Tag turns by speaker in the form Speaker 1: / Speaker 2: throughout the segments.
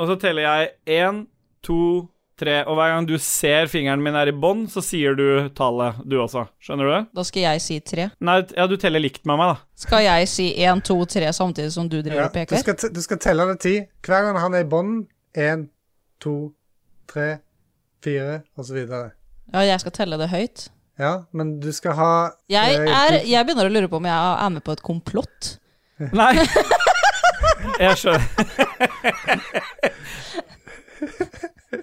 Speaker 1: Og så teller jeg én, to, tre. Og hver gang du ser fingeren min er i bånn, så sier du tallet, du også. Skjønner du det?
Speaker 2: Da skal jeg si tre.
Speaker 1: Nei, ja, du teller likt med meg, da.
Speaker 2: Skal jeg si én, to, tre samtidig som du driver
Speaker 3: Ja,
Speaker 2: og
Speaker 3: du,
Speaker 2: peker?
Speaker 3: skal, te- du skal telle det ti. Hver gang han er i bånden. Én, to, tre, fire, osv.
Speaker 2: Ja, jeg skal telle det høyt.
Speaker 3: Ja, men du skal ha
Speaker 2: Jeg,
Speaker 3: eh,
Speaker 2: er,
Speaker 3: du-
Speaker 2: jeg begynner å lure på om jeg er med på et komplott.
Speaker 1: Nei. Jeg skjønner.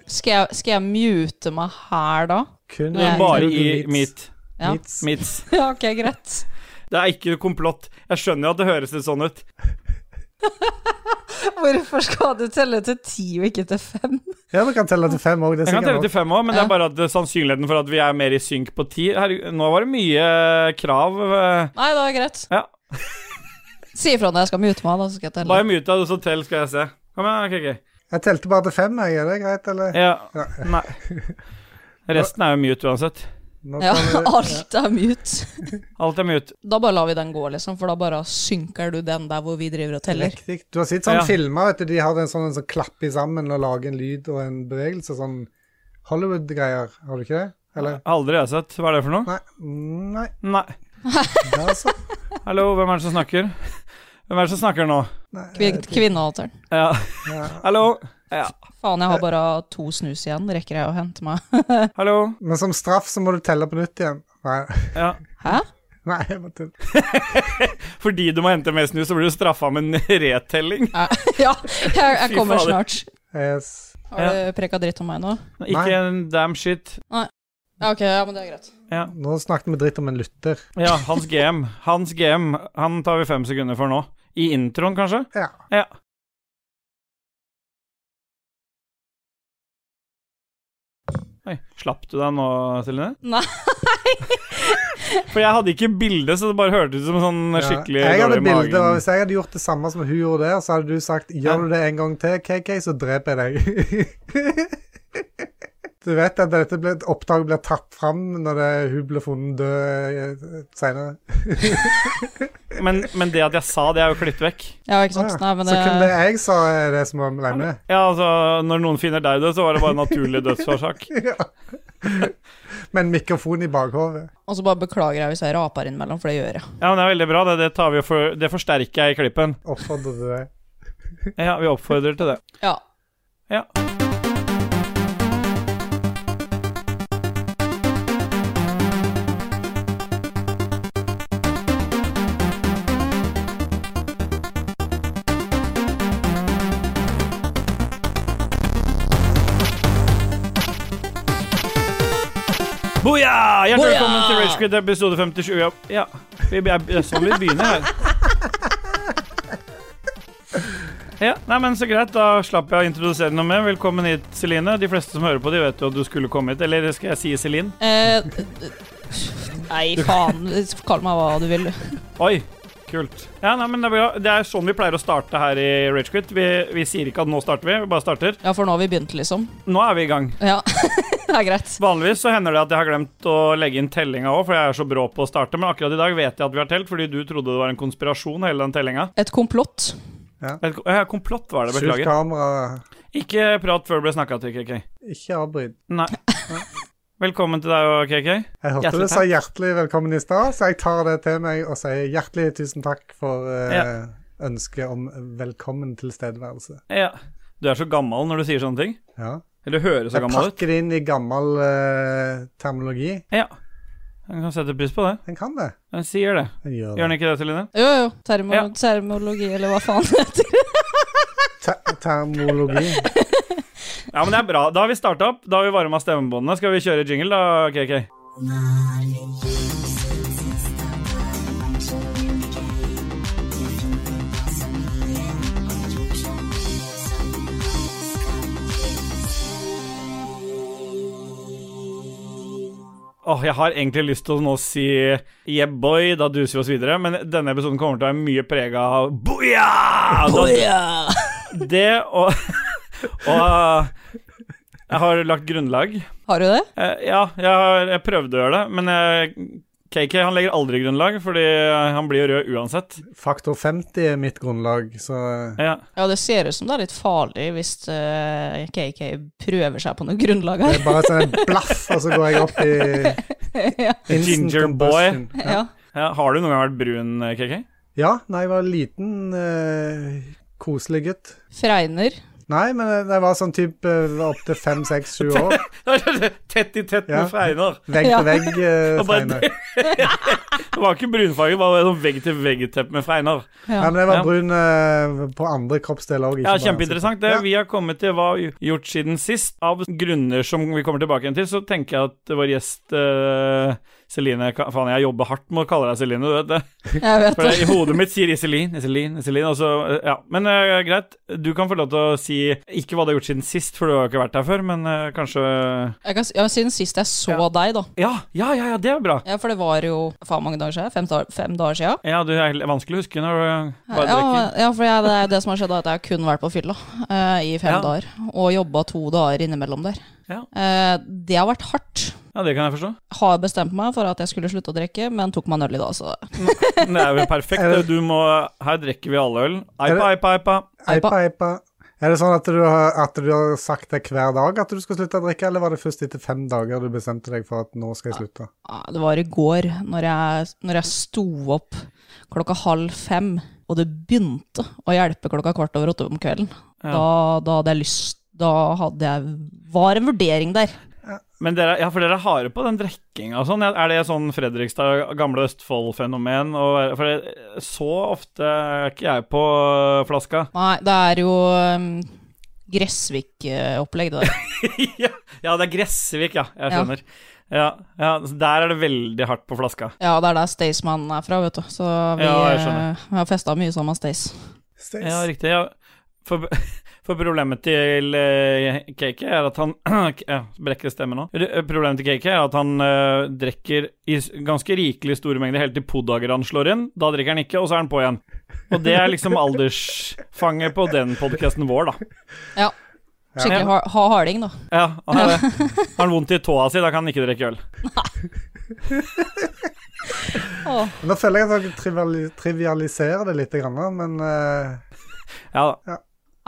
Speaker 2: Skal jeg, skal jeg mute meg her da?
Speaker 3: kun
Speaker 2: Nei.
Speaker 1: Bare
Speaker 3: kun
Speaker 1: i
Speaker 3: meets.
Speaker 1: mitt.
Speaker 2: Ja.
Speaker 3: Meets.
Speaker 1: Mitt.
Speaker 2: ja, ok, greit.
Speaker 1: Det er ikke komplott. Jeg skjønner jo at det høres litt sånn ut.
Speaker 2: Hvorfor skal du telle til ti og ikke til fem?
Speaker 3: Ja, vi kan telle til fem òg. Det er
Speaker 1: Jeg kan telle
Speaker 3: sikkert
Speaker 1: til
Speaker 3: nok.
Speaker 1: fem òg, men det
Speaker 2: Ja.
Speaker 1: er bare at eh, sannsynligheten for at vi er mer i synk på ti Herregud, Nå var det mye eh, krav. eh.
Speaker 2: Nei, da er det greit.
Speaker 1: Ja.
Speaker 2: Si ifra når jeg skal mute meg, da så skal jeg telle.
Speaker 1: Bare mute deg, og så tell, skal jeg se. Kom igjen, ok, ok.
Speaker 3: Jeg telte bare til fem, jeg. Er det greit, eller?
Speaker 1: Ja.
Speaker 3: Ja.
Speaker 1: Nei. Resten er jo mute uansett.
Speaker 3: Nå
Speaker 2: Ja,
Speaker 3: kan du-
Speaker 2: alt er mute.
Speaker 1: Alt er mute.
Speaker 2: Da bare lar vi den gå, liksom, for da bare synker du den der hvor vi driver og teller.
Speaker 3: Riktig. Du har sett sånne
Speaker 1: Ja.
Speaker 3: filmer, vet du, de har en sånn en som klapper sammen og lager en lyd og en bevegelse, sånn Hollywood-greier, har du ikke det? Eller?
Speaker 1: Aldri har jeg sett. Hva er det for noe?
Speaker 3: Nei. Nei.
Speaker 1: Nei.
Speaker 3: Ja, altså.
Speaker 1: Hallo, hvem er det som snakker? Hvem er det som snakker nå?
Speaker 3: Nei.
Speaker 2: Kvin Kvinnehalteren.
Speaker 1: Ja.
Speaker 3: Ja.
Speaker 1: Hallo? Ja.
Speaker 2: Faen, jeg har bare to snus igjen. Rekker jeg å hente meg?
Speaker 1: Hallo?
Speaker 3: Men som straff så må du telle på nytt igjen. Nei.
Speaker 1: Ja.
Speaker 2: Hæ?
Speaker 3: Nei, jeg må tulle.
Speaker 1: Fordi du må hente mer snus, så blir du straffa med en retelling.
Speaker 2: Ja, ja, jeg, jeg
Speaker 1: Fy
Speaker 2: kommer
Speaker 1: fader.
Speaker 2: snart.
Speaker 3: Yes.
Speaker 2: Har du preka dritt om meg nå?
Speaker 1: Ikke
Speaker 3: Nei.
Speaker 1: en damn shit.
Speaker 2: Ja, ok, ja, men det er greit.
Speaker 1: Ja.
Speaker 3: Nå snakket vi dritt om en lytter.
Speaker 1: ja, hans GM. Hans GM. Han tar vi fem sekunder for nå. I introen, kanskje?
Speaker 3: Ja.
Speaker 1: Ja. Oi, slapp du deg nå, Celine?
Speaker 2: Nei.
Speaker 1: For jeg hadde ikke bilde, så det bare hørtes ut som en sånn
Speaker 3: Ja.
Speaker 1: skikkelig
Speaker 3: Jeg hadde
Speaker 1: dårlig
Speaker 3: bilder, og
Speaker 1: magen.
Speaker 3: Hvis jeg hadde gjort det samme som hun gjorde der, så hadde du sagt 'gjør du det en gang til, KK, så dreper jeg deg'. du vet at dette ble, oppdraget blir tatt fram når det, hun blir funnet død eh, senere.
Speaker 1: Men, men det at jeg sa det, er jo klippet vekk.
Speaker 2: Ja, ikke sant? Nei,
Speaker 3: Ah,
Speaker 2: men eh,
Speaker 3: Så kun det
Speaker 2: det,
Speaker 3: jeg sa, er det som var med.
Speaker 1: Ja, altså, når noen finner deg død, så var det bare en naturlig dødsårsak.
Speaker 3: ja. Med en mikrofon i bakhodet.
Speaker 2: Og så bare beklager jeg hvis jeg raper innimellom, for det gjør jeg.
Speaker 1: Ja, men det er veldig bra. Det, det, tar vi og for, det forsterker jeg i klippen.
Speaker 3: Oppfordrer du deg.
Speaker 1: Ja, vi oppfordrer til det.
Speaker 2: Ja.
Speaker 1: Ja. Boja! Hjertelig
Speaker 2: Boja!
Speaker 1: velkommen til Rage Quit episode 57. Ja, ja. Vi, det er sånn vi begynner her. Ja, nei, men Så greit, da slapp jeg å introdusere noe mer. Velkommen hit, Celine. De fleste som hører på, de vet jo at du skulle komme hit. Eller skal jeg si Celine?
Speaker 2: Eh, nei, faen. Kall meg hva du vil.
Speaker 1: Oi, kult. Ja, nei, men det er, bra. det er sånn vi pleier å starte her i Ragequit. Vi, vi sier ikke at nå starter vi, vi bare starter.
Speaker 2: Ja, for nå har vi begynt, liksom.
Speaker 1: Nå er vi i gang.
Speaker 2: Ja, det er greit.
Speaker 1: Vanligvis så hender det at jeg har glemt å legge inn tellinga òg, for jeg er så brå på å starte, men akkurat i dag vet jeg at vi har telt, fordi du trodde det var en konspirasjon, hele den tellinga.
Speaker 2: Et komplott.
Speaker 1: Et ko- ja, komplott var det,
Speaker 3: Skjult
Speaker 1: beklager.
Speaker 3: kamera.
Speaker 1: Ikke prat før det ble snakka til, KK.
Speaker 3: Ikke avbryt.
Speaker 1: Nei. Velkommen til deg og KK.
Speaker 3: Jeg hørte
Speaker 1: Hjertelig
Speaker 3: du sa hjertelig velkommen i stad, så jeg tar det til meg og sier hjertelig tusen takk for eh,
Speaker 1: Ja.
Speaker 3: ønsket om velkommen tilstedeværelse.
Speaker 1: Ja. Du er så gammel når du sier sånne ting.
Speaker 3: Ja.
Speaker 1: Eller høres så
Speaker 3: Jeg
Speaker 1: gammel ut.
Speaker 3: pakker det inn i gammel eh, terminologi.
Speaker 1: Ja. Jeg kan sette pris på det.
Speaker 3: En kan det.
Speaker 1: Jeg sier det.
Speaker 3: En gjør
Speaker 1: Gjør
Speaker 3: det.
Speaker 1: den ikke det, Celine?
Speaker 2: Jo, jo. Termo
Speaker 1: Ja.
Speaker 2: Termologi, eller hva faen det heter.
Speaker 3: Te termologi.
Speaker 1: Ja, men det er bra. Da har vi starta opp. Da har vi varma stemmebåndene. Skal vi kjøre jingle, da, KK? Åh, jeg har egentlig lyst til å nå si yeah boy, da duser vi oss videre, men denne episoden kommer til å være mye prega av booyah! Da- Det og Og jeg har lagt grunnlag.
Speaker 2: Har du det?
Speaker 1: Eh, Ja, jeg, har, jeg prøvde å gjøre det, men jeg KK han legger aldri grunnlag, fordi eh, han blir jo rød uansett.
Speaker 3: Faktor 50 er mitt grunnlag, så eh,
Speaker 1: Ja.
Speaker 2: Ja, det ser ut som det er litt farlig hvis eh, KK prøver seg på noe grunnlag
Speaker 3: det
Speaker 2: her.
Speaker 3: er bare sånn en blaff, og så går jeg opp i
Speaker 2: ja.
Speaker 3: instant
Speaker 1: Ginger boy.
Speaker 3: combustion.
Speaker 2: Ja.
Speaker 1: Ja, har du noen gang vært brun, eh, KK?
Speaker 3: Ja, nei, jeg var liten, eh, koselig gutt.
Speaker 2: Fregner.
Speaker 3: Nei, men jeg- jeg var sånn type opptil fem, seks, sju år.
Speaker 1: tett i tett
Speaker 3: Ja.
Speaker 1: med fregner.
Speaker 3: Vegg
Speaker 2: Ja.
Speaker 3: til vegg, eh,
Speaker 1: Og bare-
Speaker 3: Steinar.
Speaker 1: Det var ikke brunfarge, det var sånn vegg-til-vegg-tepp med fregner.
Speaker 3: Ja,
Speaker 2: Ja.
Speaker 3: men jeg var
Speaker 1: Ja.
Speaker 3: brun eh, på andre kroppsdeler òg.
Speaker 1: Ja, kjempeinteressant. Det
Speaker 3: Ja.
Speaker 1: vi har kommet til hva vi har gjort siden sist. Av grunner som vi kommer tilbake igjen til, så tenker jeg at vår gjest eh, Celine ka- Faen, jeg jobber hardt med å kalle deg Celine, du vet det.
Speaker 2: Jeg vet
Speaker 1: For
Speaker 2: det.
Speaker 1: det- i hodet mitt sier Iselin, Iselin, Iselin, og så eh, Ja. Men eh, greit, du kan få lov til å si ikke hva du har gjort siden sist, for du har jo ikke vært der før, men eh, kanskje
Speaker 2: Jeg kan, s- ja, siden sist jeg så
Speaker 1: Ja.
Speaker 2: deg, da.
Speaker 1: Ja, ja, ja, ja, det er bra.
Speaker 2: Ja, for det var jo faen mange dager siden. Fem, da fem dager siden.
Speaker 1: Ja, du er helt- vanskelig å huske når du bare
Speaker 2: Ja,
Speaker 1: drikker.
Speaker 2: ja, for jeg, det, er det som har skjedd, er at jeg har kun vært på fylla eh, i fem
Speaker 1: Ja.
Speaker 2: dager. Og jobba to dager innimellom der.
Speaker 1: Ja.
Speaker 2: Eh, det har vært hardt.
Speaker 1: Ja, det kan jeg forstå.
Speaker 2: Har bestemt meg for at jeg skulle slutte å drikke, men tok meg en øl i dag, så
Speaker 1: Men Det er jo perfekt.
Speaker 3: Er det-
Speaker 1: Du må Her drikker vi alle øl. Eipa,
Speaker 3: Er
Speaker 1: eipa, eipa.
Speaker 3: Eipa, eipa. Er det sånn at du, har, at du har sagt det hver dag at du skal slutte å drikke, eller var det først etter fem dager du bestemte deg for at nå skal jeg slutte?
Speaker 2: Ja, Det var i går, når jeg, når jeg sto opp klokka halv fem, og det begynte å hjelpe klokka kvart over åtte om kvelden.
Speaker 1: Ja.
Speaker 2: Da, da hadde jeg lyst Da hadde jeg Var en vurdering der.
Speaker 1: Men dere, ja, for dere er harde på den drikkinga og sånn. Er det sånn Fredrikstad, gamle Østfold-fenomen? og- For det, så ofte er ikke jeg på eh, flaska.
Speaker 2: Nei, det er jo um, Gressvik-opplegg, det der.
Speaker 1: ja, ja, det er Gressvik, ja. Jeg
Speaker 2: Ja.
Speaker 1: skjønner. Ja. Ja, så der er det veldig hardt på flaska.
Speaker 2: Ja, det er der Staysman er fra, vet du. Så vi,
Speaker 1: Ja, jeg skjønner.
Speaker 2: eh, vi har festa mye sammen med Stace.
Speaker 3: Stays.
Speaker 1: Ja, riktig. Ja. For, for problemet til eh, KK er at han ja, brekker stemmen nå. R- Problemet til KK er at han eh, drikker i s- ganske rikelig store mengder helt til podager han slår inn. Da drikker han ikke, og så er han på igjen. Og det er liksom aldersfanget på den podkasten vår, da.
Speaker 2: Ja. Skikkelig
Speaker 1: Ja.
Speaker 2: ha, ha harding, da.
Speaker 1: Ja, han har, det. har han vondt i tåa si, da kan han ikke drikke øl.
Speaker 2: Åh.
Speaker 3: Nå føler jeg at dere triviali trivialiserer det litt, grann, da, men eh,
Speaker 1: Ja da.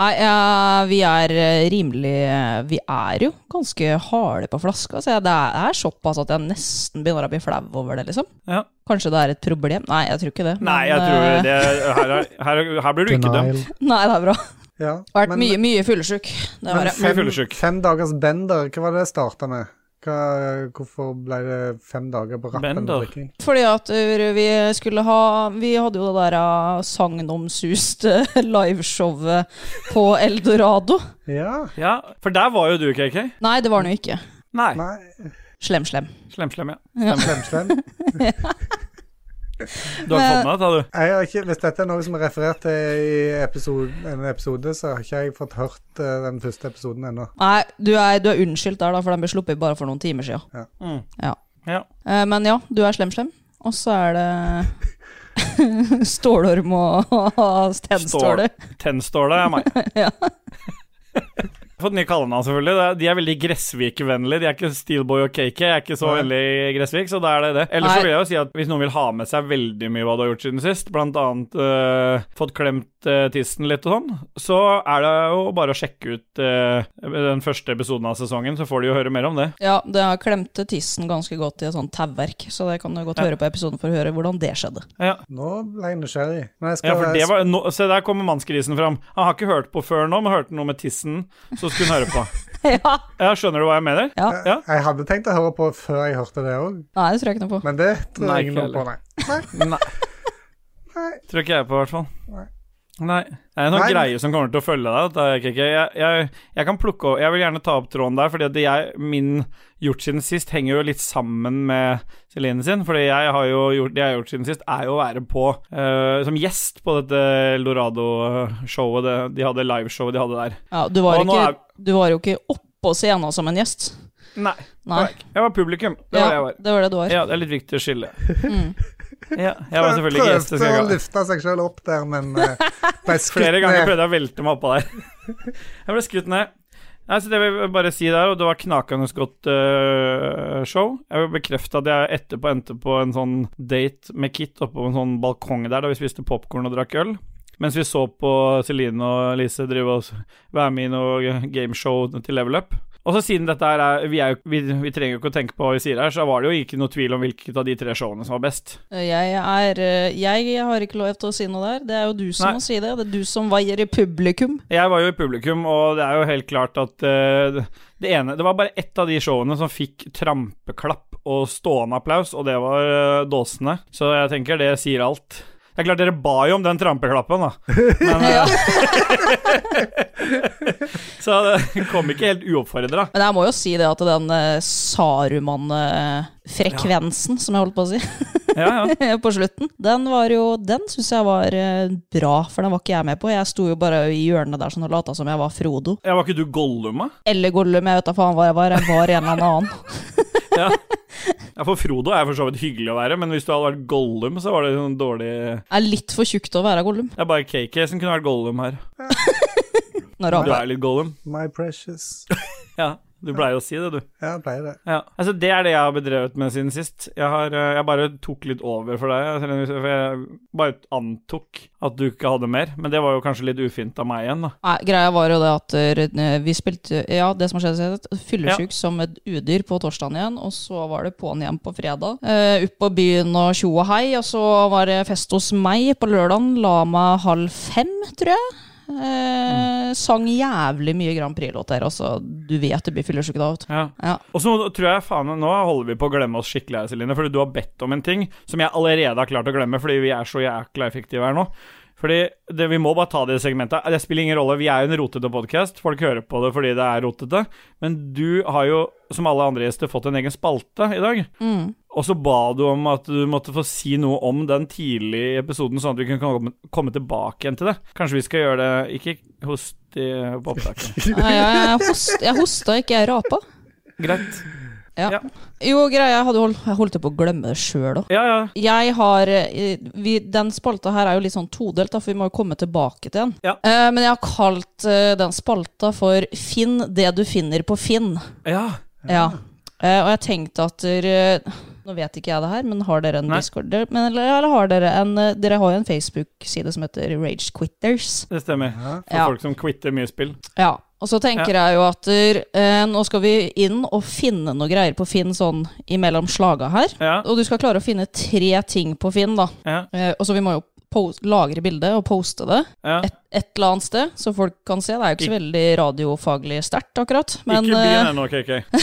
Speaker 2: Nei, ja, vi er eh, rimelig eh, Vi er jo ganske harde på flaska, så jeg, det er såpass at jeg nesten begynner å bli flau over det, liksom.
Speaker 1: Ja.
Speaker 2: Kanskje det er et problem? Nei, jeg tror ikke det.
Speaker 1: Nei, jeg tror
Speaker 2: eh,
Speaker 1: det Her, er- her, her blir du ikke dømt.
Speaker 3: Denial.
Speaker 2: Nei, det er bra.
Speaker 3: Ja.
Speaker 2: Vært
Speaker 3: men-
Speaker 2: mye, mye fyllesyk. Det
Speaker 3: men
Speaker 2: har jeg.
Speaker 1: Mye
Speaker 3: fem,
Speaker 1: fyllesyk.
Speaker 3: fem dagers bender, hva var det jeg starta med? Hva, hvorfor ble det fem dager på rappen?
Speaker 1: Bender?
Speaker 3: drikking?
Speaker 2: Fordi at ø, vi skulle ha Vi hadde jo det der eh, sagnomsuste eh, liveshowet på Eldorado.
Speaker 3: Ja.
Speaker 1: Ja, for der var jo du, KK.
Speaker 2: Nei, det var den jo ikke.
Speaker 1: Nei.
Speaker 3: Nei,
Speaker 2: Slem, slem.
Speaker 1: Slem, slem, ja.
Speaker 3: slem, slem.
Speaker 1: Du har ikke fått med deg dette,
Speaker 3: Jeg har ikke, hvis dette er noe som er referert til i episode, en episode, så har ikke jeg fått hørt eh, den første episoden ennå.
Speaker 2: Nei, du er, du er unnskyldt der, da, for den ble sluppet bare for noen timer siden.
Speaker 1: du? Mm.
Speaker 2: Ja.
Speaker 1: Ja.
Speaker 2: Eh, Men ja, du er slem-slem. Og så er det Stålorm og Stenståle.
Speaker 1: Tennståle er meg.
Speaker 2: Ja.
Speaker 1: Fått nye kallenavn, selvfølgelig. Det er- De er veldig Gressvik-vennlige. De er ikke Steelboy og KK. Jeg er ikke så
Speaker 3: Nei.
Speaker 1: veldig Gressvik, så da er det det. Ellers så
Speaker 2: Nei.
Speaker 1: vil jeg jo si at hvis noen vil ha med seg veldig mye hva du har gjort siden sist, blant annet eh, fått klemt eh, tissen litt og sånn, så er det jo bare å sjekke ut eh, den første episoden av sesongen, så får de jo høre mer om det.
Speaker 2: Ja, det har klemte tissen ganske godt i et sånt tauverk, så det kan du godt
Speaker 1: Ja.
Speaker 2: høre på episoden for å høre hvordan det skjedde.
Speaker 1: Ja.
Speaker 3: Nå ble jeg nysgjerrig. Men jeg skal,
Speaker 1: Ja, for det var, nå- se, der kommer mannsgrisen fram. Han har ikke hørt på før nå, men hørte noe med tissen, så skulle han høre på.
Speaker 2: ja.
Speaker 1: Ja, skjønner du hva jeg mener?
Speaker 2: ja.
Speaker 1: Ja.
Speaker 3: Jeg hadde tenkt å høre på før jeg hørte det òg,
Speaker 2: Nei, det tror jeg ikke noe på.
Speaker 3: men det tror
Speaker 1: Nei,
Speaker 3: jeg ingen
Speaker 1: ikke
Speaker 3: på, nei.
Speaker 1: Nei.
Speaker 3: Nei.
Speaker 1: Tror ikke jeg på, i hvert fall.
Speaker 3: Nei.
Speaker 1: Nei. Det er noen
Speaker 3: Nei.
Speaker 1: greier som kommer til å følge deg. dette, KK. Jeg, jeg, jeg kan plukke opp- Jeg vil gjerne ta opp tråden der, fordi at jeg, min gjort siden sist henger jo litt sammen med Celine sin. Fordi jeg har jo gjort, det jeg har gjort siden sist, er jo å være på eh, som gjest på dette Eldorado-showet. Det, de hadde liveshowet de hadde der.
Speaker 2: Ja, du, var
Speaker 1: Og nå
Speaker 2: ikke,
Speaker 1: er-
Speaker 2: du var jo ikke oppå scenen som en gjest.
Speaker 1: Nei.
Speaker 2: Nei.
Speaker 1: Jeg var publikum. Det var det jeg
Speaker 2: Ja,
Speaker 1: var.
Speaker 2: det var det du var.
Speaker 1: Ja, det er litt viktig å skille.
Speaker 2: Mm.
Speaker 1: Ja, jeg var selvfølgelig ikke gjest. det skal
Speaker 3: Prøvde
Speaker 1: jeg
Speaker 3: å
Speaker 1: ha.
Speaker 3: løfte seg sjøl opp der, men eh, ble skutt
Speaker 1: Flere ganger
Speaker 3: ned.
Speaker 1: prøvde jeg å velte meg oppå der. Jeg ble skutt ned. Nei, så Det vil jeg bare si der, og det var knakende godt eh, show. Jeg vil bekrefte at jeg etterpå endte på en sånn date med Kit oppe på en sånn balkong der, da vi spiste popkorn og drakk øl. Mens vi så på Celine og Lise drive og s- være med i noe gameshow til Level Up. Og så siden dette her er, vi, er jo, vi, vi trenger jo ikke å tenke på hva vi sier her, så var det jo ikke noe tvil om hvilket av de tre showene som var best.
Speaker 2: Jeg, er, eh, jeg har ikke lov til å si noe der. Det er jo du som
Speaker 1: Nei.
Speaker 2: må si det. Det er du som vaier i publikum.
Speaker 1: Jeg var jo i publikum, og det er jo helt klart at eh, det ene Det var bare ett av de showene som fikk trampeklapp og stående applaus, og det var eh, Dåsene. Så jeg tenker det sier alt. Det er klart dere ba jo om den trampeklappen, da. Men, eh,
Speaker 2: Ja.
Speaker 1: så det kom ikke helt uoppfordra.
Speaker 2: Men jeg må jo si det at den eh, Saruman-frekvensen, som jeg holdt på å si,
Speaker 1: Ja, ja.
Speaker 2: på slutten, den var jo Den syns jeg var eh, bra, for den var ikke jeg med på. Jeg sto jo bare i hjørnet der sånn og lata som jeg var Frodo.
Speaker 1: Ja, var ikke du Gollum, da?
Speaker 2: Eller Gollum, jeg vet da faen hva jeg var. Jeg var en eller annen.
Speaker 1: Ja. ja, for Frodo er for så vidt hyggelig å være, men hvis du hadde vært Gollum, så var det sånn dårlig
Speaker 2: Jeg er litt for tjukk til å være Gollum.
Speaker 1: Det er bare KK som kunne vært Gollum her.
Speaker 2: Når
Speaker 1: Du
Speaker 2: han
Speaker 1: er litt Gollum.
Speaker 3: My precious.
Speaker 1: Ja, du pleier å si det, du.
Speaker 3: Ja, det pleier det.
Speaker 1: Ja, altså Det er det jeg har bedrevet med siden sist. Jeg, har, eh, jeg bare tok litt over for deg. selv om- For jeg bare antok at du ikke hadde mer, men det var jo kanskje litt ufint av meg igjen, da.
Speaker 2: Nei, greia var jo det at eh, vi spilte Ja, det som har skjedd, er at fyllesjuk som et udyr på torsdagen igjen, og så var det på'n igjen på fredag. Eh, ut på byen og tjo og hei, og så var det fest hos meg på lørdagen. La meg halv fem, tror jeg. Eh, Sang jævlig mye Grand Prix-låter. Altså, du vet det blir fyllesyke da, vet du.
Speaker 1: Ja.
Speaker 2: Ja.
Speaker 1: Og så tror jeg faen nå holder vi på å glemme oss skikkelig her, Celine, fordi du har bedt om en ting som jeg allerede har klart å glemme, fordi vi er så jækla effektive her nå. Fordi det, Vi må bare ta det segmentet. Det spiller ingen rolle, vi er jo en rotete podkast. Folk hører på det fordi det er rotete. Men du har jo, som alle andre gjester, fått en egen spalte i dag.
Speaker 2: mm.
Speaker 1: Og så ba du om at du måtte få si noe om den tidlig i episoden, sånn at vi kan komme, komme tilbake igjen til det. Kanskje vi skal gjøre det Ikke host i, på opptaket.
Speaker 2: Nei, jeg, jeg, host, jeg hosta ikke, jeg rapa.
Speaker 1: Greit.
Speaker 2: Ja.
Speaker 1: Ja.
Speaker 2: Jo, greia, jeg hadde holdt, jeg holdt på å glemme det sjøl òg.
Speaker 1: Ja, ja.
Speaker 2: Jeg har eh, vi, Den spalta her er jo litt sånn todelt, da, for vi må jo komme tilbake til den.
Speaker 1: Ja.
Speaker 2: Eh, men jeg har kalt eh, den spalta for Finn det du finner på Finn.
Speaker 1: ja.
Speaker 2: Ja. Eh, og jeg tenkte at dere- Nå vet ikke jeg det her, men har dere en
Speaker 1: Nei.
Speaker 2: Discord? Dere- Men, eller, eller har dere en eh, Dere har jo en Facebook-side som heter Rage Quitters.
Speaker 1: Det stemmer. For
Speaker 2: Ja.
Speaker 1: folk som quitter mye spill.
Speaker 2: Ja. Og så tenker jeg jo at eh, nå skal vi inn og finne noe greier på Finn sånn imellom slaga her.
Speaker 1: Ja.
Speaker 2: Og du skal klare å finne tre ting på Finn, da.
Speaker 1: Ja.
Speaker 2: Eh, og så vi må jo po- lagre bildet og poste det
Speaker 1: ja.
Speaker 2: et, et eller annet sted, så folk kan se. Det er jo ikke så veldig radiofaglig sterkt, akkurat. Men,
Speaker 1: ikke begynn
Speaker 2: eh,
Speaker 1: ennå, KK.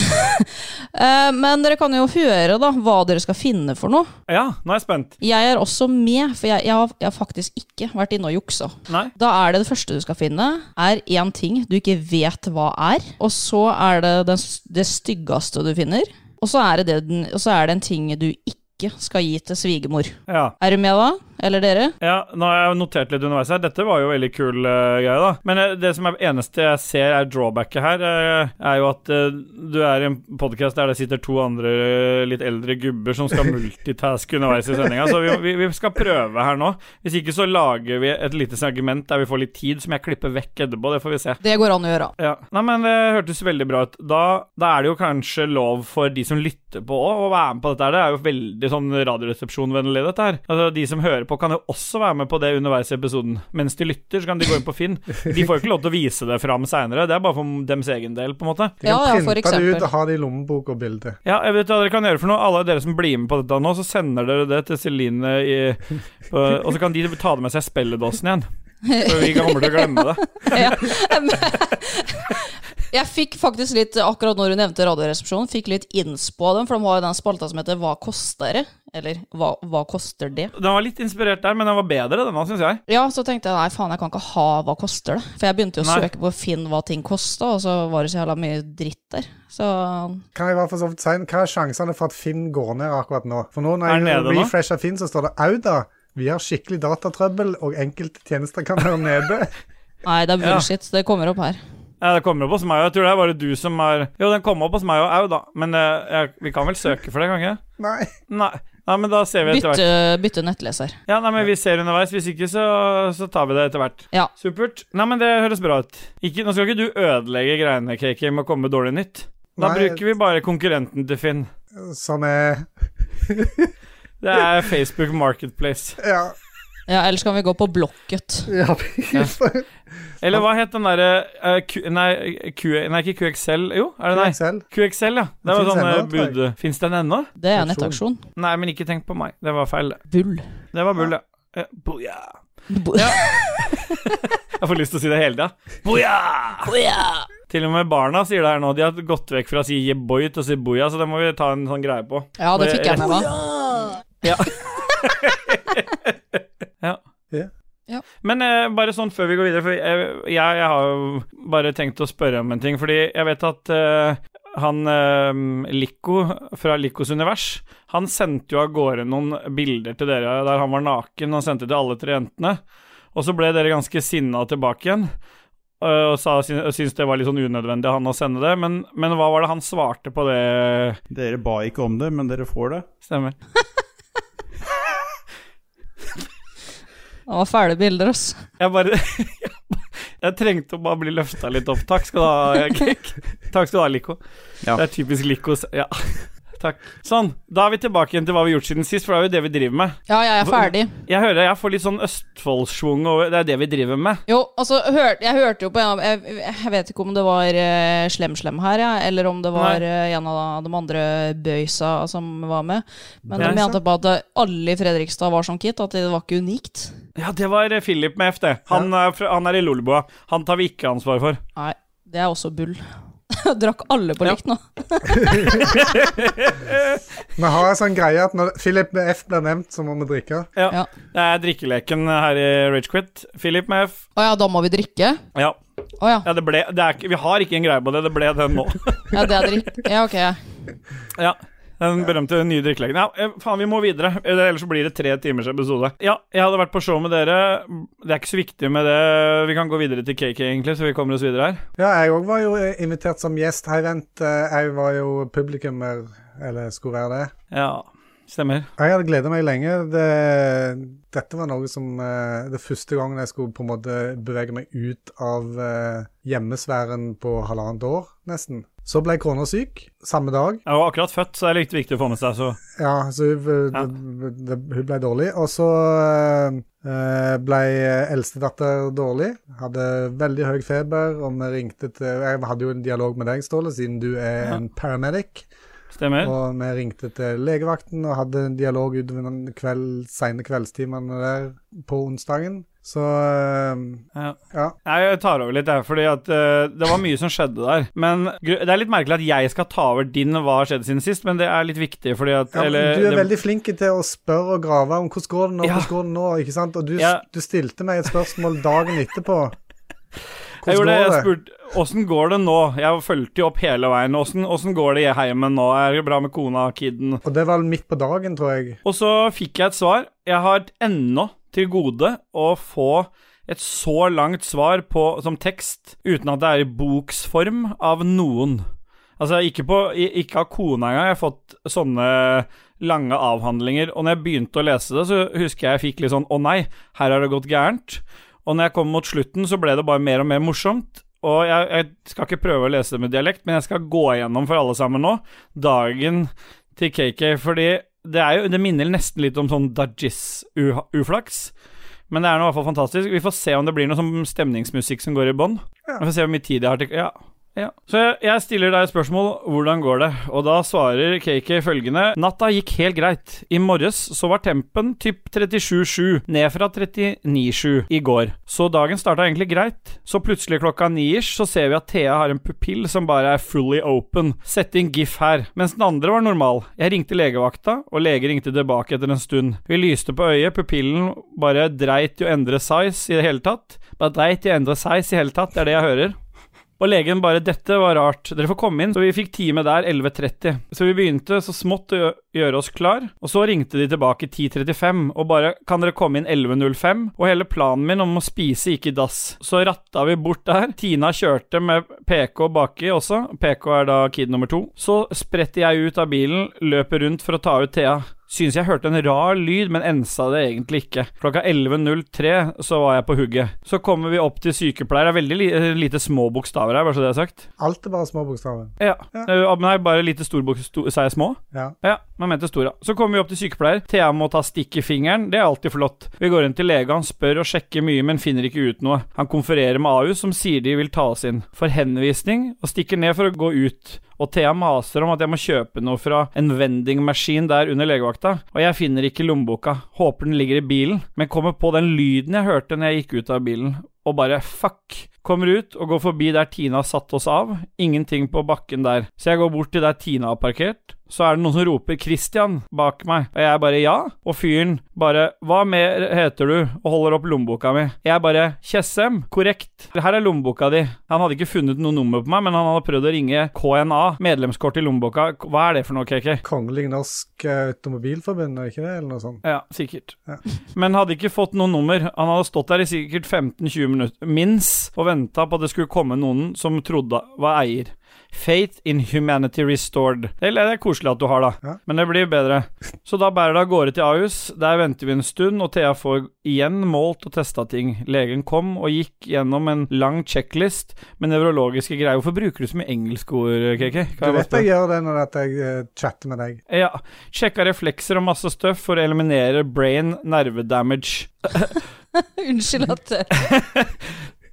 Speaker 2: eh, men dere kan jo høre da, hva dere skal finne for noe.
Speaker 1: Ja, nå er jeg spent.
Speaker 2: Jeg er også med, for jeg, jeg, har, jeg har faktisk ikke vært inne og juksa.
Speaker 1: Nei?
Speaker 2: Da er det det første du skal finne, er én ting du ikke vet hva er. Og så er det den, s- det styggeste du finner. Og så er det, det, den- og så er det en ting du ikke skal gi til svigermor.
Speaker 1: Ja.
Speaker 2: Er du med da? Eller dere?
Speaker 1: Ja, nå har jeg notert litt underveis her. Dette var jo veldig kul eh, greie, da. Men eh, det som er eneste jeg ser er drawbacket her, eh, er jo at eh, du er i en podkast der det sitter to andre eh, litt eldre gubber som skal multitaske underveis i sendinga, så vi, vi, vi skal prøve her nå. Hvis ikke så lager vi et lite segment der vi får litt tid, som jeg klipper vekk etterpå. Det får vi se.
Speaker 2: Det går an å gjøre.
Speaker 1: Ja. Nei, men det hørtes veldig bra ut. Da, da er det jo kanskje lov for de som lytter på òg, å være med på dette her. Det er jo veldig sånn Radioresepsjon-vennlig, dette her. Altså, de som hører på, kan jo også være med på det underveis i episoden. Mens de lytter, så kan de gå inn på Finn. De får jo ikke lov til å vise det fram seinere. Det er bare for dems egen del, på en måte.
Speaker 3: Du kan
Speaker 2: Ja, ja, for
Speaker 3: printe det ut
Speaker 2: eksempel.
Speaker 3: og ha det i lommebok og bilde.
Speaker 1: Ja, jeg vet hva dere kan gjøre for noe. Alle dere som blir med på dette nå, så sender dere det til Celine i på, Og så kan de ta det med seg spelledåsen igjen. For vi kommer til å glemme det.
Speaker 2: ja. Jeg fikk faktisk litt, akkurat når du nevnte Radioresepsjonen, fikk litt innspo av dem, for de har jo den spalta som heter Hva koster det? Eller hva, hva koster det?
Speaker 1: Den var litt inspirert der, men den var bedre, denne, syns jeg.
Speaker 2: Ja, så tenkte jeg nei, faen, jeg kan ikke ha hva koster det? For jeg begynte jo å
Speaker 1: Nei.
Speaker 2: søke på Finn hva ting kosta, og så var det så jævla mye dritt der. Så
Speaker 3: Kan jeg bare for så vidt si, en- Hva er sjansene for at Finn går ned akkurat nå? For
Speaker 1: Er
Speaker 3: nå når
Speaker 1: den
Speaker 3: jeg
Speaker 1: nede nå?
Speaker 3: refresher Finn, så står det au da. Vi har skikkelig datatrøbbel, og enkelte tjenester kan være nede.
Speaker 2: nei, det er
Speaker 1: Ja.
Speaker 2: bullshit. Det kommer opp her.
Speaker 1: Ja, det kommer opp hos meg, og jeg tror det er bare du som er Jo, den kom opp hos meg og au, da, men eh, jeg, vi kan vel søke for det, kan vi ikke?
Speaker 3: Nei.
Speaker 1: Nei. Nei, men da ser vi etter hvert.
Speaker 2: Bytte, bytte nettleser.
Speaker 1: Ja, nei, men vi ser underveis. Hvis ikke, så, så tar vi det etter hvert.
Speaker 2: Ja.
Speaker 1: Supert. Nei, men det høres bra ut. Ikke, nå skal ikke du ødelegge greiene, KK, med å komme med dårlig nytt. Da
Speaker 3: Nei.
Speaker 1: bruker vi bare konkurrenten til Finn.
Speaker 3: Som sånn er
Speaker 1: Det er Facebook Marketplace.
Speaker 3: Ja.
Speaker 2: Ja, ellers kan vi gå på Blokket.
Speaker 3: ja.
Speaker 1: Eller hva het den derre eh, Q... Nei, Q, nei, ikke QXL. Jo, er det nei?
Speaker 3: Selv.
Speaker 1: QXL, ja. Det var sånn
Speaker 3: Finnes
Speaker 1: eh,
Speaker 3: ennå, tror jeg.
Speaker 1: bud... Fins den ennå?
Speaker 2: Det er nettaksjon.
Speaker 1: Nei, men ikke tenk på meg. Det var feil. det.
Speaker 2: Bull.
Speaker 1: Det var bull, ja. Eh, Booyah.
Speaker 2: Bo-
Speaker 1: Ja. Jeg får lyst til å si det hele tida. Booyah!
Speaker 2: Boja!
Speaker 1: Til og med barna sier det her nå. De har gått vekk fra å si jeboy til å si boya, så det må vi ta en sånn greie på.
Speaker 2: Ja, det fikk jeg med meg.
Speaker 1: Men eh, bare sånn før vi går videre, for jeg, jeg, jeg har jo bare tenkt å spørre om en ting. Fordi jeg vet at eh, han eh, Lico fra Licos univers, han sendte jo av gårde noen bilder til dere der han var naken og sendte til alle tre jentene. Og så ble dere ganske sinna tilbake igjen. eh, Og sa, syn- syntes det var litt sånn unødvendig han å sende det, men, men hva var det han svarte på det?
Speaker 4: Dere ba ikke om det, men dere får det.
Speaker 1: Stemmer.
Speaker 2: Det var fæle bilder, ass.
Speaker 1: Jeg bare Jeg trengte å bare bli løfta litt opp. Takk skal du ha, Kik. Takk skal du ha, Lico.
Speaker 4: Ja.
Speaker 1: Det er typisk Lico. s- Ja. Takk. Sånn, da er vi tilbake igjen til hva vi har gjort siden sist, for det er jo det vi driver med.
Speaker 2: Ja, jeg er ferdig.
Speaker 1: Jeg hører jeg får litt sånn Østfoldsschwung over Det er det vi driver med.
Speaker 2: Jo, altså, hørte, jeg hørte jo på en av jeg, jeg vet ikke om det var eh, Slem Slem her, ja, eller om det var
Speaker 1: Nei.
Speaker 2: eh, en av de andre bøysa som var med. Men de
Speaker 1: Bøysa?
Speaker 2: mente på at eh, alle i Fredrikstad var som Kit, at det var ikke unikt.
Speaker 1: Ja, det var eh, Philip med F, det. Han, er fra- han er i Lolboa. Han tar vi ikke ansvar for.
Speaker 2: Nei, det er også bull. Drakk alle på
Speaker 1: Ja.
Speaker 2: likt nå.
Speaker 3: Vi har en sånn greie at når Philip med F blir nevnt, så må vi drikke.
Speaker 1: Ja.
Speaker 2: Ja.
Speaker 1: Det er drikkeleken eh, her i Ragequit. Philip med F.
Speaker 2: Å ja, da må vi drikke?
Speaker 1: Ja,
Speaker 2: Å ja.
Speaker 1: ja det ble det er, ikke- Vi har ikke en greie på det. Det ble den nå.
Speaker 2: ja, det er drikk... Ja, ok.
Speaker 1: Ja. Den berømte nye drikkelegen. Ja, eh, faen, vi må videre. eh, Ellers så blir det tre timers episode. Ja, jeg hadde vært på show med dere. Det er ikke så viktig med det. Vi kan gå videre til KK, egentlig, så vi kommer oss videre her.
Speaker 3: Ja, jeg òg var jo invitert som gjest. Hei, vent. eh, Jeg var jo publikummer, eller skulle være det.
Speaker 1: Ja, stemmer.
Speaker 3: Jeg hadde gleda meg lenge. Det, dette var noe som eh, Det første gangen jeg skulle på en måte bevege meg ut av eh, hjemmesfæren på halvannet år, nesten. Så ble kona syk samme dag.
Speaker 1: Jeg var akkurat født, så det er litt viktig å få med seg, så
Speaker 3: Ja, så hun, eh,
Speaker 1: Ja.
Speaker 3: Det, det, hun ble dårlig. Og så eh, ble eldstedatter dårlig. Hadde veldig høy feber, og vi ringte til Jeg hadde jo en dialog med deg, Ståle, siden du er
Speaker 1: Ja.
Speaker 3: en paramedic.
Speaker 1: stemmer.
Speaker 3: Og vi ringte til legevakten og hadde en dialog utover den kveld, sene kveldstimene der på onsdagen. Så eh,
Speaker 1: Ja.
Speaker 3: ja.
Speaker 1: Nei, Jeg tar over litt, jeg, fordi at eh, det var mye som skjedde der. Men gru- det er litt merkelig at jeg skal ta over din hva har skjedd siden sist, men det er litt viktig fordi at
Speaker 3: Ja, men
Speaker 1: eller,
Speaker 3: du er
Speaker 1: det-
Speaker 3: veldig flink til å spørre og grave om hvordan går det nå,
Speaker 1: Ja.
Speaker 3: hvordan går det nå, ikke sant? Og du,
Speaker 1: Ja.
Speaker 3: du stilte meg et spørsmål dagen etterpå.
Speaker 1: Jeg
Speaker 3: Hvordan
Speaker 1: gjorde det,
Speaker 3: går
Speaker 1: jeg
Speaker 3: det?
Speaker 1: spurte Åssen går det nå? Jeg fulgte jo opp hele veien. Åssen åssen går det i heimen nå? Er det bra med kona og kiden?
Speaker 3: Og det var midt på dagen, tror jeg.
Speaker 1: Og så fikk jeg et svar. Jeg har ennå til gode å få et så langt svar på, som tekst uten at det er i boksform av noen. Altså, ikke, på, i- ikke av kona engang. Jeg har fått sånne lange avhandlinger. Og når jeg begynte å lese det, så husker jeg jeg fikk litt sånn Å nei, her har det gått gærent. Og når jeg kom mot slutten, så ble det bare mer og mer morsomt. Og jeg, jeg skal ikke prøve å lese det med dialekt, men jeg skal gå igjennom for alle sammen nå dagen til KK, fordi det, er jo, det minner nesten litt om sånn Dajis-uflaks. Men det er nå i hvert fall fantastisk. Vi får se om det blir noe sånn stemningsmusikk som går i bånn. Vi får se hvor mye tid jeg har til Ja. Ja. Så jeg- jeg stiller deg et spørsmål. Hvordan går det? Og da svarer KK følgende. Natta gikk helt greit. I morges så var tempen typ 37,7, ned fra 39,7 i går. Så dagen starta egentlig greit. Så plutselig klokka ni-ish så ser vi at Thea har en pupill som bare er fully open. Sett inn gif her. Mens den andre var normal. Jeg ringte legevakta, og lege ringte tilbake etter en stund. Vi lyste på øyet, pupillen bare dreit i å endre size i det hele tatt. Bare dreit i å endre size i hele tatt, det er det jeg hører. Og legen bare 'Dette var rart. Dere får komme inn.' Så vi fikk time der 11.30. Så vi begynte så smått å gjø- gjøre oss klar, og så ringte de tilbake 10.35 og bare 'Kan dere komme inn 11.05?' Og hele planen min om å spise gikk i dass. Så ratta vi bort der. Tina kjørte med PK baki også. PK er da kid nummer to. Så spretter jeg ut av bilen, løper rundt for å ta ut Thea. Syns jeg hørte en rar lyd, men ensa det egentlig ikke. Klokka 11.03 så var jeg på hugget. Så kommer vi opp til sykepleier. Det er veldig li lite små bokstaver her, bare så det er sagt.
Speaker 3: Alt er bare små bokstaver.
Speaker 1: Ja.
Speaker 3: Ja.
Speaker 1: Eh, Nei, bare lite store bokstaver. Sa jeg små?
Speaker 3: Ja.
Speaker 1: Ja, man mente stor, ja. Så kommer vi opp til sykepleier. Thea må ta stikk i fingeren, det er alltid flott. Vi går inn til lege, han spør og sjekker mye, men finner ikke ut noe. Han konfererer med AU, som sier de vil ta oss inn for henvisning, og stikker ned for å gå ut. Og Thea maser om at jeg må kjøpe noe fra en vendingmaskin der under legevakta, og jeg finner ikke lommeboka. Håper den ligger i bilen, men kommer på den lyden jeg hørte når jeg gikk ut av bilen, og bare fuck. Kommer ut og går forbi der Tina har satt oss av. Ingenting på bakken der. Så jeg går bort til der Tina har parkert. Så er det noen som roper 'Christian' bak meg, og jeg bare 'ja', og fyren bare 'hva mer heter du?' og holder opp lommeboka mi. Jeg bare 'Tjessem, korrekt, her er lommeboka di'. Han hadde ikke funnet noe nummer på meg, men han hadde prøvd å ringe KNA, medlemskort i lommeboka. Hva er det for noe, KK?
Speaker 3: Kongelig Norsk eh, Automobilforbund, er ikke det? Eller noe sånt.
Speaker 1: Ja, sikkert.
Speaker 3: Ja.
Speaker 1: Men hadde ikke fått noe nummer. Han hadde stått der i sikkert 15-20 minutter, minst, og venta på at det skulle komme noen som trodde var eier. Faith in humanity restored. Det er det er koselig at du har, da.
Speaker 3: Ja.
Speaker 1: Men det blir bedre. Så da bærer det av gårde til Ahus. Der venter vi en stund, og Thea får igjen målt og testa ting. Legen kom og gikk gjennom en lang checklist med nevrologiske greier. Hvorfor bruker du så mye engelske ord, KK? Kan jeg
Speaker 3: Du
Speaker 1: bare
Speaker 3: vet
Speaker 1: spørre?
Speaker 3: jeg gjør det når at jeg eh, chatter med deg.
Speaker 1: Ja, sjekka reflekser og masse støff for å eliminere brain nerve damage.
Speaker 2: Unnskyld at eh,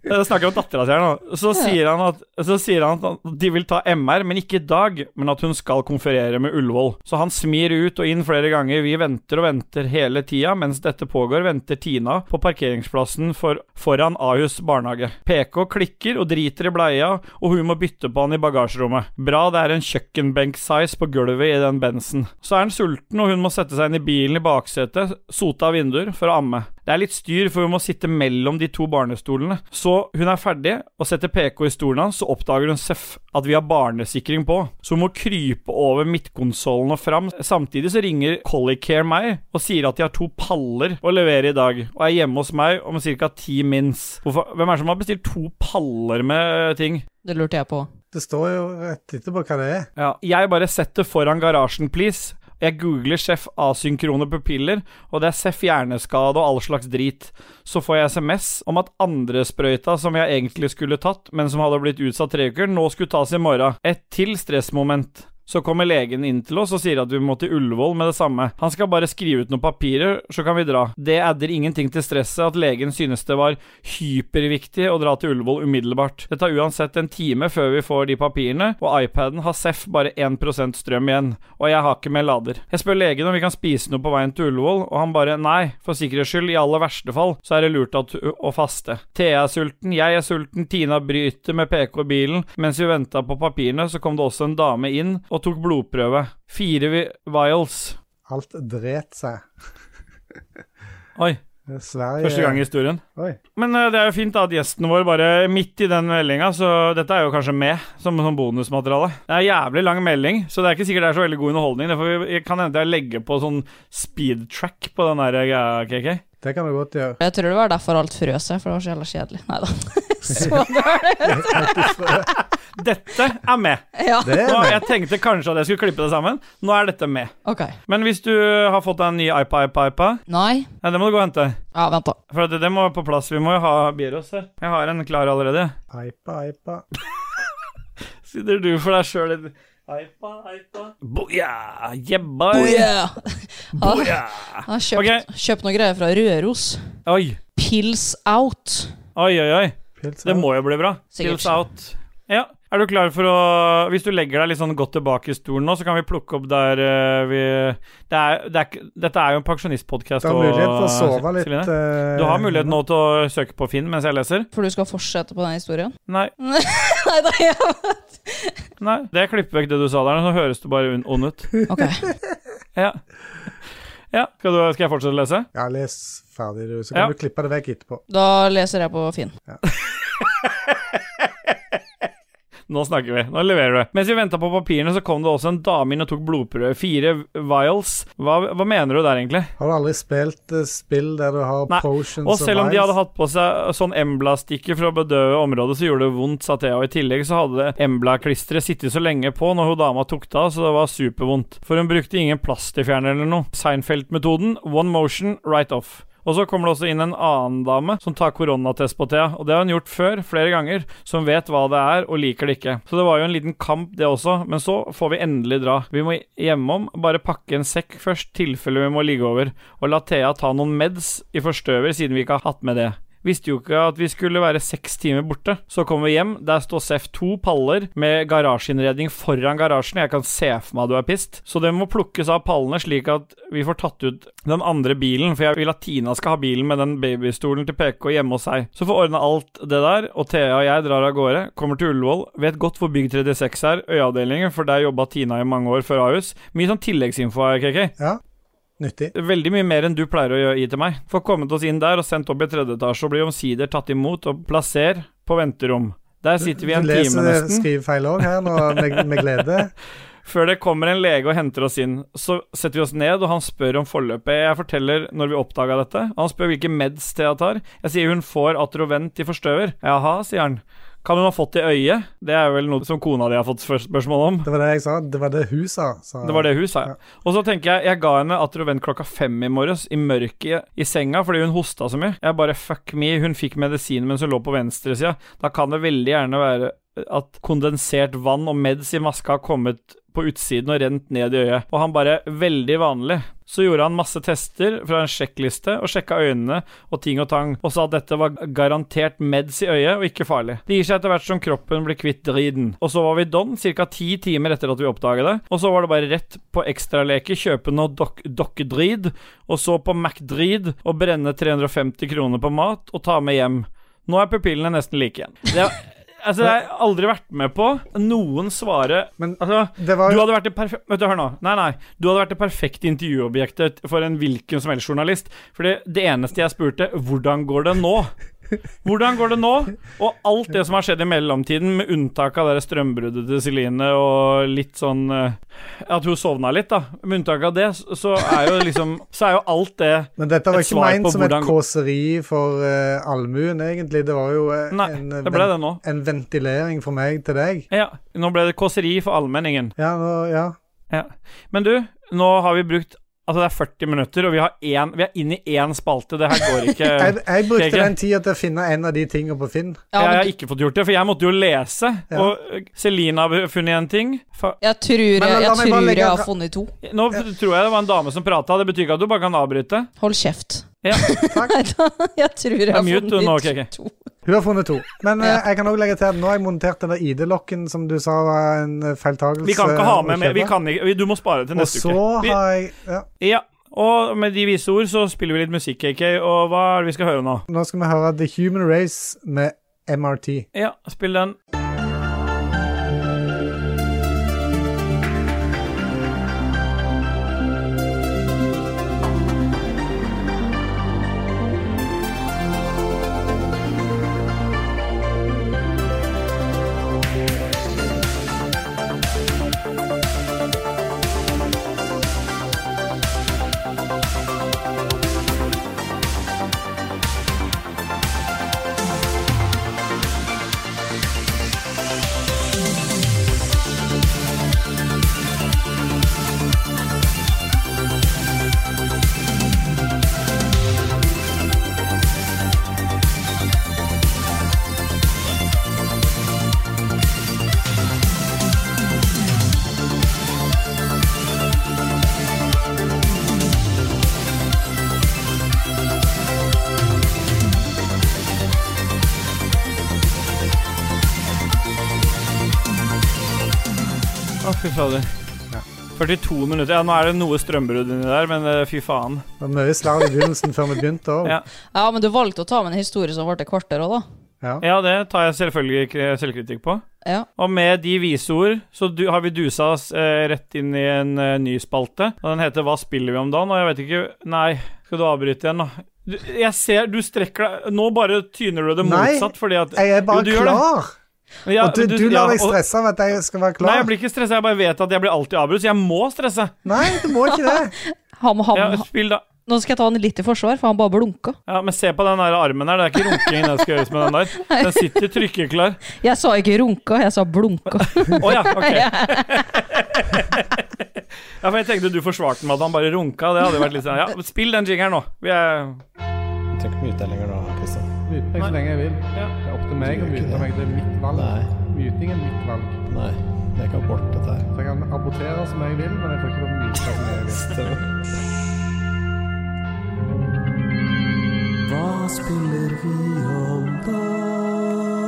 Speaker 1: Jeg snakker om dattera si her nå. Så sier, han at, så sier han at de vil ta MR, men ikke i dag. Men at hun skal konferere med Ullevål. Så han smir ut og inn flere ganger. Vi venter og venter hele tida. Mens dette pågår, venter Tina på parkeringsplassen for, foran Ahus barnehage. PK klikker og driter i bleia, og hun må bytte på han i bagasjerommet. Bra det er en kjøkkenbenk-size på gulvet i den bensen. Så er han sulten, og hun må sette seg inn i bilen i baksetet, sote av vinduer, for å amme. Det er litt styr, for hun må sitte mellom de to barnestolene. Så hun er ferdig og setter PK i stolen hans, så oppdager hun seff at vi har barnesikring på. Så hun må krype over midtkonsollen og fram. Samtidig så ringer Collicare meg og sier at de har to paller å levere i dag, og er hjemme hos meg om ca. ti mins. Hvorfor, hvem er det som har bestilt to paller med ting?
Speaker 2: Det lurte jeg på.
Speaker 3: Det står jo rett etterpå hva det er.
Speaker 1: Ja, jeg bare setter foran garasjen, please. Jeg googler Seff asynkrone pupiller, og det er Seff hjerneskade og all slags drit. Så får jeg SMS om at andre sprøyta som jeg egentlig skulle tatt, men som hadde blitt utsatt tre uker, nå skulle tas i morgen. Et til stressmoment. Så kommer legen inn til oss og sier at vi må til Ullevål med det samme. Han skal bare skrive ut noen papirer, så kan vi dra. Det adder ingenting til stresset at legen synes det var hyperviktig å dra til Ullevål umiddelbart. Det tar uansett en time før vi får de papirene, og iPaden har Seff bare 1 strøm igjen, og jeg har ikke med lader. Jeg spør legen om vi kan spise noe på veien til Ullevål, og han bare nei, for sikkerhets skyld, i aller verste fall, så er det lurt at, å faste. Thea er sulten, jeg er sulten, Tina bryter med PK i bilen. Mens vi venta på papirene, så kom det også en dame inn og tok blodprøve. Fire vi vials.
Speaker 3: Alt dret seg.
Speaker 1: Oi,
Speaker 3: Det er Sverige
Speaker 1: første gang i historien.
Speaker 3: Oi.
Speaker 1: Men eh, det er jo fint da at gjesten vår bare midt i den meldinga, så dette er jo kanskje med som, som bonusmateriale. Det er jævlig lang melding, så det er ikke sikkert det er så veldig god underholdning. Det får vi, jeg kan hende jeg legger på sånn speed track på den der eh, greia, KK.
Speaker 3: Det kan du godt gjøre.
Speaker 2: Jeg tror det var derfor alt frøs seg, for det var så jævla kjedelig. Nei da. Så var det.
Speaker 1: Dette er med.
Speaker 2: Ja,
Speaker 3: Det er
Speaker 1: Nå,
Speaker 3: det.
Speaker 1: jeg tenkte kanskje at jeg skulle klippe det sammen. Nå er dette med.
Speaker 2: ok.
Speaker 1: Men hvis du har fått deg en ny iPa-iPa,
Speaker 2: Nei.
Speaker 1: ja, det må du gå og hente.
Speaker 2: Ja, vent, da.
Speaker 1: For det, det må være på plass. Vi må jo ha Bieros her. Jeg har en klar allerede.
Speaker 3: Eipa, eipa.
Speaker 1: Sitter du for deg sjøl litt Eipa, eipa Boja, jebba
Speaker 2: Oh, Ja. Han har kjøpt, kjøpt noen greier fra Røros.
Speaker 1: Oi,
Speaker 2: Pills out.
Speaker 1: oi, oi, oi.
Speaker 3: Pils
Speaker 1: Det må jo bli bra.
Speaker 2: Sikkert.
Speaker 1: Pills out. Ja. Er du klar for å Hvis du legger deg litt sånn godt tilbake i stolen nå, så kan vi plukke opp der eh, vi det er, det er, ikke- Dette er jo en pensjonistpodkast.
Speaker 3: Du har mulighet for å sove litt. eh,
Speaker 1: Celine. Du har mulighet nå til å søke på Finn mens jeg leser?
Speaker 2: For du skal fortsette på den historien?
Speaker 1: Nei.
Speaker 2: Nei da, ja.
Speaker 1: nei Det klipper vekk det du sa der, så høres du bare un- ond ut.
Speaker 2: Ok.
Speaker 1: Ja. ja. Skal, du, skal jeg fortsette å lese?
Speaker 3: Ja, les ferdig, du. Så kan
Speaker 1: Ja.
Speaker 3: du klippe det vekk etterpå.
Speaker 2: Da leser jeg på Finn.
Speaker 1: Nå snakker vi. Nå leverer du. Mens vi venta på papirene, så kom det også en dame inn og tok blodprøve. Fire vials. Hva, hva mener du der, egentlig?
Speaker 3: Har du aldri spilt eh, spill der du har
Speaker 1: Nei,
Speaker 3: potions
Speaker 1: Og selv om de
Speaker 3: vials?
Speaker 1: hadde hatt på seg sånn Embla-stikker for å bedøve området, så gjorde det vondt, sa Thea. Og i tillegg så hadde Embla-klisteret sittet så lenge på når hun dama tok det av, så det var supervondt. For hun brukte ingen plastiffjerner eller noe. Seinfeld-metoden, one motion, right off. Og så kommer det også inn en annen dame som tar koronatest på Thea. Og det har hun gjort før, flere ganger, så hun vet hva det er og liker det ikke. Så det var jo en liten kamp, det også. Men så får vi endelig dra. Vi må hjemom, bare pakke en sekk først, tilfelle vi må ligge over. Og la Thea ta noen meds i forstøver, siden vi ikke har hatt med det. Visste jo ikke at vi skulle være seks timer borte. Så kom vi hjem. Der står Seff to paller med garasjeinnredning foran garasjen. Jeg kan se for meg at du er pissed. Så det må plukkes av pallene, slik at vi får tatt ut den andre bilen. For jeg vil at Tina skal ha bilen med den babystolen til PK hjemme hos seg. Så får ordne alt det der, og Thea og jeg drar av gårde. Kommer til Ullevål. Vet godt hvor Bygg 36 er, Øyavdelingen, for der jobba Tina i mange år før Ahus. Mye sånn tilleggsinfo her, KK.
Speaker 3: Nyttig.
Speaker 1: Veldig mye mer enn du pleier å gjøre- gi til meg. Får kommet oss inn der og sendt opp i tredje etasje og blir omsider tatt imot og plasser på venterom. Der sitter vi en
Speaker 3: Du
Speaker 1: time
Speaker 3: leser
Speaker 1: nesten,
Speaker 3: skrivefeil òg her nå, med, med glede.
Speaker 1: før det kommer en lege og henter oss inn. Så setter vi oss ned, og han spør om forløpet. Jeg forteller når vi oppdaga dette. Han spør hvilke meds Thea tar. Jeg sier hun får Atrovent i forstøver. Jaha, sier han. Kan hun ha fått det i øyet? Det er vel noe som kona di har fått spør- spørsmål om.
Speaker 3: Det var det jeg sa. Det var det hun sa. sa.
Speaker 1: Det var det hun sa, ja. Og så tenker jeg Jeg ga henne Atrovent klokka fem i morges, i mørket i senga, fordi hun hosta så mye. Jeg bare fuck me, hun fikk medisin mens hun lå på venstresida. Da kan det veldig gjerne være at kondensert vann og meds i maska har kommet på utsiden og rent ned i øyet. Og han bare Veldig vanlig. Så gjorde han masse tester fra en sjekkliste og sjekka øynene og ting og tang, og sa at dette var garantert meds i øyet og ikke farlig. Det gir seg etter hvert som kroppen blir kvitt driten. Og så var vi don ca. ti timer etter at vi oppdaga det, og så var det bare rett på ekstraleker, kjøpe noe dok dokkedrid, og så på McDrid og brenne 350 kroner på mat og ta med hjem. Nå er pupillene nesten like igjen. Det, er- altså, det har jeg aldri vært med på. Noen svarer
Speaker 3: Men
Speaker 1: Altså
Speaker 3: det var
Speaker 1: du
Speaker 3: jo
Speaker 1: hadde vært det perfe- Vet du, hør nå. Nei, nei. Du hadde vært det perfekte intervjuobjektet for en hvilken som helst journalist. For det eneste jeg spurte, hvordan går det nå? Hvordan går det nå? Og alt det som har skjedd i mellomtiden, med unntak av det der strømbruddet til Celine og litt sånn eh, At hun sovna litt, da. Med unntak av det, så- så er jo liksom Så er jo alt det
Speaker 3: Men dette
Speaker 1: et
Speaker 3: var ikke
Speaker 1: svar
Speaker 3: meint
Speaker 1: på
Speaker 3: som et
Speaker 1: hvordan-
Speaker 3: kåseri for eh, allmuen, egentlig. Det var jo eh,
Speaker 1: Nei,
Speaker 3: en, eh,
Speaker 1: det ble
Speaker 3: ven-
Speaker 1: det nå.
Speaker 3: en ventilering for meg til deg.
Speaker 1: Ja, nå ble det kåseri for allmenningen.
Speaker 3: Ja, nå, ja.
Speaker 1: Men du, nå har vi brukt Altså, det er 40 minutter, og vi, har én, vi er inne i én spalte. Det her går ikke
Speaker 3: Jeg, jeg brukte
Speaker 1: Keke.
Speaker 3: den tida til å finne en av de tingene på Finn.
Speaker 2: Ja,
Speaker 1: jeg har
Speaker 2: men,
Speaker 1: ikke fått gjort det, for jeg måtte jo lese.
Speaker 3: Ja.
Speaker 1: Og øh, Celine har funnet en ting. Fa
Speaker 2: jeg tror jeg,
Speaker 3: Men la
Speaker 2: jeg,
Speaker 3: meg bare
Speaker 2: tror
Speaker 3: legge-
Speaker 2: jeg har funnet to.
Speaker 1: Nå tror jeg det var en dame som prata. Det betyr ikke at du bare kan avbryte.
Speaker 2: Hold kjeft.
Speaker 1: Ja.
Speaker 3: Takk.
Speaker 2: Nei da, jeg tror jeg har
Speaker 1: mute
Speaker 2: funnet
Speaker 1: du nå, Keke.
Speaker 2: to.
Speaker 3: Hun har funnet to. Men eh,
Speaker 2: Ja.
Speaker 3: jeg kan også legge til at nå har jeg montert den der ID-lokken som du sa var en eh, feiltagelse.
Speaker 1: Vi kan ikke ha med
Speaker 3: å
Speaker 1: mer. Vi
Speaker 3: kjøpe.
Speaker 1: kan ikke, vi- du må spare til
Speaker 3: Og
Speaker 1: neste
Speaker 3: så
Speaker 1: uke. Vi,
Speaker 3: har jeg ja,
Speaker 1: ja. Og med de vise ord så spiller vi litt musikk, KK. Og hva er det vi skal høre nå?
Speaker 3: Nå skal vi høre The Human Race med MRT.
Speaker 1: Ja, spill den. Å, fy fader.
Speaker 3: Ja.
Speaker 1: 42 minutter. Ja, nå er det noe strømbrudd inni der, men eh, fy faen.
Speaker 3: Det var mye slarv i begynnelsen før vi begynte òg.
Speaker 1: Ja.
Speaker 2: Ja, men du valgte å ta med en historie som varte kvarter òg, da.
Speaker 3: Ja.
Speaker 1: Ja, det tar jeg selvfølgelig kre- selvkritikk på.
Speaker 2: Ja.
Speaker 1: Og med de vise ord så du, har vi dusa oss eh, rett inn i en eh, ny spalte. Og den heter 'Hva spiller vi om dagen?' Og jeg vet ikke Nei, skal du avbryte igjen, da? Du, jeg ser du strekker deg Nå bare tyner du det
Speaker 3: Nei,
Speaker 1: motsatt, fordi at
Speaker 3: Jeg
Speaker 1: Jo,
Speaker 3: er bare
Speaker 1: du gjør det.
Speaker 3: klar.
Speaker 1: Ja,
Speaker 3: og du, du
Speaker 1: ja,
Speaker 3: lar meg
Speaker 1: og-
Speaker 3: stresse av at jeg skal være
Speaker 1: Nei, jeg
Speaker 3: klar.
Speaker 1: blir ikke stressa. Jeg bare vet at jeg blir alltid avbrutt, så jeg må stresse.
Speaker 3: Nei, du må ikke det.
Speaker 2: Han, han,
Speaker 1: Ja, spill da.
Speaker 2: Nå skal jeg ta han litt i forsvar, for han bare blunka.
Speaker 1: Ja, men se på den der armen her. Det er ikke runking det skal gjøres med den der. Den sitter trykkeklar.
Speaker 2: Jeg sa ikke runka, jeg sa blunka.
Speaker 1: Å ja, ok. ja, for jeg tenkte du forsvarte den med at han bare runka. Det hadde jo vært litt sånn Ja, men spill den jingeren nå. Vi er
Speaker 5: Du trenger ikke mute deg lenger nå, Kristian.
Speaker 3: Myte meg så lenge jeg vil.
Speaker 1: Ja.
Speaker 3: Det er opp til
Speaker 5: meg å mute meg,
Speaker 3: Det er mitt
Speaker 5: Nei.
Speaker 3: Myting er mitt valg.
Speaker 5: Nei, jeg kan bort dette her.
Speaker 3: Så jeg kan abortere som jeg vil, men jeg får ikke lov å myte som jeg vil.
Speaker 6: Hva spiller vi om da?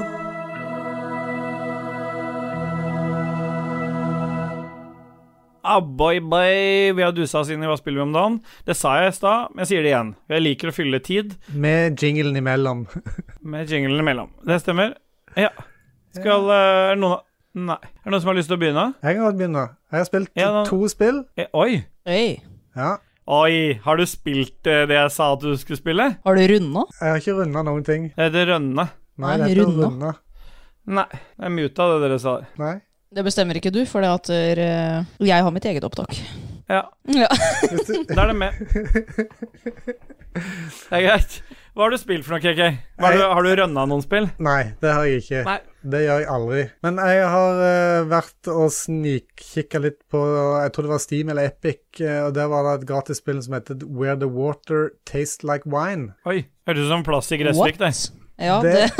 Speaker 1: Ah, boy, boy. Vi har dusa oss inn i Hva spiller vi om dagen? Det sa jeg i stad, men jeg sier det igjen. Jeg liker å fylle tid
Speaker 3: Med jinglen imellom.
Speaker 1: med jinglen imellom. Det stemmer? Ja. Skal eh, Er det noen Nei. Er det noen som har lyst til å begynne?
Speaker 3: Jeg kan godt begynne. Jeg har spilt
Speaker 1: Ja, da-
Speaker 3: to spill.
Speaker 1: Eh, Oi.
Speaker 2: Oi,
Speaker 3: Ja.
Speaker 1: Oi, har du spilt eh, det jeg sa at du skulle spille?
Speaker 2: har du runda?
Speaker 3: Jeg har ikke runda noen ting.
Speaker 1: Er det Rønne?
Speaker 3: Nei,
Speaker 2: Nei,
Speaker 3: dette er
Speaker 2: runda.
Speaker 3: runda.
Speaker 1: Nei, det er muta det dere sa.
Speaker 3: Nei.
Speaker 2: Det bestemmer ikke du, for det at eh, jeg har mitt eget opptak.
Speaker 1: Ja,
Speaker 2: Ja.
Speaker 3: Hvis du,
Speaker 1: da er det med. Det er greit. Hva har du spilt for noe, KK? Hva har, du, har du rønna noen spill?
Speaker 3: nei, det har jeg ikke.
Speaker 1: Nei.
Speaker 3: Det gjør jeg aldri. Men jeg har eh, vært og snikkikka litt på Jeg tror det var Steam eller Epic, eh, og der var det et gratis spill som heter Where the Water Tastes Like Wine.
Speaker 1: Oi, hørtes ut som plass i Gressvik, det.
Speaker 2: Ja, det,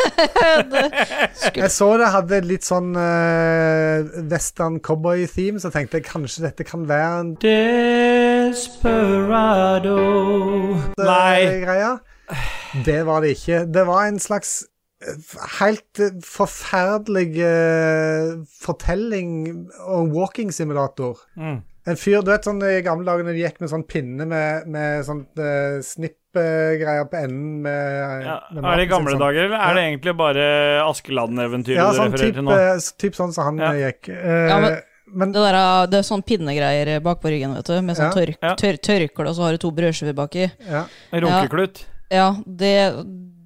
Speaker 3: Det- Jeg så det hadde litt sånn eh, western cowboy-theme, så tenkte jeg kanskje dette kan være en
Speaker 1: Desperado Nei.
Speaker 3: eh, greie. Det var det ikke. Det var en slags eh, helt eh, forferdelig eh, fortelling og walking simulator.
Speaker 1: Mm.
Speaker 3: En fyr, du vet sånn i gamle dager når de gikk med sånn pinne med, med sånn eh, snippgreier på enden med,
Speaker 1: Ja, er det i
Speaker 3: med maten
Speaker 1: gamle
Speaker 3: sin, sånn.
Speaker 1: dager, eller er det egentlig bare Askeladden-eventyret
Speaker 3: Ja,
Speaker 1: du
Speaker 3: sånn
Speaker 1: refererer
Speaker 3: type,
Speaker 1: til nå?
Speaker 3: eh, s- typ sånn som han
Speaker 1: Ja.
Speaker 3: eh, gikk. Eh,
Speaker 2: Ja, men-
Speaker 3: men
Speaker 2: det, der, er- det er sånn pinnegreier bak på ryggen, vet du. Med sånn
Speaker 3: Ja.
Speaker 2: tørk,
Speaker 1: Ja.
Speaker 2: tør, tørkle, og så har du to brødskiver baki.
Speaker 3: ja.
Speaker 1: Runkeklut?
Speaker 2: Ja, det,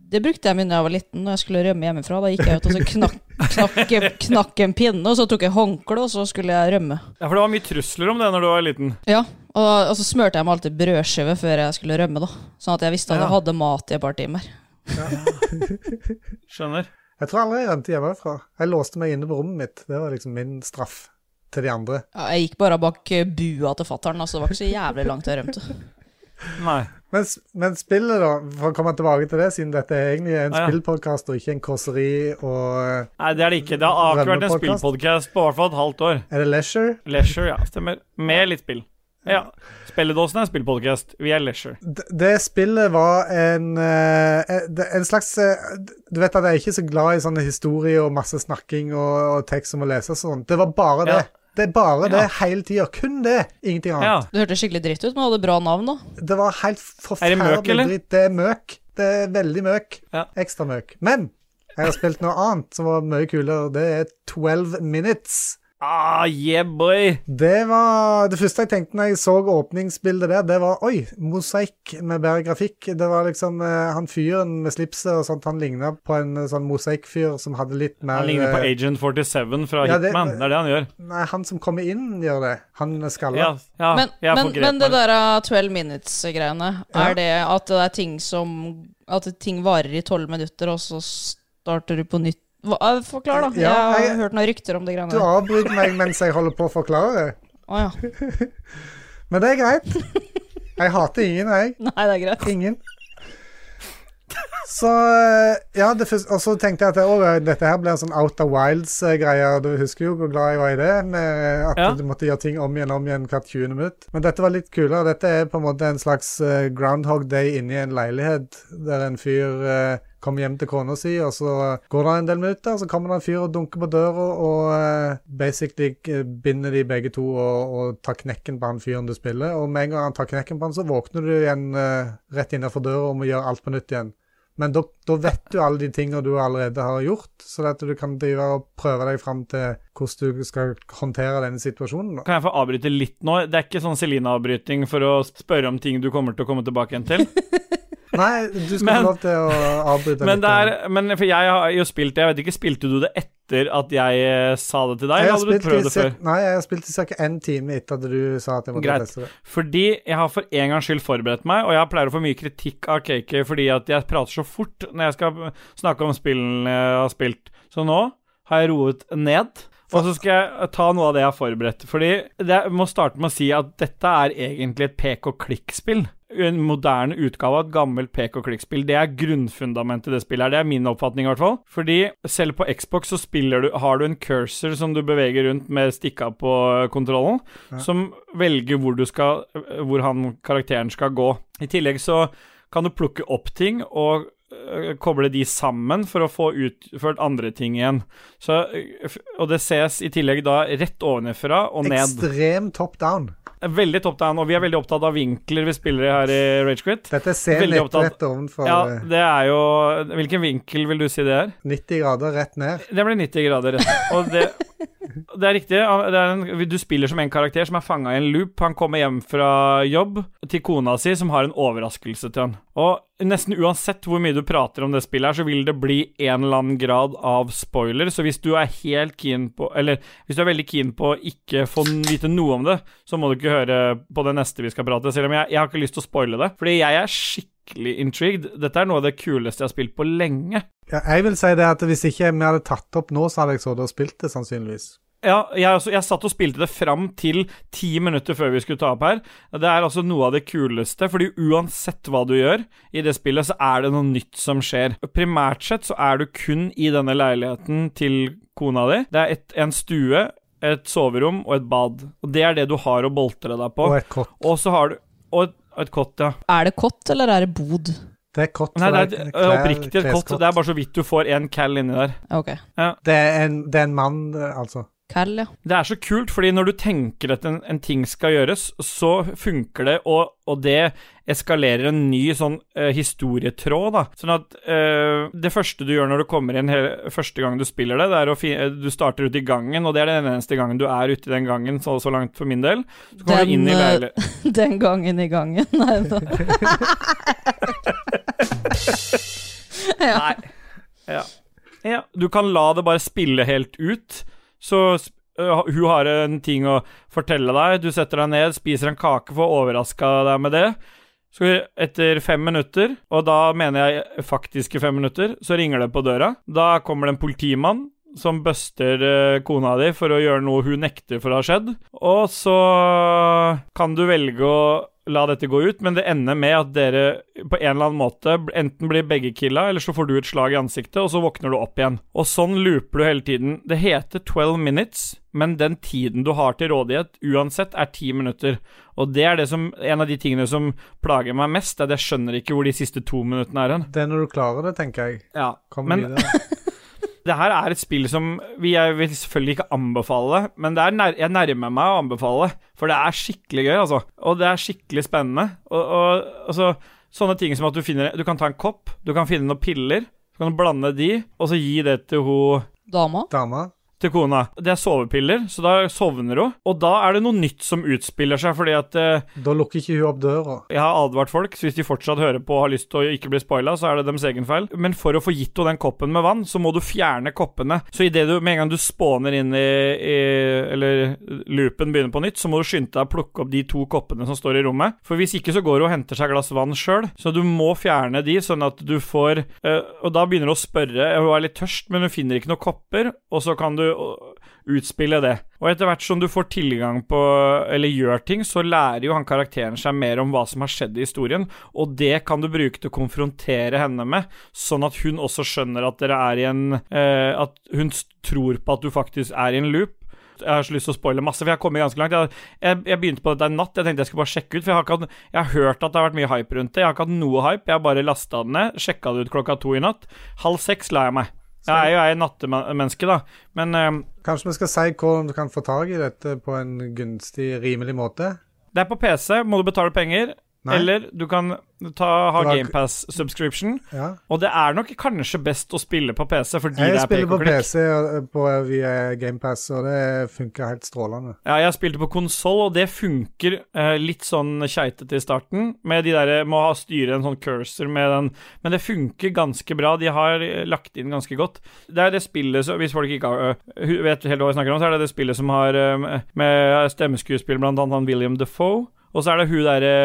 Speaker 2: det brukte jeg mye da jeg var liten, når jeg skulle rømme hjemmefra. Da gikk jeg ut og så knakk, knakk, knakk en pinne, og så tok jeg håndkle, og så skulle jeg rømme.
Speaker 1: Ja, for det var mye trusler om det når du var liten.
Speaker 2: Ja, og, og så smørte jeg meg alltid brødskive før jeg skulle rømme, da. Sånn at jeg visste at jeg
Speaker 1: Ja.
Speaker 2: hadde mat i et par timer.
Speaker 1: Skjønner.
Speaker 3: Jeg tror aldri jeg rømte hjemmefra. Jeg låste meg inne på rommet mitt. Det var liksom min straff til de andre.
Speaker 2: Ja, jeg gikk bare bak eh, bua til fattern, altså. Det var ikke så jævlig langt jeg rømte.
Speaker 1: Nei.
Speaker 3: Men, s- men spillet, da, for å komme tilbake til det, siden dette er egentlig en
Speaker 1: Ah, ja.
Speaker 3: spillpodkast og ikke en kåseri og eh,
Speaker 1: Nei, det er det ikke. Det har akkurat vært en
Speaker 3: Rønnepodcast.
Speaker 1: spillpodkast på i hvert fall et halvt år.
Speaker 3: Er det leisure?
Speaker 1: Leisure, ja. Stemmer. Med litt spill. Ja. Spilledåsen er en spillpodkast. Vi er Leisure.
Speaker 3: D- Det spillet var en eh, eh, det- En slags eh, d- Du vet at jeg er ikke så glad i sånne historier og masse snakking og, og tekst som må leses og sånn. Det var bare
Speaker 1: Ja.
Speaker 3: det. Det er bare det
Speaker 1: Ja.
Speaker 3: hele tida. Kun det. Ingenting
Speaker 1: Ja.
Speaker 3: annet.
Speaker 2: Det hørtes skikkelig dritt ut, men hadde bra navn, da.
Speaker 3: Det var helt
Speaker 1: Er det møk,
Speaker 3: forferdelig
Speaker 1: eller?
Speaker 3: dritt. Det er møk. Det er veldig møk.
Speaker 1: Ja.
Speaker 3: Ekstra møk. Men jeg har spilt noe annet som var mye kulere. og Det er 12 Minutes.
Speaker 1: Ah, yeah, boy.
Speaker 3: Det var det første jeg tenkte når jeg så åpningsbildet der, det var oi, mosaikk med bedre grafikk. Det var liksom eh, han fyren med slipset og sånt, han ligna på en eh, sånn mosaikkfyr som hadde litt mer
Speaker 1: Han ligner på
Speaker 3: eh,
Speaker 1: Agent 47 fra
Speaker 3: Ja, det-
Speaker 1: Hitman. Det er det han gjør.
Speaker 3: Nei, han som kommer inn, gjør det. Han er skalla.
Speaker 1: Ja, ja
Speaker 2: Men,
Speaker 1: jeg
Speaker 2: men,
Speaker 1: får grep
Speaker 2: men det
Speaker 1: meg.
Speaker 2: der eh, 12 minutes-greiene,
Speaker 3: Ja.
Speaker 2: er det at det er ting som At ting varer i 12 minutter, og så starter du på nytt? Hva, eh, forklar, da.
Speaker 3: Ja,
Speaker 2: jeg
Speaker 3: jeg-
Speaker 2: har hørt noen rykter om de greiene
Speaker 3: Du
Speaker 2: der.
Speaker 3: avbryter meg mens jeg holder på å forklare det.
Speaker 2: Å ja.
Speaker 3: Men det er greit. Jeg hater ingen, jeg.
Speaker 2: Nei, det er greit.
Speaker 3: Ingen. Så eh, Ja, det første, og så tenkte jeg at å, dette her ble en sånn Out of Wilds-greie. Du husker jo hvor glad jeg var i det, med at
Speaker 1: Ja.
Speaker 3: du måtte gjøre ting om igjen om igjen hvert 20. minutt. Men dette var litt kulere. Dette er på en måte en slags eh, Groundhog Day inni en leilighet, der en fyr eh, kommer hjem til kona si, og så går det en del minutter, så kommer det en fyr og dunker på døra, og eh, basically eh, binder de begge to og, og tar knekken på han fyren du spiller. Og med en gang han tar knekken på han, så våkner du igjen eh, rett innenfor døra og må gjøre alt på nytt igjen. Men da, da vet du alle de tingene du allerede har gjort, så at du kan drive og prøve deg fram til hvordan du skal håndtere denne situasjonen. da.
Speaker 1: Kan jeg få avbryte litt nå? Det er ikke sånn Celine-avbryting for å spørre om ting du kommer til å komme tilbake igjen til?
Speaker 3: Nei, du skal
Speaker 1: Men-
Speaker 3: få lov til å avbryte
Speaker 1: Men,
Speaker 3: litt. eh,
Speaker 1: det er, men for jeg har jo spilt det, jeg vet ikke, spilte du det etter at jeg eh, sa det til deg?
Speaker 3: jeg
Speaker 1: eller
Speaker 3: har
Speaker 1: hadde du
Speaker 3: spilt i
Speaker 1: prøvd det før?
Speaker 3: cir- Nei, jeg har spilt i ca. én time etter at du sa at jeg måtte
Speaker 1: Greit.
Speaker 3: teste det.
Speaker 1: Fordi jeg har for en gangs skyld forberedt meg, og jeg pleier å få mye kritikk av KK fordi at jeg prater så fort når jeg skal snakke om spillene jeg har spilt. Så nå har jeg roet ned, og så skal jeg ta noe av det jeg har forberedt. Fordi det- jeg må starte med å si at dette er egentlig et pek-og-klikk-spill. En moderne utgave av et gammelt pek-og-klikk-spill. Det er grunnfundamentet i det spillet her. Det er min oppfatning, i hvert fall. Fordi selv på Xbox så spiller du, har du en cursor som du beveger rundt med stikka på kontrollen som velger hvor du skal Hvor han karakteren skal gå. I tillegg så kan du plukke opp ting og øh, koble de sammen for å få utført andre ting igjen. Så, øh, f- og det ses i tillegg da rett ovenfra og ned.
Speaker 3: Ekstrem top down.
Speaker 1: Veldig top down, og vi er veldig opptatt av vinkler vi spiller i her i Ragequit.
Speaker 3: Dette er
Speaker 1: Veldig
Speaker 3: C-nett
Speaker 1: opptatt.
Speaker 3: rett ovenfor
Speaker 1: Ja,
Speaker 3: eh,
Speaker 1: det er jo Hvilken vinkel vil du si det er?
Speaker 3: 90 grader rett ned.
Speaker 1: Det ble 90 grader. Og det, det er riktig. Det er en, du spiller som en karakter som er fanga i en loop. Han kommer hjem fra jobb til kona si, som har en overraskelse til han. Og nesten uansett hvor mye du prater om det spillet her, så vil det bli en eller annen grad av spoiler. Så hvis du er helt keen på Eller hvis du er veldig keen på å ikke få vite noe om det, så må du ikke høre på det neste vi skal prate, selv om jeg, jeg har ikke lyst til å spoile det. Fordi jeg er skikkelig intrigued. Dette er noe av det kuleste jeg har spilt på lenge.
Speaker 3: Ja, jeg vil si det at hvis ikke vi hadde tatt opp nå, så hadde jeg så det og spilt det, sannsynligvis.
Speaker 1: Ja, jeg, også, jeg satt og spilte det fram til ti minutter før vi skulle ta opp her. Det er altså noe av det kuleste, fordi uansett hva du gjør i det spillet, så er det noe nytt som skjer. Primært sett så er du kun i denne leiligheten til kona di. Det er et, en stue, et soverom og et bad. Og det er det du har å boltre deg på.
Speaker 3: Og et kott.
Speaker 1: Og så har du Og et, og et kott, ja.
Speaker 2: Er det kott, eller er det bod?
Speaker 3: Det er et kott.
Speaker 1: Nei,
Speaker 3: for
Speaker 1: det
Speaker 3: deg.
Speaker 1: er et, øh,
Speaker 3: Klær-
Speaker 1: oppriktig et kott.
Speaker 3: kleskott.
Speaker 1: Det er bare så vidt du får en cal inni der.
Speaker 2: Ok.
Speaker 3: Det er en, det er en mann, eh, altså.
Speaker 2: Cal, ja.
Speaker 1: Det er så kult, fordi når du tenker at en, en ting skal gjøres, så funker det, og, og det eskalerer en ny sånn eh, historietråd, da. Sånn at eh, det første du gjør når du kommer inn hele, første gang du spiller det, det er å fi, eh, du starter ute i gangen, og det er den eneste gangen du er ute i den gangen, så, så langt for min del. Så kommer
Speaker 2: Den,
Speaker 1: du inn i
Speaker 2: eh,
Speaker 1: leiligheten.
Speaker 2: Den gangen i gangen. Nei da. ja.
Speaker 1: Nei. Ja. ja. Du kan la det bare spille helt ut. Så sp- øh, hun har en ting å fortelle deg. Du setter deg ned, spiser en kake, får overraska deg med det. Så etter fem minutter, og da mener jeg faktiske fem minutter, så ringer det på døra. Da kommer det en politimann som buster eh, kona di for å gjøre noe hun nekter for å ha skjedd. Og så kan du velge å la dette gå ut, men det ender med at dere på en eller annen måte bl- enten blir begge killa, eller så får du et slag i ansiktet, og så våkner du opp igjen. Og sånn looper du hele tiden. Det heter 12 minutes, men den tiden du har til rådighet uansett, er 10 minutter. Og det er det som, en av de tingene som plager meg mest, er at jeg skjønner ikke hvor de siste to minuttene er hen.
Speaker 3: Det er når du klarer det, tenker jeg.
Speaker 1: Ja,
Speaker 3: Kommer
Speaker 1: men
Speaker 3: videre.
Speaker 1: det her er et spill som vi, Jeg vil selvfølgelig ikke anbefale det, men det er nær, jeg nærmer meg å anbefale det. For det er skikkelig gøy, altså. Og det er skikkelig spennende. Og, og, altså, sånne ting som at du finner Du kan ta en kopp, du kan finne noen piller, så kan du blande de, og så gi det til hun
Speaker 2: Dama?
Speaker 3: Dama.
Speaker 1: til kona. Det er sovepiller, så da sovner hun. Og da er det noe nytt som utspiller seg, fordi at eh,
Speaker 3: Da lukker ikke hun opp døra.
Speaker 1: Jeg har advart folk, så hvis de fortsatt hører på og har lyst til å ikke bli spoila, så er det deres egen feil. Men for å få gitt henne den koppen med vann, så må du fjerne koppene. Så i det du, med en gang du spåner inn i, i Eller loopen begynner på nytt, så må du skynde deg å plukke opp de to koppene som står i rommet. For hvis ikke, så går hun og henter seg glass vann sjøl. Så du må fjerne de, sånn at du får øh, Og da begynner hun å spørre. Hun er litt tørst, men hun finner ikke noen kopper, og så kan du øh, utspille det. Og etter hvert som du får tilgang på eller gjør ting, så lærer jo han karakteren seg mer om hva som har skjedd i historien, og det kan du bruke til å konfrontere henne med, sånn at hun også skjønner at dere er i en eh, At hun s- tror på at du faktisk er i en loop. Jeg har så lyst til å spoile masse, for jeg har kommet ganske langt. Jeg, jeg, jeg begynte på dette i natt, jeg tenkte jeg skulle bare sjekke ut, for jeg har, ikke hatt, jeg har hørt at det har vært mye hype rundt det. Jeg har ikke hatt noe hype, jeg har bare lasta den ned, sjekka det ut klokka to i natt. Halv seks la jeg meg. Jeg er jo ei nattemenneske, da, men eh,
Speaker 3: Kanskje vi skal si hvordan du kan få tak i dette på en gunstig, rimelig måte?
Speaker 1: Det er på PC, må du betale penger.
Speaker 3: Nei.
Speaker 1: Eller du kan ta, ha
Speaker 3: Det var-
Speaker 1: GamePass-subscription.
Speaker 3: Ja.
Speaker 1: Og det er nok kanskje best å spille på PC, fordi det
Speaker 3: Jeg
Speaker 1: er pek
Speaker 3: spiller på
Speaker 1: og klikk.
Speaker 3: PC og- på, via GamePass, og det funker helt strålende.
Speaker 1: Ja, jeg spilte på konsoll, og det funker eh, litt sånn keitete i starten. Med de der, Må ha styre en sånn cursor med den Men det funker ganske bra. De har eh, lagt inn ganske godt. Det er det spillet som Hvis folk ikke har, eh, hu- vet helt hva vi snakker om, så er det det spillet som har eh, med stemmeskuespill, blant annet han William Defoe. Og så er det hun derre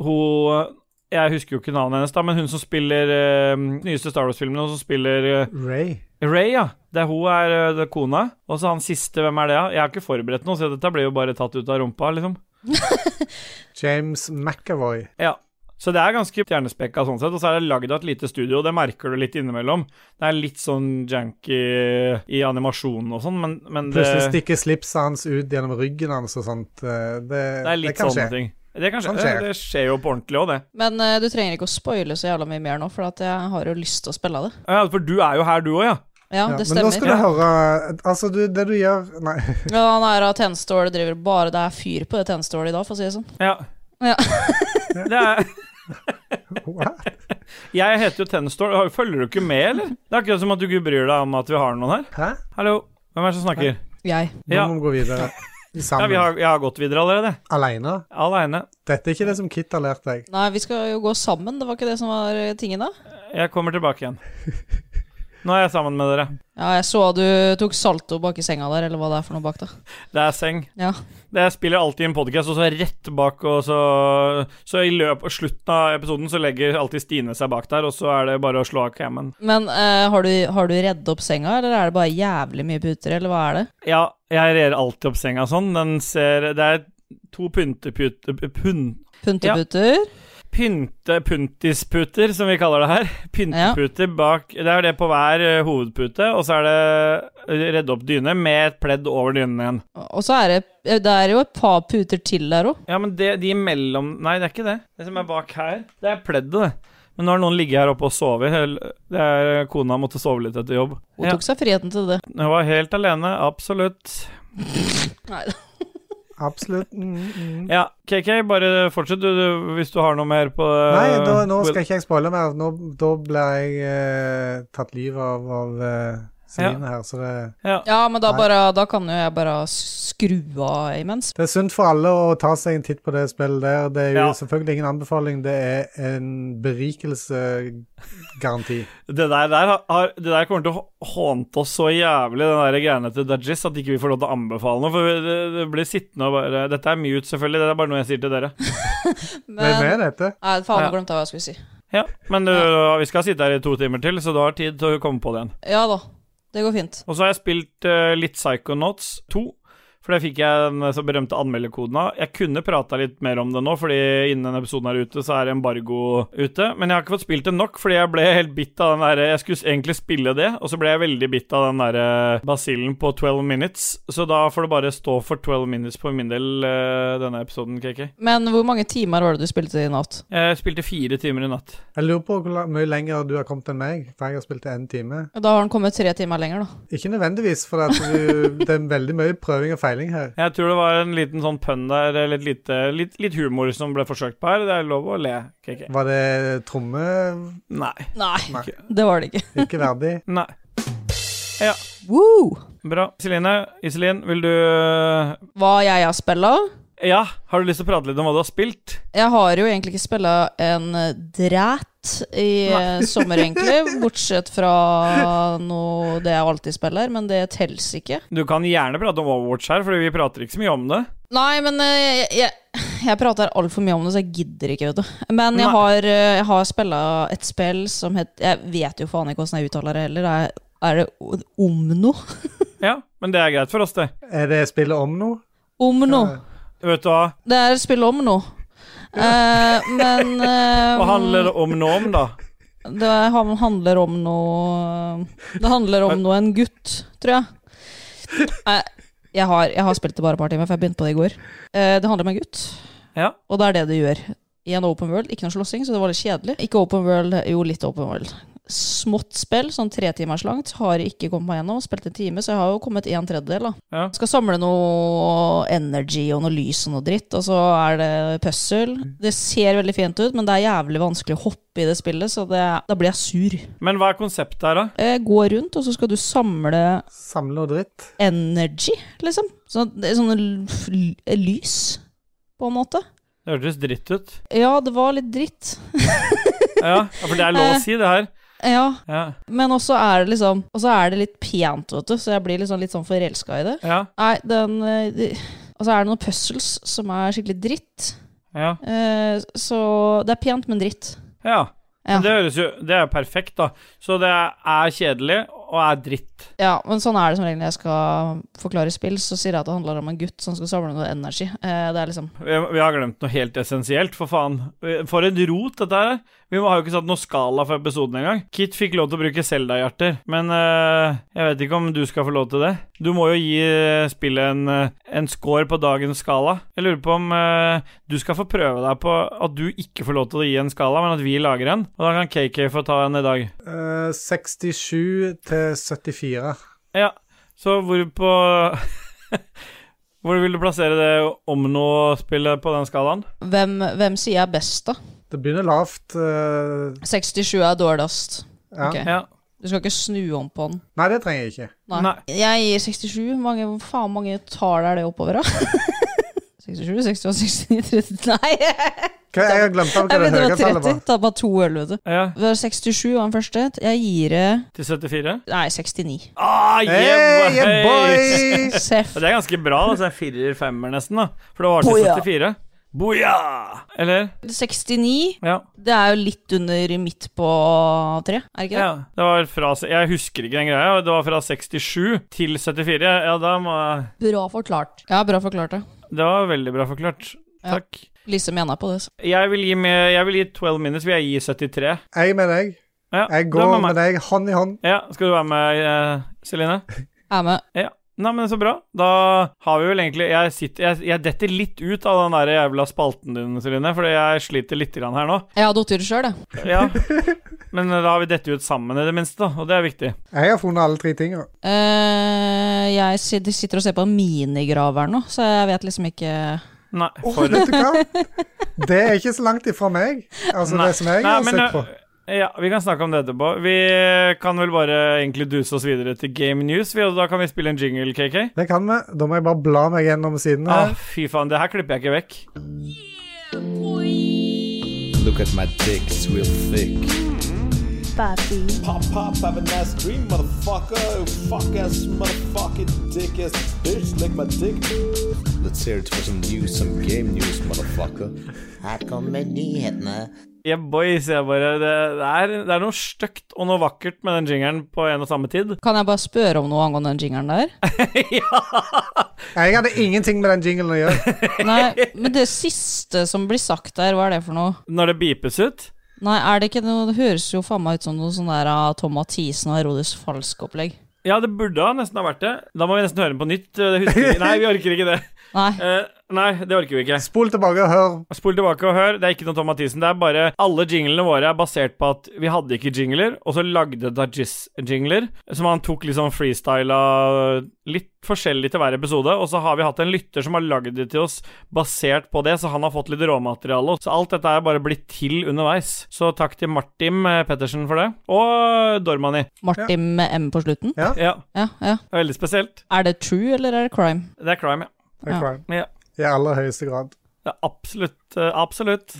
Speaker 1: Hun Jeg husker jo ikke navnet hennes, da, men hun som spiller eh, nyeste Star Wars-filmen, og som spiller eh,
Speaker 3: Ray.
Speaker 1: Ray, ja. Det er hun er ø, det er kona. Og så han siste, hvem er det? Ja? Jeg har ikke forberedt noe, så dette blir jo bare tatt ut av rumpa, liksom.
Speaker 3: James McAvoy.
Speaker 1: Ja. Så det er ganske stjernespekka sånn sett, og så er det lagd av et lite studio, og det merker du litt innimellom. Det er litt sånn janky i animasjonen og sånn, men, men det,
Speaker 3: Plutselig stikker slipset hans ut gjennom ryggen hans og sånt. eh, Det,
Speaker 1: det er litt
Speaker 3: kan
Speaker 1: sånne
Speaker 3: skje. Sånn
Speaker 1: ting. Det, kan skje,
Speaker 3: Kan skje.
Speaker 1: det skjer jo på ordentlig òg, det.
Speaker 2: Men eh, du trenger ikke å spoile så jævla mye mer nå, for at jeg har jo lyst til å spille det.
Speaker 1: Ja, for du er jo her, du òg, ja.
Speaker 2: Ja,
Speaker 3: Ja,
Speaker 2: det
Speaker 3: men nå skal
Speaker 2: stemmer.
Speaker 3: du høre Altså, du, det du gjør Nei.
Speaker 2: Ja, han er av tjenesteålet, driver bare Det er fyr på det tjenesteålet i dag, for å si det sånn.
Speaker 1: Ja.
Speaker 2: Ja.
Speaker 1: Det er,
Speaker 3: What?
Speaker 1: jeg heter jo Tenstore. Har- Følger du ikke med, eller? Det er akkurat som at du ikke bryr deg om at vi har noen her.
Speaker 3: Hæ?
Speaker 1: Hallo, hvem er det som snakker?
Speaker 2: Jeg.
Speaker 3: Nå
Speaker 1: Ja.
Speaker 3: må vi gå videre.
Speaker 1: Ja,
Speaker 3: Sammen.
Speaker 1: vi har, jeg har gått videre allerede.
Speaker 3: Alene.
Speaker 1: Aleine.
Speaker 3: Dette er ikke det som Kit har lært deg.
Speaker 2: Nei, vi skal jo gå sammen, det var ikke det som var eh, tingen da?
Speaker 1: Jeg kommer tilbake igjen. Nå er jeg sammen med dere.
Speaker 2: Ja, jeg så du tok salto bak i senga der, eller hva det er for noe bak da.
Speaker 1: Det er seng.
Speaker 2: Ja.
Speaker 1: Det jeg spiller alltid i en podkast, og så rett bak, og så Så i løpet av slutten av episoden så legger alltid Stine seg bak der, og så er det bare å slå av cammen.
Speaker 2: Men eh, har, du, har du redd opp senga, eller er det bare jævlig mye puter, eller hva er det?
Speaker 1: Ja, jeg rer alltid opp senga sånn. Den ser Det er to pyntepute... Pun,
Speaker 2: Punteputer?
Speaker 1: pynte... Puntisputer, som vi kaller det her. Pynteputer bak Det er det på hver eh, hovedpute, og så er det redde opp dyne med et pledd over dynen igjen.
Speaker 2: Og så er det Det er jo et par puter til der òg.
Speaker 1: Ja, men det, de imellom Nei, det er ikke det. Det som er bak her, det er pleddet, det. Men nå har noen ligget her oppe og sovet. Hel- Det er eh, Kona måtte sove litt etter jobb.
Speaker 2: Hun
Speaker 1: Ja,
Speaker 2: tok seg friheten til det.
Speaker 1: hun var helt alene, absolutt.
Speaker 2: Nei,
Speaker 3: Absolutt. Mm, mm.
Speaker 1: Ja, KK, bare fortsett du, du hvis du har noe mer på eh,
Speaker 3: Nei, da, nå skal ikke jeg spoile mer. Nå, da ble jeg eh, tatt livet av av eh, Celine her, så det,
Speaker 2: Ja, men da,
Speaker 3: Nei.
Speaker 2: bare, da kan jo jeg bare skru av imens.
Speaker 3: det er sunt for alle å ta seg en titt på det spillet der. Det er jo
Speaker 1: Ja.
Speaker 3: selvfølgelig ingen anbefaling, det er en berikelsegaranti.
Speaker 1: Det der, der, har, det der kommer til å hå- hånte oss så jævlig, den der greiene til Dajis, at ikke vi får lov til å anbefale noe. For vi- det, det blir sittende og bare Dette er mute, selvfølgelig. Det er bare noe jeg sier til dere.
Speaker 3: Hvem
Speaker 2: Men
Speaker 3: er dette?
Speaker 2: Nei, faen,
Speaker 1: Ja.
Speaker 2: jeg glemte hva jeg skulle si.
Speaker 1: Ja, Men du,
Speaker 2: Ja.
Speaker 1: vi skal sitte her i to timer til, så du har tid til å komme på det igjen.
Speaker 2: Ja da, det går fint.
Speaker 1: Og så har jeg spilt eh, litt Psychonauts 2, for det fikk jeg den eh, så berømte anmelderkoden av. Jeg kunne prata litt mer om det nå, fordi innen denne episoden er ute, så er embargo ute. Men jeg har ikke fått spilt det nok, fordi jeg ble helt bitt av den derre Jeg skulle egentlig spille det, og så ble jeg veldig bitt av den derre basillen på 12 minutes, så da får det bare stå for 12 minutes på min del, eh, denne episoden, KK.
Speaker 2: Men hvor mange timer var det du spilte i natt?
Speaker 1: Jeg spilte fire timer i natt.
Speaker 3: Jeg lurer på hvor la- mye lenger du har kommet enn meg, for jeg har spilt det én time.
Speaker 2: Da har den kommet tre timer lenger, da.
Speaker 3: Ikke nødvendigvis, for at du, det er veldig mye prøving og feiling her.
Speaker 1: Jeg tror det var en liten sånn pønn der, eller et lite, litt, litt humor som ble forsøkt på her. Det er lov å le, KK.
Speaker 3: Var det tromme?
Speaker 1: Nei.
Speaker 2: Nei,
Speaker 3: Nei.
Speaker 2: det var det ikke.
Speaker 3: Ikke verdig.
Speaker 1: Nei.
Speaker 2: Woo!
Speaker 1: Bra. Celine, Iselin, vil du eh,
Speaker 2: Hva jeg har spilla?
Speaker 1: Ja, har du lyst til å prate litt om hva du har spilt?
Speaker 2: Jeg har jo egentlig ikke spilla en eh, dræt i eh, sommer, egentlig. Bortsett fra noe det jeg alltid spiller, men det telles ikke.
Speaker 1: Du kan gjerne prate om Overwatch her, Fordi vi prater ikke så mye om det.
Speaker 2: Nei, men eh, jeg, jeg, jeg prater altfor mye om det, så jeg gidder ikke, vet du. Men jeg
Speaker 1: Nei.
Speaker 2: har, eh, jeg har spilla et spill som het Jeg vet jo faen ikke åssen jeg uttaler det heller. Er, er det o- Omno?
Speaker 1: Ja, men det er greit for oss, det.
Speaker 3: Er det spillet om noe?
Speaker 2: Omno.
Speaker 1: Vet du hva?
Speaker 2: Det er et spill om noe. Eh, men eh,
Speaker 1: Hva handler det om nå om, da?
Speaker 2: Det han- handler om noe Det handler om noe en gutt, tror jeg. Nei, jeg har, jeg har spilt det bare et par timer, for jeg begynte på det i går. Eh, det handler om en gutt,
Speaker 1: Ja.
Speaker 2: og det er det det gjør. I en open world, ikke noe slåssing, så det var litt kjedelig. Ikke open world, jo litt open world. smått spill, sånn tre timers langt. Har ikke kommet meg gjennom. Spilt en time, så jeg har jo kommet en tredjedel, da.
Speaker 1: Ja.
Speaker 2: Skal samle noe energy og noe lys og noe dritt, og så er det puzzle. Det ser veldig fint ut, men det er jævlig vanskelig å hoppe i det spillet, så det, da blir jeg sur.
Speaker 1: Men hva er konseptet her, da?
Speaker 2: Eh, Gå rundt, og så skal du samle
Speaker 3: Samle noe dritt.
Speaker 2: energy, liksom. Så det er sånne l- l- lys, på en måte.
Speaker 1: Det hørtes dritt ut.
Speaker 2: Ja, det var litt dritt.
Speaker 1: Ja, ja, for det er lov å si, det her.
Speaker 2: Ja,
Speaker 1: Ja.
Speaker 2: men også er det liksom Og så er det litt pent, vet du, så jeg blir liksom litt sånn forelska i det.
Speaker 1: Ja.
Speaker 2: Nei, den eh, de, Og så er det noen puzzles som er skikkelig dritt.
Speaker 1: Ja.
Speaker 2: Eh, så det er pent, men dritt.
Speaker 1: ja.
Speaker 2: Ja.
Speaker 1: Men Det høres jo Det er jo perfekt, da. Så det er kjedelig og er dritt.
Speaker 2: Ja, men sånn er det som regel når jeg skal forklare spill. Så sier jeg at det handler om en gutt som skal samle noe energi. Eh, det er liksom
Speaker 1: Vi, vi har glemt noe helt essensielt, for faen. For en rot dette her er. Vi har jo ikke satt noe skala for episoden engang. Kit fikk lov til å bruke Selda-hjerter, men eh, jeg vet ikke om du skal få lov til det. Du må jo gi eh, spillet en, eh, en score på dagens skala. Jeg lurer på om eh, du skal få prøve deg på at du ikke får lov til å gi en skala, men at vi lager en. Og da kan KK få ta en i dag.
Speaker 3: Eh, 67 til 74.
Speaker 1: Ja, så hvor på Hvor vil du plassere det Omno-spillet på den skalaen?
Speaker 2: hvem, hvem sier jeg er best, da?
Speaker 3: Det begynner lavt. eh,
Speaker 2: 67 er dårligst.
Speaker 3: ja.
Speaker 2: Ok.
Speaker 1: Ja.
Speaker 2: Du skal ikke snu om på den.
Speaker 3: Nei, det trenger jeg ikke.
Speaker 2: Nei.
Speaker 1: Nei.
Speaker 2: Jeg gir 67. Hvor mange, hvor faen mange tall er det oppover, da? 67, 68, 69, 30 Nei!
Speaker 3: Hva, jeg har glemt av
Speaker 2: Jeg
Speaker 3: hva det
Speaker 2: mente det
Speaker 3: høye
Speaker 2: var
Speaker 3: tallet
Speaker 2: 30.
Speaker 3: var.
Speaker 2: Ta bare to øl, vet du.
Speaker 1: ja.
Speaker 2: Det var 67 var den første. Jeg gir det
Speaker 1: Til 74?
Speaker 2: Nei, 69.
Speaker 1: Ah,
Speaker 3: Hey,
Speaker 1: yeah,
Speaker 3: yeah, boy!
Speaker 2: Seff.
Speaker 1: Det er ganske bra. da, så det er Firer-femmer, nesten. da For det var til
Speaker 2: Boja.
Speaker 1: 74. Boja! Eller?
Speaker 2: 69
Speaker 1: Ja.
Speaker 2: Det er jo litt under midt på tre, er det ikke det?
Speaker 1: ja. Det var fra Jeg husker ikke den greia. Det var fra 67 til 74. Ja, da må jeg
Speaker 2: Bra forklart. Ja, bra forklart, ja.
Speaker 1: Det var veldig bra forklart.
Speaker 2: Ja.
Speaker 1: Takk.
Speaker 2: Lise mener på det. så.
Speaker 1: Jeg vil gi med Jeg vil gi 12 minutes. Vil jeg gi 73?
Speaker 3: Jeg med deg.
Speaker 1: Ja,
Speaker 3: Jeg
Speaker 1: det
Speaker 3: går
Speaker 1: var meg.
Speaker 3: med deg hånd i hånd.
Speaker 1: Ja, skal du være med, eh, Celine?
Speaker 2: Er med.
Speaker 1: Nei, men så bra. Da har vi vel egentlig Jeg, sitter, jeg, jeg detter litt ut av den der jævla spalten din, Celine, fordi jeg sliter litt grann her nå.
Speaker 2: Jeg hadde opptur sjøl, jeg.
Speaker 1: Ja. Men eh, da har vi dettet ut sammen, i det minste, da, og det er viktig.
Speaker 3: Jeg har funnet alle tre tinga.
Speaker 2: Eh, jeg sit- sitter og ser på en minigrav her nå, så jeg vet liksom ikke
Speaker 1: Nei.
Speaker 3: Å,
Speaker 1: for-
Speaker 3: vet du hva? Det er ikke så langt ifra meg. Altså
Speaker 1: Nei.
Speaker 3: det som jeg
Speaker 1: Nei,
Speaker 3: har
Speaker 1: men, eh,
Speaker 3: sett på.
Speaker 1: Ja, Vi kan snakke om det etterpå. Vi kan vel bare egentlig duse oss videre til Game News, vi, og da kan vi spille en jingle, KK.
Speaker 3: Det kan vi. Da må jeg bare bla meg gjennom siden
Speaker 1: Ah,
Speaker 3: her.
Speaker 1: fy faen, det her klipper jeg ikke vekk.
Speaker 5: Look at my dick, it's real thick. Pop, pop, have a nice dream, motherfucker. Fuck ass, motherfucking dick ass bitch, lick my dick. Let's hear it for some news, some game news, motherfucker.
Speaker 7: Her kommer nyhetene.
Speaker 1: Yeah, boy, sier jeg bare. Det, det, er, det er noe stygt og noe vakkert med den jingelen på en og samme tid.
Speaker 2: Kan jeg bare spørre om noe angående den jingeren der?
Speaker 3: Jeg hadde ingenting med den jinglen å gjøre.
Speaker 2: Nei, men det siste som blir sagt der, hva er det for noe?
Speaker 1: Når det beepes ut
Speaker 2: Nei, er det ikke noe Det høres jo faen meg ut som noe sånn der av Tom Mathisen og Herodes Falsk-opplegg.
Speaker 1: Ja, det burde ha nesten ha vært det. Da må vi nesten høre den på nytt. eh, Det husker vi. Nei, vi orker ikke det.
Speaker 2: Nei.
Speaker 1: Eh, nei, det orker vi ikke.
Speaker 3: Spol tilbake og hør.
Speaker 1: Spol tilbake og hør. Det er ikke noe Tom Mathisen. Det er bare alle jinglene våre er basert på at vi hadde ikke jingler, og så lagde Dajis jingler, som han tok liksom freestyla litt forskjellig til hver episode. Og så har vi hatt en lytter som har lagd det til oss basert på det, så han har fått litt råmateriale. Så alt dette er bare blitt til underveis. Så takk til Martin eh, Pettersen for det. Og Dormani.
Speaker 2: Martin med M på slutten?
Speaker 1: Ja,
Speaker 2: Ja, ja.
Speaker 1: veldig spesielt.
Speaker 2: Er det true, eller er det crime?
Speaker 1: Det er crime, ja.
Speaker 3: Det er
Speaker 2: Ja.
Speaker 3: crime.
Speaker 1: Ja.
Speaker 3: I aller høyeste grad.
Speaker 1: Det er absolutt. eh, absolutt.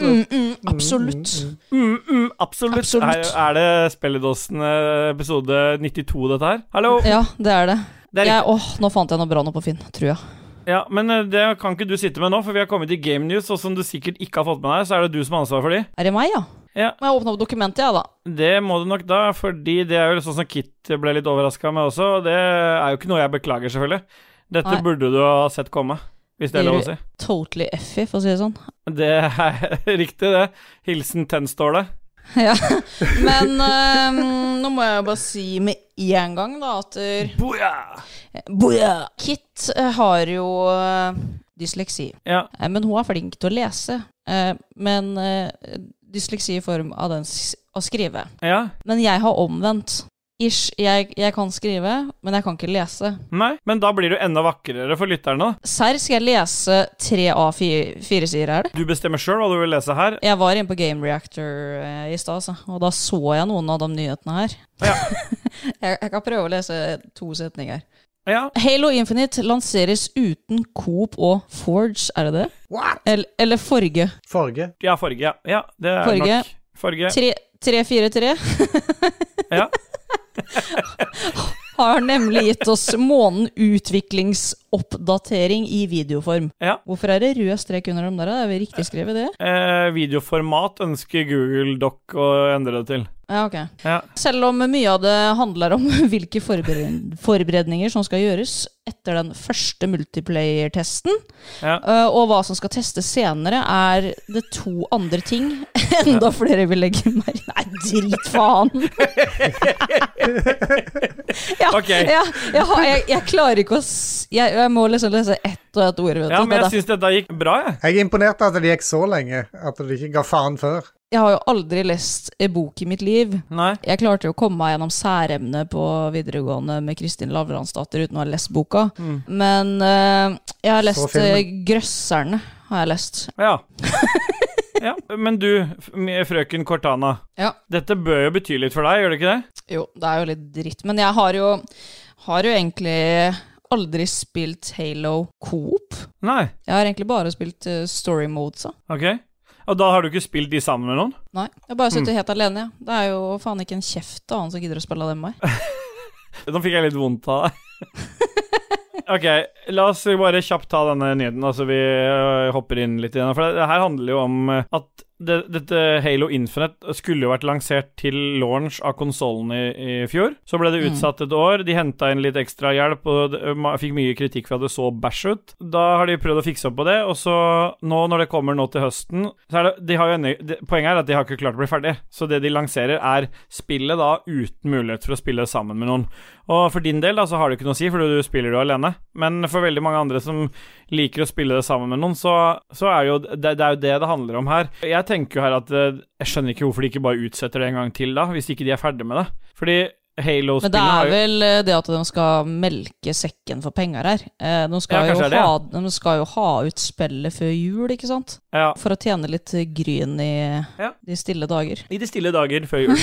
Speaker 2: Mm, mm, absolutt.
Speaker 1: Mm, mm, absolutt.
Speaker 2: Absolutt.
Speaker 1: Er, er det Spelledåsen eh, episode 92, dette her? Hallo!
Speaker 2: Ja, det er det.
Speaker 1: Det er
Speaker 2: jeg, åh, nå fant jeg noe bra nå på Finn, tror jeg.
Speaker 1: Ja, Men eh, det kan ikke du sitte med nå, for vi har kommet til Game News, og som du sikkert ikke har fått med deg, så er det du som har ansvaret for de.
Speaker 2: Er det meg, ja?
Speaker 1: Ja.
Speaker 2: Må jeg åpne opp dokumentet, jeg, da?
Speaker 1: Det må du nok da, fordi det er jo sånn som Kit ble litt overraska med også, og det er jo ikke noe jeg beklager, selvfølgelig. Dette
Speaker 2: Nei.
Speaker 1: burde du ha sett komme, hvis det er lov å si.
Speaker 2: Totally effy, for å si det sånn.
Speaker 1: Det er riktig, det. Hilsen Tennståle.
Speaker 2: Ja. Men øhm, nå må jeg bare si med en gang, da, at øh,
Speaker 1: Boja!
Speaker 2: Boja! Kit øh, har jo øh, dysleksi.
Speaker 1: Ja.
Speaker 2: Eh, Men hun er flink til å lese. Eh, Men eh, dysleksi i form av den s- å skrive.
Speaker 1: Ja?
Speaker 2: Men jeg har omvendt. Ish, jeg, jeg kan skrive, men jeg kan ikke lese.
Speaker 1: Nei? Men da blir du enda vakrere for lytterne. da.
Speaker 2: Serr, skal jeg lese tre A4-sider, er det?
Speaker 1: Du bestemmer sjøl hva du vil lese her.
Speaker 2: Jeg var inne på Game Reactor eh, i stad, altså, og da så jeg noen av de nyhetene her.
Speaker 1: Ja.
Speaker 2: jeg, jeg kan prøve å lese to setninger.
Speaker 1: Ja.
Speaker 2: Halo Infinite lanseres uten Coop og Forge, er det det?
Speaker 3: What?
Speaker 2: Eller, eller Forge.
Speaker 3: Forge.
Speaker 1: Ja, farge. Ja, ja det er
Speaker 2: Farge.
Speaker 1: nok. Farge.
Speaker 2: 343
Speaker 1: Ja.
Speaker 2: har nemlig gitt oss månen utviklingsoppdatering i videoform.
Speaker 1: Ja.
Speaker 2: Hvorfor er det rød strek under dem der? da? Er vi riktig skrevet det?
Speaker 1: Eh, videoformat ønsker Google Doc å endre det til.
Speaker 2: Ja, ok.
Speaker 1: Ja.
Speaker 2: Selv om mye av det handler om hvilke forbered forberedninger som skal gjøres etter den første multiplayer-testen,
Speaker 1: Ja.
Speaker 2: eh, og hva som skal testes senere, er det to andre ting enda flere vil legge merke Nei, drit faen! ja,
Speaker 1: Ok.
Speaker 2: ja, jeg, har- jeg, jeg klarer ikke å s jeg, jeg må liksom lese ett og ett ord, vet du.
Speaker 1: ja, men
Speaker 2: Det er
Speaker 1: jeg syns dette gikk bra, jeg.
Speaker 3: Jeg er imponert at det gikk så lenge, at det ikke ga faen før.
Speaker 2: derfor- jeg har jo aldri lest en bok i mitt liv.
Speaker 1: Nei.
Speaker 2: Jeg klarte jo å komme meg gjennom særemnet på videregående med Kristin Lavransdatter uten å ha lest boka. Men eh, jeg har lest
Speaker 3: filmen.
Speaker 2: eh, 'Grøsserne'. har jeg lest.
Speaker 1: Ja. ja. Men du, f- m- frøken Cortana.
Speaker 2: Ja.
Speaker 1: Dette bør jo bety litt for deg, gjør det ikke det?
Speaker 2: Jo, det er jo litt dritt. Men jeg har jo, har jo egentlig aldri spilt Halo Coop.
Speaker 1: Nei.
Speaker 2: Jeg har egentlig bare spilt eh, story mode, så.
Speaker 1: Ok. Og da har du ikke spilt de sammen med noen?
Speaker 2: Nei, jeg bare sitter helt alene, jeg. Det er jo faen ikke en kjeft av han som gidder å spille det med meg.
Speaker 1: Nå fikk jeg litt vondt av deg. Ok, la oss bare kjapt ta denne nyheten, altså vi øh, hopper inn litt igjen. For det, det her handler jo om øh, at det, dette Halo Infinite skulle jo vært lansert til launch av konsollen i, i fjor. Så ble det utsatt et år. De henta inn litt ekstra hjelp og det, ma- fikk mye kritikk for at det så bæsj ut. Da har de prøvd å fikse opp på det, og så nå når det kommer nå til høsten så er det, de har jo ennå- det, Poenget er at de har ikke klart å bli ferdig. Så det de lanserer, er spillet da uten mulighet for å spille sammen med noen. Og for din del da, så har det ikke noe å si, for du spiller jo alene. Men for veldig mange andre som liker å spille det sammen med noen, så, så er jo, det, det er jo det det handler om her. Jeg tenker jo her at eh, jeg skjønner ikke hvorfor de ikke bare utsetter det en gang til, da, hvis ikke de er ferdig med det. Fordi
Speaker 2: Men det
Speaker 1: Halo-spillet
Speaker 2: er
Speaker 1: har jo
Speaker 2: vel eh, det at de skal melke sekken for penger her. Eh, De skal,
Speaker 1: Ja, kanskje det er
Speaker 2: jo,
Speaker 1: det,
Speaker 2: ha,
Speaker 1: ja.
Speaker 2: de skal jo ha ut spillet før jul, ikke sant?
Speaker 1: ja,
Speaker 2: For å tjene litt gryn i
Speaker 1: Ja.
Speaker 2: de stille dager.
Speaker 1: I de stille dager før jul.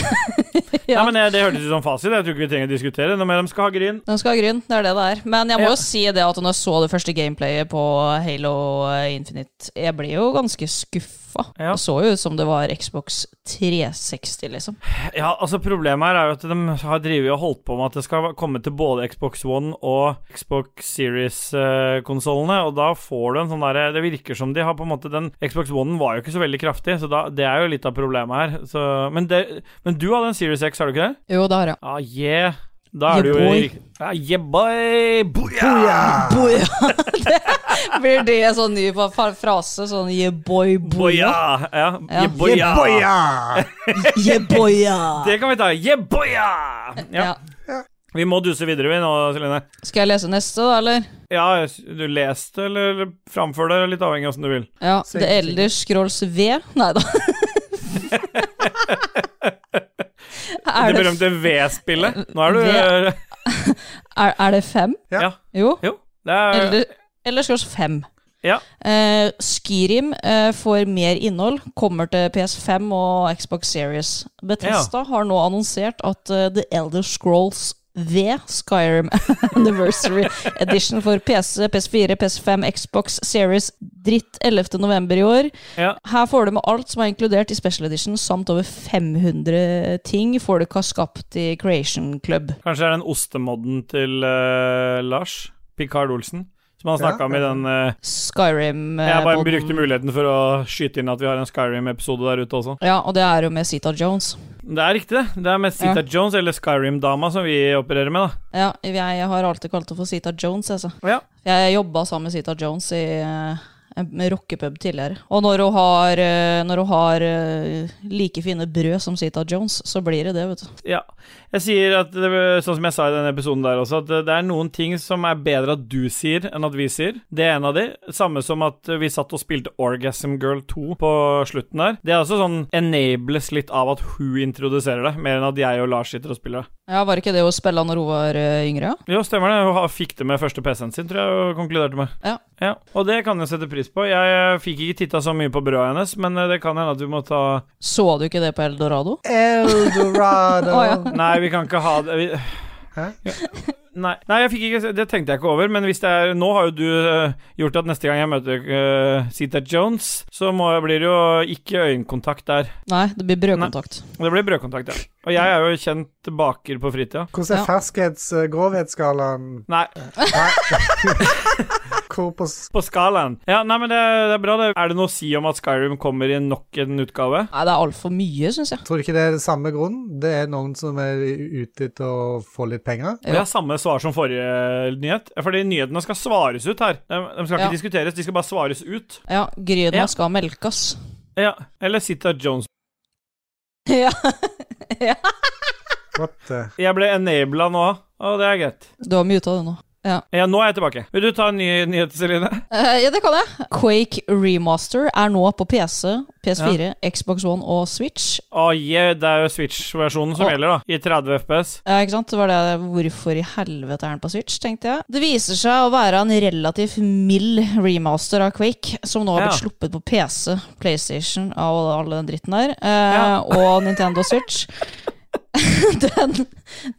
Speaker 2: Ja.
Speaker 1: Nei, men eh, Det hørtes ut som fasit. Jeg tror ikke vi trenger å diskutere noe mer. De skal ha gryn.
Speaker 2: Den skal ha gryn, det er det det er. Men jeg må
Speaker 1: Ja.
Speaker 2: jo si det at når jeg så det første gameplayet på Halo eh, Infinite, jeg ble jo ganske skuffa.
Speaker 1: Ja.
Speaker 2: Det så jo ut som det var Xbox 360, liksom.
Speaker 1: Ja, altså Problemet her er jo at de har drivet og holdt på med at det skal komme til både Xbox One og Xbox Series-konsollene, og da får du en sånn derre Det virker som de har på en måte den Xbox One var jo ikke så veldig kraftig, så da, det er jo litt av problemet her. Så, men, det, men du hadde en Series X, har du ikke det?
Speaker 2: Jo, det har jeg.
Speaker 1: Ja, ah, yeah. Da er
Speaker 2: Yeah,
Speaker 1: du jo i
Speaker 2: boy.
Speaker 1: rik- Ja, yeah, boy! Booyah!
Speaker 2: Boja! Ah. Det blir det en sånn ny fa- fa- frase? Sånn yeah boy,
Speaker 1: Boya!
Speaker 2: boja.
Speaker 1: Ja,
Speaker 2: Ja.
Speaker 1: yeah, boya!
Speaker 3: Yeah, boya!
Speaker 2: Yeah boja!
Speaker 1: Det kan vi ta. Yeah, boya! Ja.
Speaker 2: Ja.
Speaker 1: Vi må duse videre, vi nå, Celine.
Speaker 2: Skal jeg lese neste, da, eller?
Speaker 1: Ja, du leste eller framførte, litt avhengig av åssen du vil.
Speaker 2: Ja.
Speaker 3: Sikkert,
Speaker 2: The Elder Scrolls V. Nei da.
Speaker 1: Det,
Speaker 2: er, det,
Speaker 1: berømte V-spillet. Nå er du eh,
Speaker 2: V- er, er det fem?
Speaker 1: Ja.
Speaker 2: Jo.
Speaker 1: Jo, det er
Speaker 2: Eller, eller Scrolls 5.
Speaker 1: Ja.
Speaker 2: Eh, Skyrim eh, får mer innhold, kommer til PS5 og Xbox Series. Bethesda har nå annonsert at eh, The Elder Scrolls V, Skyrim Anniversary Edition for PC, PS4, PS5, Xbox Series dritt 11. november i år.
Speaker 1: Ja.
Speaker 2: Her får du med alt som er inkludert i Special Edition, samt over 500 ting folk har skapt i Creation Club.
Speaker 1: Kanskje det er den ostemodden til eh, Lars Picard Olsen, som han snakka
Speaker 3: Ja,
Speaker 1: om i den eh,
Speaker 2: Skyrim eh,
Speaker 1: Jeg bare
Speaker 2: podden.
Speaker 1: brukte muligheten for å skyte inn at vi har en Skyrim-episode der ute også.
Speaker 2: Ja, og det er jo med Zita Jones.
Speaker 1: Det er riktig, det. Det er mest Sita Jones, eller Skyrim-dama, som vi opererer med, da.
Speaker 2: Ja, jeg har alltid kalt henne for Zita Jones, altså.
Speaker 1: Ja.
Speaker 2: Jeg jobba sammen med Zita Jones i eh, en rockepub tidligere. Og når hun har, eh, når hun har eh, like fine brød som Zita Jones, så blir det det, vet du.
Speaker 1: Ja. Jeg sier at, det- sånn som jeg sa i den episoden der også, at det er noen ting som er bedre at du sier enn at vi sier. Det er en av de. Samme som at vi satt og spilte Orgasm Girl 2 på slutten der. Det er også sånn enables litt av at hun introduserer det, mer enn at jeg og Lars sitter og spiller det.
Speaker 2: Ja, Var ikke det hun spilla når hun var eh, yngre?
Speaker 1: Jo, stemmer det. Hun har- fikk det med første PC-en sin, tror jeg hun konkluderte med.
Speaker 2: Ja.
Speaker 1: Og det kan jeg sette pris på. Jeg eh, fikk ikke titta så mye på brødet hennes, men eh, det kan hende at vi må ta
Speaker 2: Så du ikke det på Eldorado?
Speaker 3: Eldorado.
Speaker 2: Å, ja.
Speaker 1: Nei, vi kan ikke ha det vi...
Speaker 3: Hæ?
Speaker 1: Ja. Nei, nei jeg fikk ikke, se- det tenkte jeg ikke over, men hvis det er Nå har jo du øh, gjort at neste gang jeg møter uh, Sita Jones, så må, blir det jo ikke øyekontakt der.
Speaker 2: Nei, det blir brødkontakt.
Speaker 1: Det blir brødkontakt, ja. Og jeg er jo kjent baker på fritida.
Speaker 3: Hvordan
Speaker 2: Ja.
Speaker 3: er eh, ferskhets-grovhetsskalaen?
Speaker 1: Nei,
Speaker 3: Hvor på s-
Speaker 1: på skalaen. Ja, nei, men det, det er bra, det. Er det noe å si om at Skyrim kommer i nok en utgave?
Speaker 2: Nei, det er altfor mye, syns jeg.
Speaker 3: Tror du ikke det er det samme grunnen? Det er noen som er ute etter å få litt penger?
Speaker 1: Vi har samme svar som forrige nyhet. Fordi nyhetene skal svares ut her. De, de skal
Speaker 2: Ja.
Speaker 1: ikke diskuteres, de skal bare svares ut.
Speaker 2: Ja, Gryna
Speaker 1: Ja.
Speaker 2: skal melkes.
Speaker 1: Ja, Eller Sita Jones.
Speaker 2: ja.
Speaker 3: What the?
Speaker 1: Jeg ble enabla nå, og det er greit.
Speaker 2: Du har mye ut av det nå.
Speaker 1: Ja, nå er jeg tilbake. Vil du ta en ny nyhet, Celine?
Speaker 2: Eh, ja, det kan jeg. Quake Remaster er nå på PC, PS4, Xbox One og Switch.
Speaker 1: Å, yeah, det er jo Switch-versjonen som
Speaker 2: Å.
Speaker 1: gjelder, da. I 30 FPS.
Speaker 2: Ja, Eh, ikke sant? Det var det Hvorfor i helvete er den på Switch, tenkte jeg. Det viser seg å være en relativt mild remaster av Quake, som nå har blitt
Speaker 1: Ja.
Speaker 2: sluppet på PC, PlayStation og all den dritten der, eh,
Speaker 1: Ja.
Speaker 2: og Nintendo Switch. den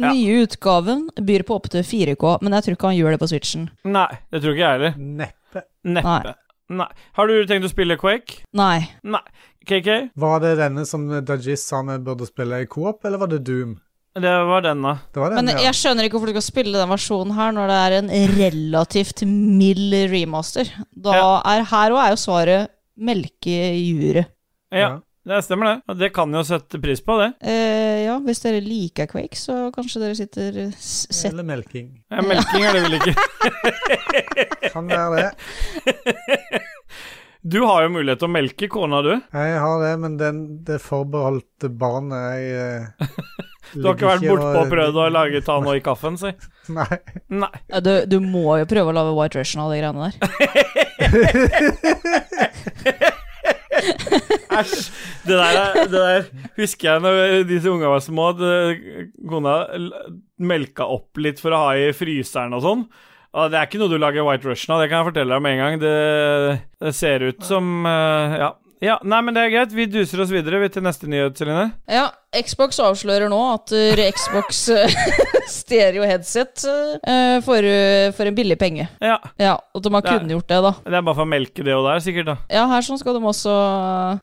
Speaker 1: Ja.
Speaker 2: nye utgaven byr på opptil 4K, men jeg tror ikke han gjør det på Switchen.
Speaker 1: Nei, det tror ikke jeg heller.
Speaker 3: Neppe.
Speaker 1: Neppe. Nei. Har du tenkt å spille Quake?
Speaker 2: Nei.
Speaker 1: Nei. KK?
Speaker 3: Var det denne som Dajis sa vi burde spille i coop, eller var det Doom?
Speaker 1: Det var den, da.
Speaker 3: Det var den,
Speaker 2: Men
Speaker 3: ja.
Speaker 2: jeg skjønner ikke hvorfor du skal spille den versjonen her når det er en relativt mild remaster. Da er her òg er jo svaret melke juret.
Speaker 1: Ja.
Speaker 3: Ja.
Speaker 1: Det stemmer, det. Og det kan jo sette pris på, det.
Speaker 2: Eh, ja, hvis dere liker Quake, så kanskje dere sitter s- sett
Speaker 3: Eller melking.
Speaker 1: Ja, melking er det vel ikke.
Speaker 3: Kan være det.
Speaker 1: Du har jo mulighet til å melke kona, du.
Speaker 3: Jeg har det, men den, det er forbeholdt barnet. Jeg, eh,
Speaker 1: Du har ikke vært bortpå og prøvd å lage ta noe i kaffen, si.
Speaker 3: Nei.
Speaker 1: Nei.
Speaker 2: Ja, du, du må jo prøve å lage White Russian og de greiene der.
Speaker 1: Æsj. Det der, er- det der husker jeg når disse unga var små. At eh, kona l- melka opp litt for å ha i fryseren og sånn. Og det er ikke noe du lager White Russian av, det kan jeg fortelle deg med en gang. Det, det ser ut som eh, ja. ja. Nei, men det er greit. Vi duser oss videre vi, til neste nyhet, Celine.
Speaker 2: Ja, Xbox avslører nå at eh, Xbox eh, stereo headset eh, får, eh, for en billig penge.
Speaker 1: Ja.
Speaker 2: Ja, at de har
Speaker 1: Det er-
Speaker 2: kunngjort det, da.
Speaker 1: Det er bare for å melke det og der, sikkert, da.
Speaker 2: Ja, her sånn skal de også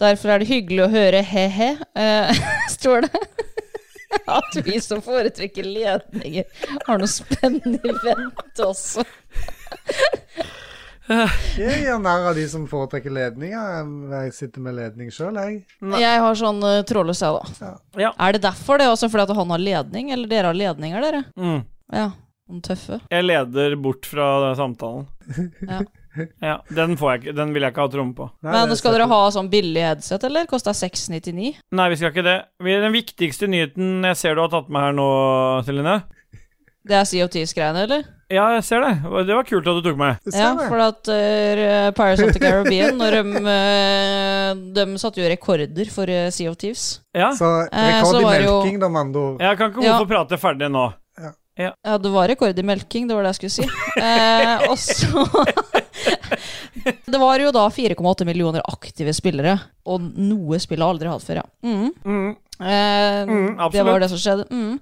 Speaker 2: Derfor er det hyggelig å høre he-he, eh, står det. At vi som foretrekker ledninger, har noe spennende i vente også.
Speaker 3: Jeg gjør narr av de som foretrekker ledninger. Jeg sitter med ledning sjøl, jeg.
Speaker 2: Jeg har sånn uh, trådløs, jeg, da.
Speaker 1: Ja.
Speaker 2: Er det derfor det? Også fordi at han har ledning? Eller dere har ledninger, dere?
Speaker 1: Mm.
Speaker 2: Ja. Den tøffe.
Speaker 1: Jeg leder bort fra den samtalen.
Speaker 2: Ja.
Speaker 1: Ja, den, får jeg ikke, den vil jeg ikke ha tromme på.
Speaker 3: Nei,
Speaker 2: Men
Speaker 3: det
Speaker 2: skal
Speaker 3: er
Speaker 2: dere ha sånn billig headset, eller? Kosta 699.
Speaker 1: Nei, vi skal ikke det. Vi- Den viktigste nyheten jeg ser du har tatt med her nå, Celine.
Speaker 2: Det er CO2-greiene, eller?
Speaker 1: Ja, jeg ser det. Det var kult at du tok med.
Speaker 3: Det
Speaker 2: Ja,
Speaker 3: stemmer.
Speaker 2: for at eh, Pirates of the Caribbean, når de, eh, de satte jo rekorder for uh, Sea of Thieves.
Speaker 1: Ja,
Speaker 3: Så
Speaker 2: Eh,
Speaker 3: rekord
Speaker 2: så
Speaker 3: i
Speaker 2: var det jo-
Speaker 3: melking, da, med andre ord.
Speaker 1: jeg kan ikke
Speaker 2: Ja.
Speaker 1: hvorfor prate ferdig nå.
Speaker 2: Ja, det var rekord i melking, det var det jeg skulle si. Eh, og så Det var jo da 4,8 millioner aktive spillere, og noe spill har aldri hatt før, ja. Mm.
Speaker 1: Mm,
Speaker 2: Eh,
Speaker 1: Mm, absolutt.
Speaker 2: det var det som skjedde. Mm.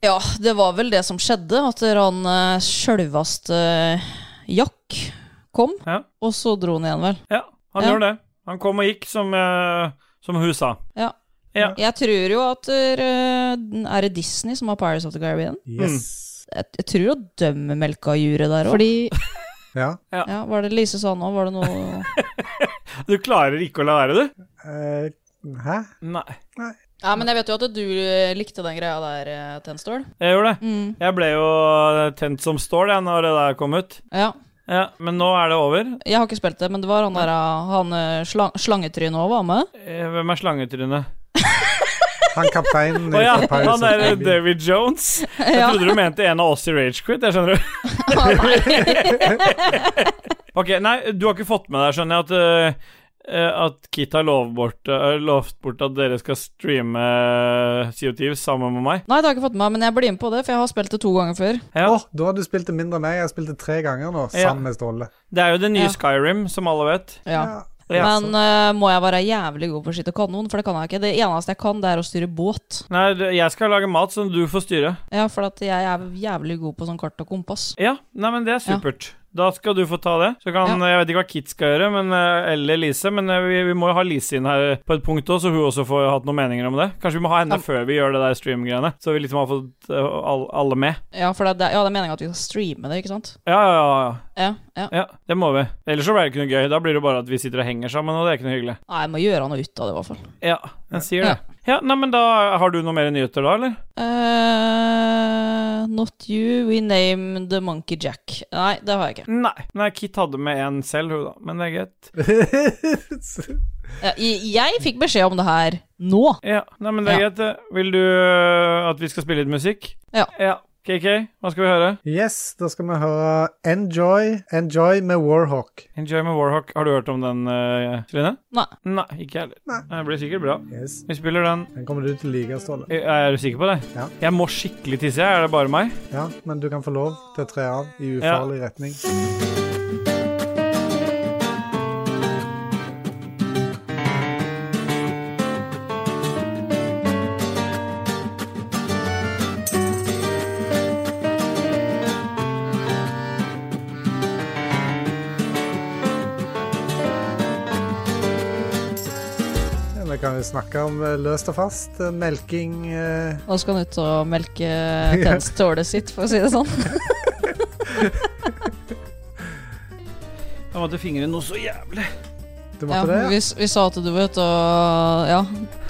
Speaker 2: Ja, det var vel det som skjedde, at han eh, sjølvaste Jack kom,
Speaker 1: Ja.
Speaker 2: og så dro han igjen, vel.
Speaker 1: ja, han
Speaker 2: Ja.
Speaker 1: gjorde det. Han kom og gikk, som, eh, som hun sa.
Speaker 2: Ja.
Speaker 1: Ja.
Speaker 2: Jeg tror jo at eh, Er det Disney som har Pirates of the Caribbean?
Speaker 3: Yes.
Speaker 2: Jeg, jeg tror jo dømmemelka juret der òg.
Speaker 8: Fordi
Speaker 3: Ja.
Speaker 2: Ja, var det Lise sa nå? Var det noe
Speaker 1: Du klarer ikke å la være, du?
Speaker 3: Eh, hæ?
Speaker 1: Nei.
Speaker 2: Ja, men jeg vet jo at du eh, likte den greia der, eh, Tenstål.
Speaker 1: eh, Jeg gjorde det. Jeg ble jo tent som stål jeg, når det der kom ut.
Speaker 2: Ja.
Speaker 1: Ja, men nå er det over.
Speaker 2: Jeg har ikke spilt det, men det var han der han eh, sla slangetrynet òg var med.
Speaker 1: Eh, Hvem er slangetrynet?
Speaker 3: Han kapteinen
Speaker 1: Å ja,
Speaker 3: fra Pirates of
Speaker 1: han er
Speaker 3: the Caribbean.
Speaker 1: David Jones. Jeg
Speaker 2: Ja.
Speaker 1: trodde du mente en av oss i Ragequit. Jeg skjønner du. Ok, nei, du har ikke fått med deg, skjønner jeg, at eh, at Kit har lovt bort, eh, lovt bort at dere skal streame eh, CO2 sammen med meg.
Speaker 2: Nei, det har jeg ikke fått med meg, men jeg blir med på det, for jeg har spilt det to ganger før.
Speaker 1: Ja.
Speaker 3: Åh, da har du spilt det mindre enn meg. Jeg har spilt det tre ganger nå,
Speaker 1: Ja.
Speaker 3: sammen med Ståle.
Speaker 1: Det er jo det nye
Speaker 2: Ja.
Speaker 1: Skyrim, som alle vet.
Speaker 2: Ja.
Speaker 1: Ja.
Speaker 2: Men eh, må jeg være jævlig god på å skyte kanon? For det kan jeg ikke. Det eneste jeg kan, det er å styre båt.
Speaker 1: Nei, det- jeg skal lage mat, så du får styre.
Speaker 2: Ja, for at jeg er jævlig god på sånn kart og kompass.
Speaker 1: Ja, nei, men det er supert. Da skal du få ta det. Så kan, Jeg vet ikke hva Kit skal gjøre, men, eh, eller Lise, men eh, vi, vi må jo ha Lise inn her på et punkt òg, så hun også får hatt noen meninger om det. Kanskje vi må ha henne
Speaker 2: Ja.
Speaker 1: før vi gjør det der stream-greiene, så vi liksom har fått eh, all- alle med.
Speaker 2: Ja, for det, er- ja, det er meninga at vi skal streame det, ikke sant?
Speaker 1: Ja, ja, ja, ja.
Speaker 2: Ja, ja.
Speaker 1: Ja, det må vi. Ellers så blir det ikke noe gøy. Da blir det bare at vi sitter og henger sammen, og det er ikke noe hyggelig.
Speaker 2: Nei, jeg må gjøre noe ut av det, i hvert fall.
Speaker 1: Ja, jeg sier det. Ja, nei, men da Har du noe mer nyheter da, eller?
Speaker 2: Eh, not you, we name the monkey jack. Nei, det har jeg ikke.
Speaker 1: Nei. Nei, Kit hadde med en selv, hun da, men det er greit.
Speaker 2: Ja, Jeg, jeg fikk beskjed om det her nå.
Speaker 1: Ja, nei, men det er
Speaker 2: Ja.
Speaker 1: greit, det. Vil du øh, at vi skal spille litt musikk?
Speaker 2: Ja.
Speaker 1: ja. KK, hva skal vi høre?
Speaker 3: Yes, da skal vi høre Enjoy, Enjoy med Warhawk.
Speaker 1: Enjoy med Warhawk. Har du hørt om den, øh, Trine?
Speaker 2: Nei.
Speaker 1: Nei, ikke jeg heller. Nei, Det blir sikkert bra.
Speaker 3: Yes,
Speaker 1: Vi spiller den.
Speaker 3: Den kommer du til å like, Ståle.
Speaker 1: Er- Er du sikker på det?
Speaker 3: Ja.
Speaker 1: Jeg må skikkelig tisse, jeg. Er det bare meg?
Speaker 3: Ja, men du kan få lov til å tre av i ufarlig retning. Ja, Vi kan jo snakke om eh, løst og fast, eh, melking eh,
Speaker 2: Nå skal han ut og melke tennstålet sitt, for å si det sånn.
Speaker 1: Jeg måtte fingre noe så jævlig.
Speaker 2: Ja,
Speaker 3: Du måtte det?
Speaker 2: vi, s- vi sa at du var ute og ja,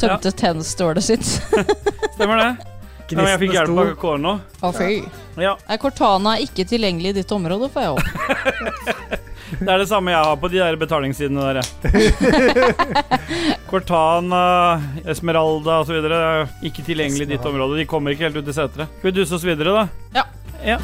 Speaker 2: tømte tennstålet sitt.
Speaker 1: Stemmer det? Nei, men jeg fikk hjelp av KK nå.
Speaker 2: Å, fy.
Speaker 1: Ja.
Speaker 2: Er Cortana ikke tilgjengelig i ditt område, får jeg håpe.
Speaker 1: Det er det samme jeg har på de der betalingssidene der. jeg. Cortana, Esmeralda osv. Ikke tilgjengelig i ditt område. De kommer ikke helt ut til seteret. Skal vi duse oss videre, da?
Speaker 2: Ja.
Speaker 1: Ja.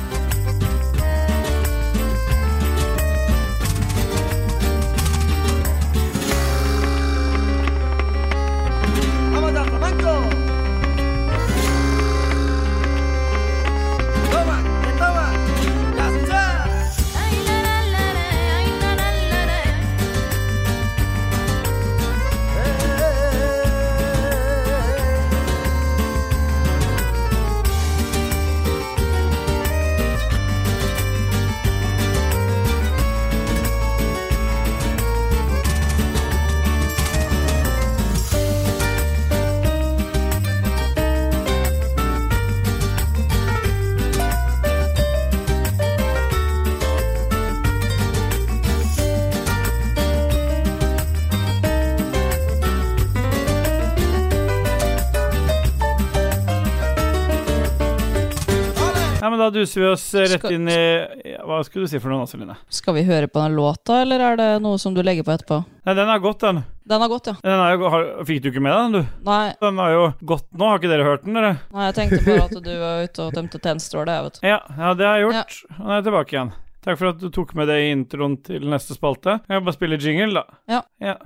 Speaker 1: Nei, men da duser vi oss eh, rett
Speaker 2: Skal-
Speaker 1: inn i ja, Hva skulle du si for noe, Celine?
Speaker 2: Skal vi høre på den låta, eller er det noe som du legger på etterpå?
Speaker 1: Nei, den er godt, den.
Speaker 2: Den har gått, ja.
Speaker 1: den er jo, har, fikk du ikke med den, du?
Speaker 2: Nei,
Speaker 1: Den er jo godt nå. Har ikke dere hørt den, dere?
Speaker 2: nei, jeg tenkte bare at du var ute og tømte tennstålet, jeg, vet du.
Speaker 1: Ja, ja det har jeg gjort. Og nå er jeg tilbake igjen. Takk for at du tok med det i introen til neste spalte. Kan jeg bare spille jingle, da?
Speaker 2: Ja.
Speaker 1: ja.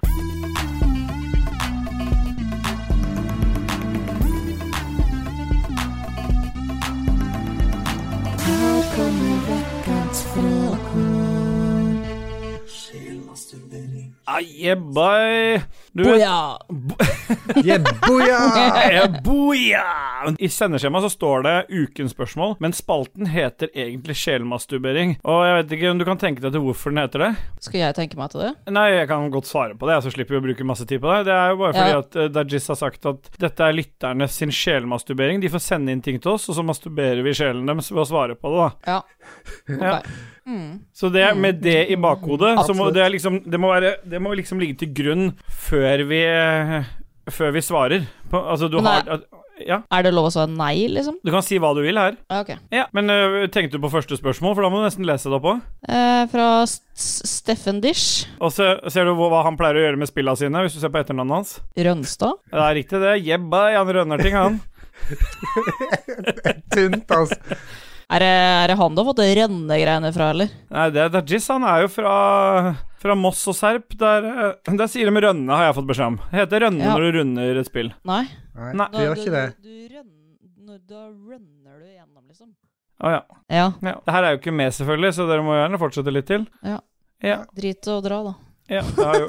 Speaker 1: Ajebaj! Du vet
Speaker 2: Boja!
Speaker 3: Jebboja!
Speaker 1: Eh, Boia! I sendeskjemaet så står det ukens spørsmål, men spalten heter egentlig sjelmasturbering. Og jeg vet ikke om du kan tenke deg til hvorfor den heter det?
Speaker 2: Skal jeg tenke meg til det?
Speaker 1: Nei, jeg kan godt svare på det, så slipper vi å bruke masse tid på det. Det er jo bare fordi
Speaker 2: Ja.
Speaker 1: at eh, Dajis har sagt at dette er lytterne sin sjelmasturbering. De får sende inn ting til oss, og så masturberer vi sjelen deres ved å svare på det, da.
Speaker 2: Ja.
Speaker 1: Ja.
Speaker 2: Ok.
Speaker 1: Så det er med det i bakhodet, så må
Speaker 3: Absolutt.
Speaker 1: det, er liksom, det, må være, det må liksom ligge til grunn før vi eh, før vi svarer. På, altså, du
Speaker 2: Men
Speaker 1: har
Speaker 2: det-
Speaker 1: at- Ja,
Speaker 2: Er det lov å svare nei, liksom?
Speaker 1: du kan si hva du vil her.
Speaker 2: Ja, Ok.
Speaker 1: Ja, Men øh, tenkte du på første spørsmål, for da må du nesten lese det opp òg.
Speaker 2: Eh, fra S- S- Steffen Dish.
Speaker 1: Og så ser du hva hva han pleier å gjøre med spilla sine, hvis du ser på etternavnet hans.
Speaker 2: Rønstad.
Speaker 1: Det er riktig, det. Jebba, Jan Rønnerting, han.
Speaker 3: Tynt, altså.
Speaker 2: Er det, er det han du har fått det rennegreiene fra, eller?
Speaker 1: Nei, det er Dajis. Han er jo fra, fra Moss og Serp. Der, eh, der sier de Rønne, har jeg fått beskjed om. Det heter Rønne
Speaker 2: Ja.
Speaker 1: når du runder et spill.
Speaker 2: Nei.
Speaker 3: Nei,
Speaker 1: Nei.
Speaker 3: det gjør ikke det.
Speaker 2: Du, da rønner du gjennom, liksom.
Speaker 1: Å ja.
Speaker 2: Ja.
Speaker 1: ja. Det her er jo ikke med, selvfølgelig, så dere må gjerne fortsette litt til.
Speaker 2: Drit og dra, da.
Speaker 1: Ja, det er jo.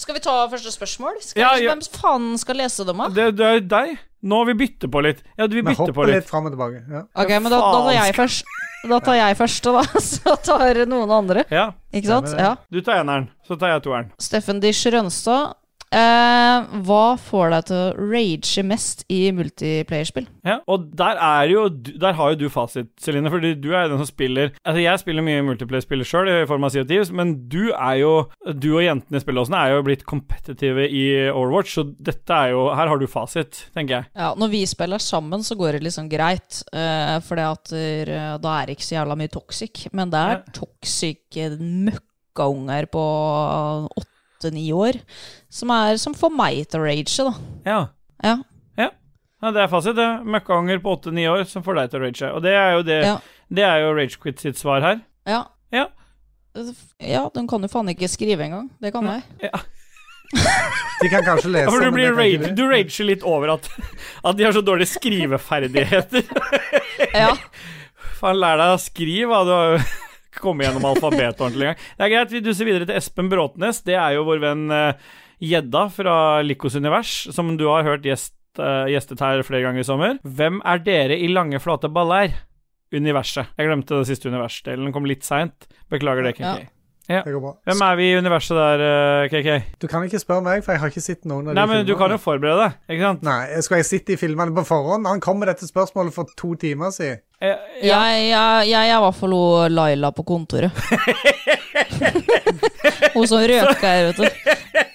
Speaker 2: Skal vi ta første spørsmål? Skal
Speaker 1: Ja,
Speaker 2: vi-
Speaker 1: ja.
Speaker 2: Hvem faen skal lese dem, da?
Speaker 1: Det, det er jo deg. Nå vi bytter på litt. Ja, du vil
Speaker 3: Vi
Speaker 1: bytte på
Speaker 3: hopper
Speaker 1: litt.
Speaker 3: litt fram og tilbake. Ja.
Speaker 2: Ok, men da, da tar jeg først. Da tar jeg første, da. Så tar noen andre.
Speaker 1: Ja,
Speaker 2: Ikke sant?
Speaker 3: Stemmer det.
Speaker 2: Ja.
Speaker 1: du tar eneren, så tar jeg toeren.
Speaker 2: Steffen Dish Rønstad. Eh, hva får deg til å rage mest i multiplayerspill?
Speaker 1: Ja, og der er jo du- Der har jo du fasit, Celine, fordi du er jo den som spiller Altså, jeg spiller mye multiplayer-spill sjøl i form av CO2, men du er jo Du og jentene i spillåsene er jo blitt kompetitive i Overwatch, så dette er jo Her har du fasit, tenker jeg.
Speaker 2: Ja, Når vi spiller sammen, så går det liksom greit. Uh, for at, eh, da er det ikke så jævla mye toxic. Men det er toxic eh, møkkaunger på åtte-ni år som, er, som får meg til å rage, da.
Speaker 1: Ja.
Speaker 2: Ja,
Speaker 1: ja det er fasit, det. Møkkaunger på åtte-ni år som får deg til å rage. Og det er jo det
Speaker 2: Ja.
Speaker 1: Det er jo Ragequit sitt svar her.
Speaker 2: ja.
Speaker 1: Ja.
Speaker 2: Ja, den kan jo faen ikke skrive engang. Det kan jeg.
Speaker 3: De kan kanskje lese,
Speaker 1: Ja, for du,
Speaker 3: men
Speaker 1: blir
Speaker 3: det kan ikke
Speaker 1: rage,
Speaker 3: de.
Speaker 1: du rager litt over at, at de har så dårlige skriveferdigheter.
Speaker 2: Ja.
Speaker 1: Faen, lær deg å skrive, da. Du har jo kommet gjennom alfabetet ordentlig en gang. Det er greit, vi duser videre til Espen Bråtnes. Det er jo vår venn eh, Gjedda fra Likos univers, som du har hørt gjest, eh, gjestet her flere ganger i sommer. Hvem er dere i lange, flate baller? Universet. Jeg glemte det siste universdelen, kom litt seint. Beklager det, KK.
Speaker 2: Ja.
Speaker 3: Det går bra.
Speaker 1: Hvem er vi i universet der, eh, KK?
Speaker 3: Du kan ikke spørre meg, for jeg har ikke sett noen av
Speaker 1: Nei,
Speaker 3: de
Speaker 1: men du kan jo forberede deg, ikke sant?
Speaker 3: Nei, Skulle jeg sett de filmene på forhånd? Han kom med dette spørsmålet for to timer siden.
Speaker 1: Eh, ja.
Speaker 2: Jeg, jeg, jeg er i hvert fall hun Laila på kontoret. hun som røka her, vet du.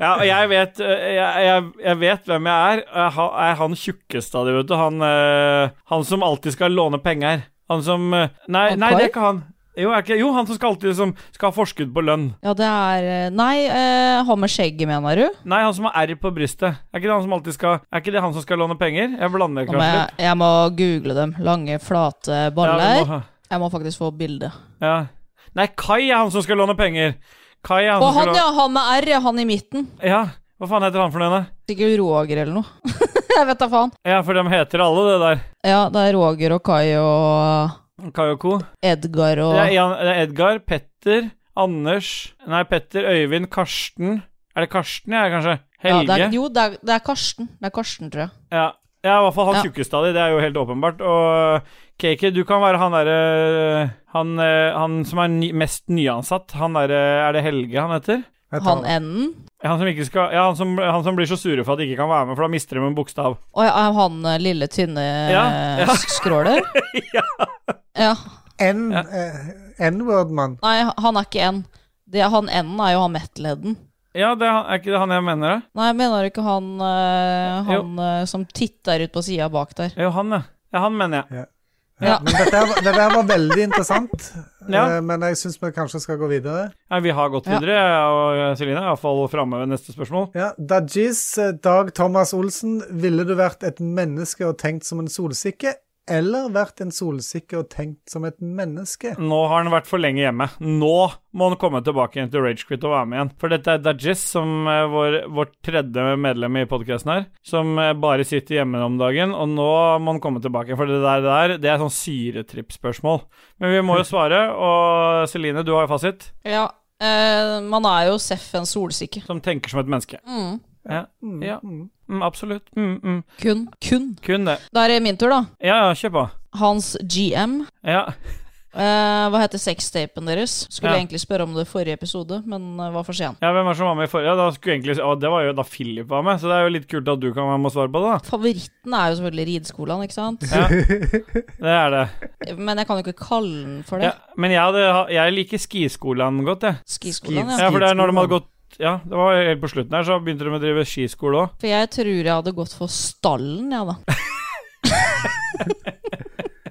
Speaker 1: Ja, og jeg vet, eh, jeg, jeg, jeg vet hvem jeg er. Jeg ha- er han tjukkeste av de, vet du. Han, eh, han som alltid skal låne penger. Han som eh, Nei,
Speaker 2: Han
Speaker 1: nei
Speaker 2: Kai?
Speaker 1: det er ikke han. Jo, er ikke, jo, han som skal alltid liksom, skal ha forskudd på lønn.
Speaker 2: Ja, det er eh, Nei, eh, han med skjegget, mener du?
Speaker 1: Nei, han som har R på brystet. Er ikke det han som alltid skal Er ikke det han som skal låne penger? Jeg blander
Speaker 2: Nå må
Speaker 1: kanskje
Speaker 2: jeg,
Speaker 1: litt.
Speaker 2: jeg må google dem. Lange, flate
Speaker 1: Ja,
Speaker 2: baller.
Speaker 1: vi må ha-
Speaker 2: Jeg må faktisk få bilde.
Speaker 1: ja. Nei, Kai er han som skal låne penger. Kai er han
Speaker 2: Og
Speaker 1: som skal låne
Speaker 2: han, ja! Han med R, ja. Han i midten.
Speaker 1: Ja, hva faen heter han for noe? da?
Speaker 2: Sikkert Roger eller noe. jeg vet da faen.
Speaker 1: Ja, for de heter alle det
Speaker 2: Ja, det er Roger og Kai og
Speaker 1: der. Kai og co.
Speaker 2: Edgar og
Speaker 1: Det er, Jan, det er Edgar, Petter, Anders Nei, Petter, Øyvind, Karsten Er det Karsten jeg er, kanskje?
Speaker 2: Ja,
Speaker 1: Helge?
Speaker 2: det
Speaker 1: Ja,
Speaker 2: er, Jo, det er, det er Karsten. Det er Karsten, tror jeg.
Speaker 1: ja. i hvert fall han
Speaker 2: Ja.
Speaker 1: tjukkeste av de, det er jo helt åpenbart. Og KK, du kan være han derre han, eh, han som er ny, mest nyansatt. Han derre Er det Helge han heter?
Speaker 3: Jeg tar
Speaker 2: Han
Speaker 3: det.
Speaker 2: enden.
Speaker 1: Han som, ikke skal, ja, han, som, han som blir så sure for at de ikke kan være med, for da mister de en bokstav.
Speaker 2: Og ja, han eh, lille, tynne
Speaker 1: Ja,
Speaker 2: eh,
Speaker 1: ja.
Speaker 2: sk- skråler? ja.
Speaker 3: N- eh, N-word-mann.
Speaker 2: Nei, han er ikke N. Det, han N-en er jo han metal-headen.
Speaker 1: Ja, det er, han- er ikke det han jeg mener, da?
Speaker 2: Nei, mener du ikke han, eh, han eh, som titter ut på sida bak der?
Speaker 1: Jo, han, ja. ja. Han mener jeg.
Speaker 2: Ja.
Speaker 3: Men dette, her var- det der var veldig interessant,
Speaker 1: Ja.
Speaker 3: eh, men jeg syns vi kanskje skal gå videre.
Speaker 1: Nei, vi har gått
Speaker 2: Ja.
Speaker 1: videre, jeg og Celine er iallfall framme ved neste spørsmål.
Speaker 3: Ja, Dajis, eh, Dag Thomas Olsen, ville du vært et menneske og tenkt som en solsikke, eller vært en solsikke og tenkt som et menneske?
Speaker 1: Nå har han vært for lenge hjemme. Nå må han komme tilbake igjen til Ragequit og være med igjen. For dette er Dajis, som er vår, vårt tredje medlem i podkasten her, som eh, bare sitter hjemme om dagen, og nå må han komme tilbake. For det der, det der det er sånn syretrippspørsmål. Men vi må jo svare, og Celine, du har jo fasit.
Speaker 2: Ja. eh, man er jo seff en solsikke.
Speaker 1: Som tenker som et menneske.
Speaker 2: Mm.
Speaker 1: Ja, ja. Mm, absolutt. Mm, mm.
Speaker 2: Kun. Kun.
Speaker 1: Kun det.
Speaker 2: Da er det min tur, da.
Speaker 1: Ja, ja, kjør på.
Speaker 2: Hans GM.
Speaker 1: Ja.
Speaker 2: Eh, hva heter sextapen deres? Skulle
Speaker 1: Ja.
Speaker 2: jeg egentlig spørre om det i forrige episode, men eh, var for sen.
Speaker 1: Ja, hvem var det som var med i forrige? Ja, da skulle egentlig, å, det var jo da Philip var med, så det er jo litt kult at du kan være med og svare på det, da.
Speaker 2: Favoritten er jo selvfølgelig rideskolen, ikke sant?
Speaker 1: Det er det.
Speaker 2: Men jeg kan jo ikke kalle den for
Speaker 1: Ja,
Speaker 2: det.
Speaker 1: men jeg, hadde, jeg liker skiskolen godt, jeg.
Speaker 2: Skiskolen,
Speaker 1: Ja,
Speaker 2: ja.
Speaker 1: for det er når de hadde gått Ja, det var helt på slutten her, så begynte de å drive skiskole òg.
Speaker 2: For jeg tror jeg hadde gått for stallen, jeg, ja, da.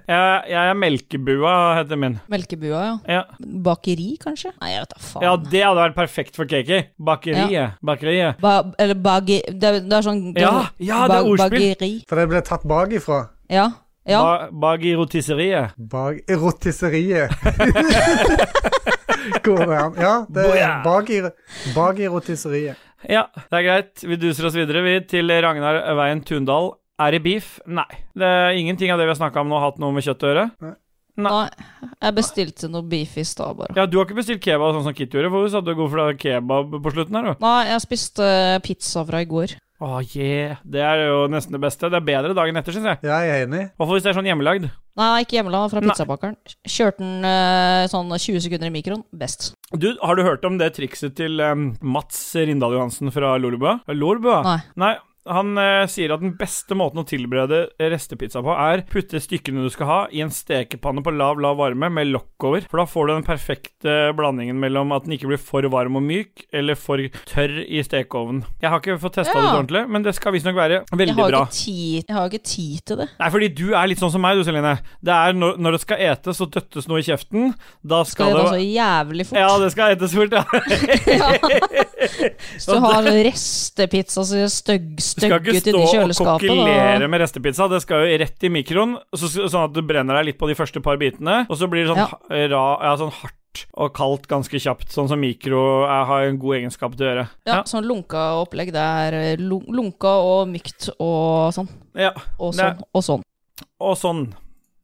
Speaker 1: Jeg, jeg er Melkebua, heter min.
Speaker 2: Melkebua, ja.
Speaker 1: Ja.
Speaker 2: Bakeri, kanskje? Nei, jeg vet da faen.
Speaker 1: ja, det hadde vært perfekt for KK. Bakeriet. Bakeriet.
Speaker 2: Ba eller bagi... Det, er- det er sånn
Speaker 1: Ja, ja, det er ordspill.
Speaker 2: Bageri.
Speaker 3: For det ble tatt bakifra.
Speaker 2: Ja. ja.
Speaker 1: Ba Bagirotisseriet.
Speaker 3: Bak erotisseriet. Går det an? Ja, det er
Speaker 1: Boja.
Speaker 3: bak i, bak i erotisseriet.
Speaker 1: Ja, det er greit. Vi duser oss videre, vi, til Ragnar Veien Tundal. Er det beef? Nei. Det er ingenting av det vi har snakka om nå, har hatt noe med kjøtt å gjøre.
Speaker 2: Nei. Jeg bestilte noe beef i stad, bare.
Speaker 1: Ja, du har ikke bestilt kebab sånn som Kitty gjorde, for hun sa du går for kebab på slutten her, du.
Speaker 2: Nei, jeg spiste eh, pizza fra i går.
Speaker 1: Å, yeah. Det er jo nesten det beste. Det er bedre dagen etter, syns jeg.
Speaker 3: Ja, jeg er enig.
Speaker 1: Hvorfor hvis det er sånn hjemmelagd?
Speaker 2: Nei, ikke hjemmelaga, fra
Speaker 1: Nei.
Speaker 2: pizzabakeren. Kjørte den eh, sånn 20 sekunder i mikroen. Best.
Speaker 1: Du, har du hørt om det trikset til em, Mats Rindal Johansen fra Lolebua? Lolebua?
Speaker 2: Nei.
Speaker 1: Nei. Han eh, sier at den beste måten å tilberede restepizza på, er putte stykkene du skal ha, i en stekepanne på lav, lav varme med lokk over. For da får du den perfekte blandingen mellom at den ikke blir for varm og myk, eller for tørr i stekeovnen. Jeg har ikke fått testa det
Speaker 2: Ja.
Speaker 1: ordentlig, men det skal visstnok være
Speaker 2: Jeg
Speaker 1: veldig
Speaker 2: har, jo
Speaker 1: bra.
Speaker 2: ikke tid, jeg har jo ikke tid til det.
Speaker 1: Nei, fordi du er litt sånn som meg, du Celine. Det er når, når det skal etes og døttes noe i kjeften, da
Speaker 2: Skal
Speaker 1: skal
Speaker 2: det
Speaker 1: det
Speaker 2: da så jævlig fort?
Speaker 1: Ja, det skal etes fort, ja.
Speaker 2: Hvis du har restepizza som støgg,
Speaker 1: Du skal ikke
Speaker 2: støgget
Speaker 1: stå
Speaker 2: inni
Speaker 1: og
Speaker 2: kjøleskapet,
Speaker 1: kokkelere
Speaker 2: da
Speaker 1: med restepizza. Det skal jo rett i mikroen, så, så- sånn at du brenner deg litt på de første par bitene. Og så blir det sånn,
Speaker 2: Ja.
Speaker 1: ha- ra, ja, sånn hardt og kaldt ganske kjapt, sånn som mikro er, har en god egenskap til å gjøre.
Speaker 2: ja, Sånn lunka opplegg. Det er eh, lu- lunka og mykt og sånn.
Speaker 1: Ja.
Speaker 2: Og
Speaker 1: Det er-
Speaker 2: sånn. Og sånn.
Speaker 1: Og sånn.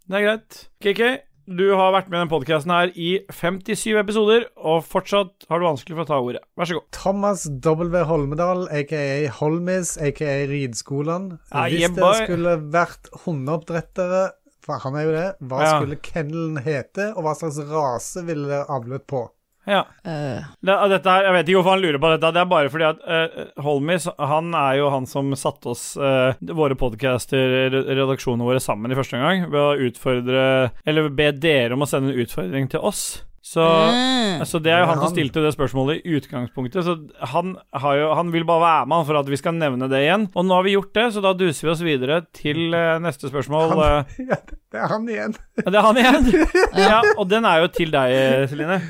Speaker 1: Det er greit. Kiki, du har vært med i denne podkasten her i 57 episoder, og fortsatt har du vanskelig for å ta ordet. Vær så god.
Speaker 3: Thomas W. Holmedal, aka Holmis, aka Ridskolan.
Speaker 1: Ah,
Speaker 3: Hvis
Speaker 1: yeah,
Speaker 3: det
Speaker 1: boy.
Speaker 3: skulle vært hundeoppdrettere, for han er jo det, hva
Speaker 1: Ja.
Speaker 3: skulle kennelen hete, og hva slags rase ville det avlet på?
Speaker 1: Ja.
Speaker 2: Eh,
Speaker 1: Det, og dette her, jeg vet ikke hvorfor han lurer på dette. Det er bare fordi at eh, Holmis han er jo han som satte oss, eh, våre podcaster, re- redaksjonene våre, sammen i første gang ved å utfordre Eller be dere om å sende en utfordring til oss. Så,
Speaker 2: mm.
Speaker 1: så det er jo han som
Speaker 3: Han.
Speaker 1: stilte det spørsmålet i utgangspunktet. Så han, har jo, han vil bare være med han for at vi skal nevne det igjen. Og nå har vi gjort det, så da duser vi oss videre til eh, neste spørsmål.
Speaker 3: Han-
Speaker 1: Eh,
Speaker 3: Ja, det er han igjen.
Speaker 1: det er han igjen! ja, og den er jo til deg, Celine.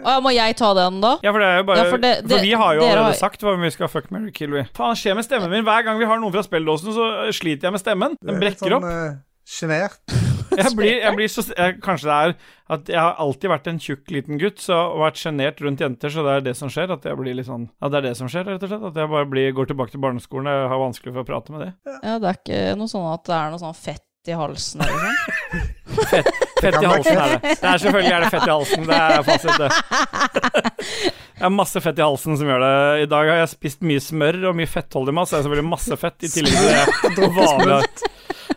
Speaker 2: Å, må jeg ta den, da?
Speaker 1: Ja, for det er jo bare
Speaker 2: Ja,
Speaker 1: for,
Speaker 2: for det- det-
Speaker 1: vi har jo
Speaker 2: dere
Speaker 1: allerede
Speaker 2: har-
Speaker 1: sagt hva vi skal fuck, marry, kill, we. Faen, det skjer med stemmen min. Hver gang vi har noen fra spelledåsen, så sliter jeg med stemmen. Den
Speaker 3: sånn,
Speaker 1: brekker
Speaker 3: eh,
Speaker 1: opp.
Speaker 3: Sjenert.
Speaker 1: Jeg blir, jeg blir så jeg, Kanskje det er at jeg har alltid vært en tjukk liten gutt så, og vært sjenert rundt jenter, så det er det som skjer. At jeg blir litt sånn At det er det som skjer, rett og slett. At jeg bare blir, går tilbake til barneskolen. Jeg har vanskelig for å prate med det.
Speaker 2: Ja, det er ikke noe sånn at det er noe sånn fett i halsen eller sånn. noe sånt.
Speaker 1: Fett
Speaker 3: kan
Speaker 1: i
Speaker 3: være
Speaker 1: halsen er det. Det er selvfølgelig er det fett i halsen. Det er fasit, det. Jeg har masse fett i halsen som gjør det. I dag har jeg spist mye smør og mye fettholdig mat, så jeg har selvfølgelig masse fett i tillegg til det vanlige.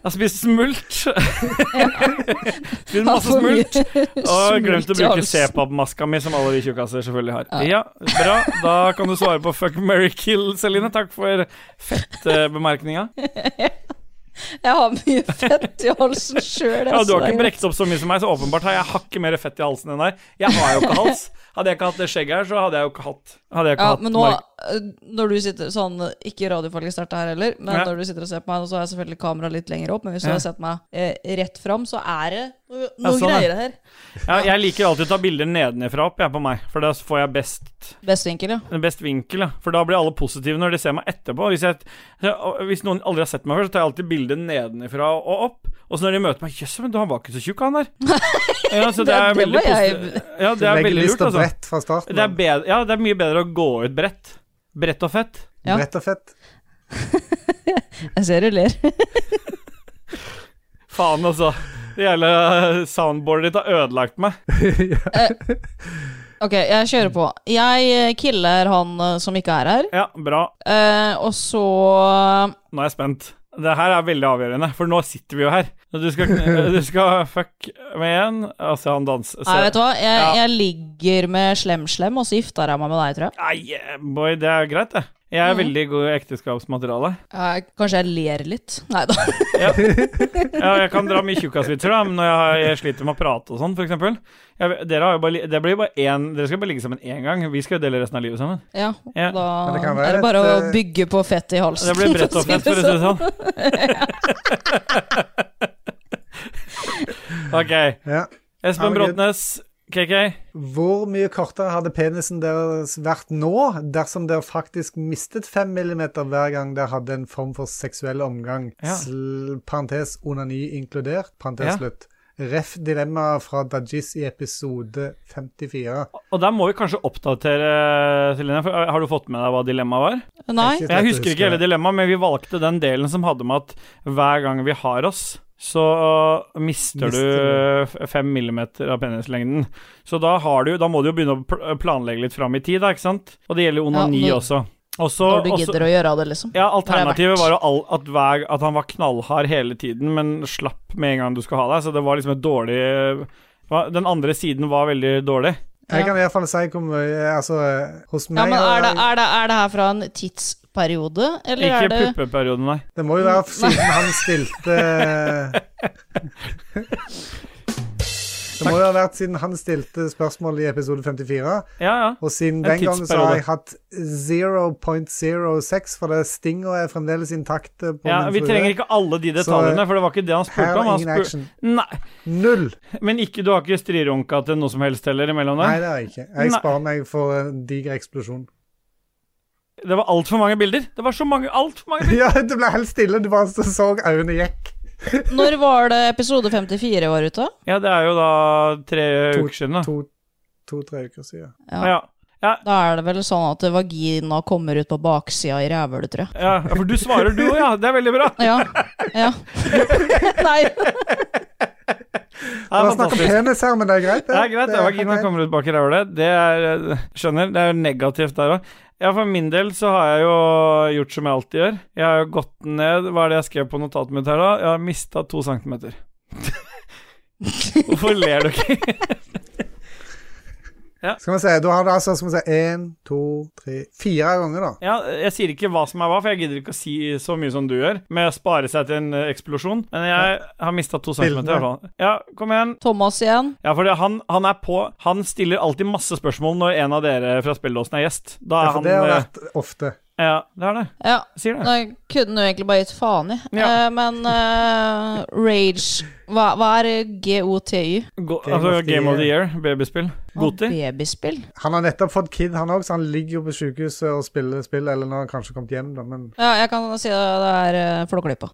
Speaker 1: Jeg har spist smult. spist masse
Speaker 2: For mye
Speaker 1: smult. Og
Speaker 2: smult
Speaker 1: glemt å
Speaker 2: i
Speaker 1: bruke
Speaker 2: halsen.
Speaker 1: C-pap-maska mi, som alle vi tjukkaser selvfølgelig har. Ja, bra. Da kan du svare på fuck, marry, kill, Celine. Takk for fettbemerkninga.
Speaker 2: Jeg har mye fett i halsen sjøl.
Speaker 1: Ja, du har ikke brekt opp så mye som meg, så åpenbart har jeg hakket mer fett i halsen enn deg. Jeg har jo ikke hals. Hadde jeg ikke hatt det skjegget her, så hadde jeg jo ikke hatt Hadde jeg ikke
Speaker 2: Ja,
Speaker 1: hatt
Speaker 2: men nå,
Speaker 1: mark-
Speaker 2: eh, når du sitter sånn Ikke radiofaglig sterkt her heller, men
Speaker 1: Ja.
Speaker 2: når du sitter og ser på meg, og så har jeg selvfølgelig kameraet litt lenger opp, men hvis du
Speaker 1: Ja.
Speaker 2: har sett meg eh, rett fram, så er det noe,
Speaker 1: Ja,
Speaker 2: noe
Speaker 1: sånn, ja.
Speaker 2: greier her.
Speaker 1: ja, Jeg liker alltid å ta bilder nedenifra opp, jeg, på meg, for da får jeg best
Speaker 2: Bestvinkel, ja.
Speaker 1: Best vinkel, ja. For da blir alle positive når de ser meg etterpå. Hvis, jeg, hvis noen aldri har sett meg før, så tar jeg alltid bildet nedenifra og opp. Og så når de møter meg Jøss, men du, han var ikke så tjukk, han der. Ja, så det er
Speaker 2: Det- det
Speaker 1: veldig
Speaker 2: var jeg-
Speaker 1: positivt. Ja, det er
Speaker 3: Legger
Speaker 1: veldig
Speaker 3: lyst
Speaker 1: lurt,
Speaker 3: og
Speaker 1: altså.
Speaker 3: bredt fra starten.
Speaker 1: Det er, bedre, ja, det er mye bedre å gå ut bredt. Bredt og fett.
Speaker 2: Ja.
Speaker 3: Bredt og fett.
Speaker 2: Jeg ser du ler.
Speaker 1: Faen, altså. Det hele soundboardet ditt har ødelagt meg.
Speaker 2: Ok, jeg kjører på. Jeg eh, killer han eh, som ikke er her,
Speaker 1: Ja, bra.
Speaker 2: eh, og eh, så
Speaker 1: Nå er jeg spent. Det her er veldig avgjørende, for nå sitter vi jo her. Du skal, kn- du skal fuck med en Altså, han danser
Speaker 2: Nei, vet du hva? Jeg,
Speaker 1: Ja.
Speaker 2: jeg ligger med Slem-Slem, og så gifter jeg meg med deg, tror jeg.
Speaker 1: Nei, eh, boy, det er greit, det. Jeg
Speaker 2: Mm.
Speaker 1: er veldig god i ekteskapsmateriale.
Speaker 2: jeg Eh, kanskje jeg ler litt. Nei da.
Speaker 1: Ja, jeg kan dra mye tjukkasvitser, da, men når jeg, har, jeg sliter med å prate og sånn, for eksempel. Jeg, dere, har jo bare, li- det blir jo bare én, dere skal bare ligge sammen én gang. Vi skal jo dele resten av livet sammen.
Speaker 2: Ja,
Speaker 1: Ja.
Speaker 2: da
Speaker 3: Men det kan være
Speaker 2: er det bare å
Speaker 3: et, eh,
Speaker 2: bygge på fettet i halsen.
Speaker 1: Det blir bredt
Speaker 2: for å
Speaker 1: og
Speaker 2: si
Speaker 1: fett, for å si det sånn. ok.
Speaker 3: Ja.
Speaker 1: Espen
Speaker 3: Herregud.
Speaker 1: Bråtnes, KK.
Speaker 3: Hvor mye kortere hadde penisen deres vært nå dersom dere faktisk mistet 5 millimeter hver gang dere hadde en form for seksuell omgang?
Speaker 1: Ja.
Speaker 3: Sl parentes onani inkludert. Parentes
Speaker 1: Ja.
Speaker 3: slutt. Ref dilemmaet fra Dajis i episode 54.
Speaker 1: Og der må vi kanskje oppdatere, Celine. For eh, har du fått med deg hva dilemmaet var?
Speaker 2: sånn. Nei.
Speaker 3: Ikke
Speaker 1: Jeg
Speaker 3: lett å
Speaker 1: husker
Speaker 3: huske.
Speaker 1: ikke hele dilemmaet, men vi valgte den delen som hadde med at hver gang vi har oss, så eh, mister,
Speaker 3: Mister
Speaker 1: du fem millimeter av penislengden. Så da, har du, da må du jo begynne å pl- eh, planlegge litt fram i tid, da, ikke sant? Og det gjelder jo onani
Speaker 2: Ja, når-
Speaker 1: også. Også,
Speaker 2: Når du
Speaker 1: også
Speaker 2: gidder å gjøre det, liksom.
Speaker 1: ja,
Speaker 2: det er
Speaker 1: alternativet
Speaker 2: verdt.
Speaker 1: var jo all, at, hver, at han var knallhard hele tiden, men slapp med en gang du skulle ha deg, så det var liksom et dårlig hva- Den andre siden var veldig dårlig.
Speaker 3: Jeg
Speaker 2: Ja.
Speaker 3: kan i hvert fall si hvor mye Altså, eh, hos
Speaker 2: Ja,
Speaker 3: meg
Speaker 2: men
Speaker 3: har
Speaker 2: er det,
Speaker 3: jeg-
Speaker 2: er, det, er det her fra en tidsperiode, eller
Speaker 1: Ikke
Speaker 2: er det
Speaker 1: puppeperioden, nei.
Speaker 3: Det må jo være siden han stilte Det må jo ha vært siden han stilte spørsmål i episode 54.
Speaker 1: Ja, ja.
Speaker 3: Og siden
Speaker 1: En
Speaker 3: den gangen så
Speaker 1: tidsperiode.
Speaker 3: har jeg hatt 0.06, for det stinga er fremdeles intakt. eh, På
Speaker 1: ja
Speaker 3: min
Speaker 1: vi
Speaker 3: frue.
Speaker 1: trenger ikke alle de
Speaker 3: Så,
Speaker 1: detaljene, for det var ikke det han
Speaker 3: Her
Speaker 1: spurte om.
Speaker 3: er
Speaker 1: Han
Speaker 3: ingen
Speaker 1: spur-
Speaker 3: action.
Speaker 1: Nei,
Speaker 3: Null!
Speaker 1: Men ikke, du har ikke strirunka til noe som helst heller imellom
Speaker 3: Nei,
Speaker 1: der?
Speaker 3: det er jeg ikke. Jeg
Speaker 1: Nei.
Speaker 3: sparer meg for en diger eksplosjon.
Speaker 1: Det var altfor mange bilder! Det var så mange, altfor mange bilder!
Speaker 3: Ja, det ble helt stille. Du bare så øynene gikk.
Speaker 2: Når var det episode 54 var ute?
Speaker 1: Ja, det er jo da tre
Speaker 3: To-
Speaker 1: uker siden, da.
Speaker 3: To- To-tre uker siden.
Speaker 1: Ja. Ja,
Speaker 2: Da er det vel sånn at vagina kommer ut på baksida i rævhølet, tror jeg.
Speaker 1: ja, for du svarer du òg, ja. Det er veldig bra.
Speaker 2: Ja. ja. Nei.
Speaker 1: Det
Speaker 3: Det
Speaker 1: er
Speaker 3: var snakk om
Speaker 1: fantastisk.
Speaker 3: penis her, men det er greit.
Speaker 1: Det er greit, det.
Speaker 3: er
Speaker 1: Vagina
Speaker 3: helt greit.
Speaker 1: kommer ut bak i ræva. Det er eh, Skjønner. Det er negativt der òg. Ja, for min del så har jeg jo gjort som jeg alltid gjør. Jeg har jo gått ned Hva er det jeg skrev på notatet mitt her, da? Jeg har mista to centimeter. Hvorfor ler du ikke?
Speaker 3: Skal vi se, da har du altså skal vi se, en, to, tre, fire ganger, da.
Speaker 1: Ja, jeg sier ikke hva som er hva, for jeg gidder ikke å si så mye som du gjør, med å spare seg til en eh, eksplosjon. Men jeg har mista to
Speaker 3: Bildene.
Speaker 1: centimeter, i hvert fall. Ja, kom igjen.
Speaker 2: Thomas igjen.
Speaker 1: Ja, for det, han, han er på Han stiller alltid masse spørsmål når en av dere fra spilledåsen er gjest. Da
Speaker 3: Ja,
Speaker 1: er
Speaker 3: for
Speaker 1: han
Speaker 3: det har
Speaker 1: eh,
Speaker 3: vært ofte.
Speaker 1: Ja, det er det.
Speaker 2: Ja.
Speaker 1: Sier det.
Speaker 2: Nå kunne du egentlig bare gitt faen i.
Speaker 1: Ja.
Speaker 2: Eh, men eh, rage hva, hva er GOTY?
Speaker 1: Go,
Speaker 3: Game
Speaker 1: altså,
Speaker 3: of the
Speaker 1: Game of the Year, babyspill. Goti.
Speaker 2: Babyspill?
Speaker 3: Han har nettopp fått kid, han òg, så han ligger jo på sykehuset og spiller spill. Eller nå har han kanskje kommet hjem, da, men
Speaker 2: Ja, jeg kan si det, det er uh, Flåklypa.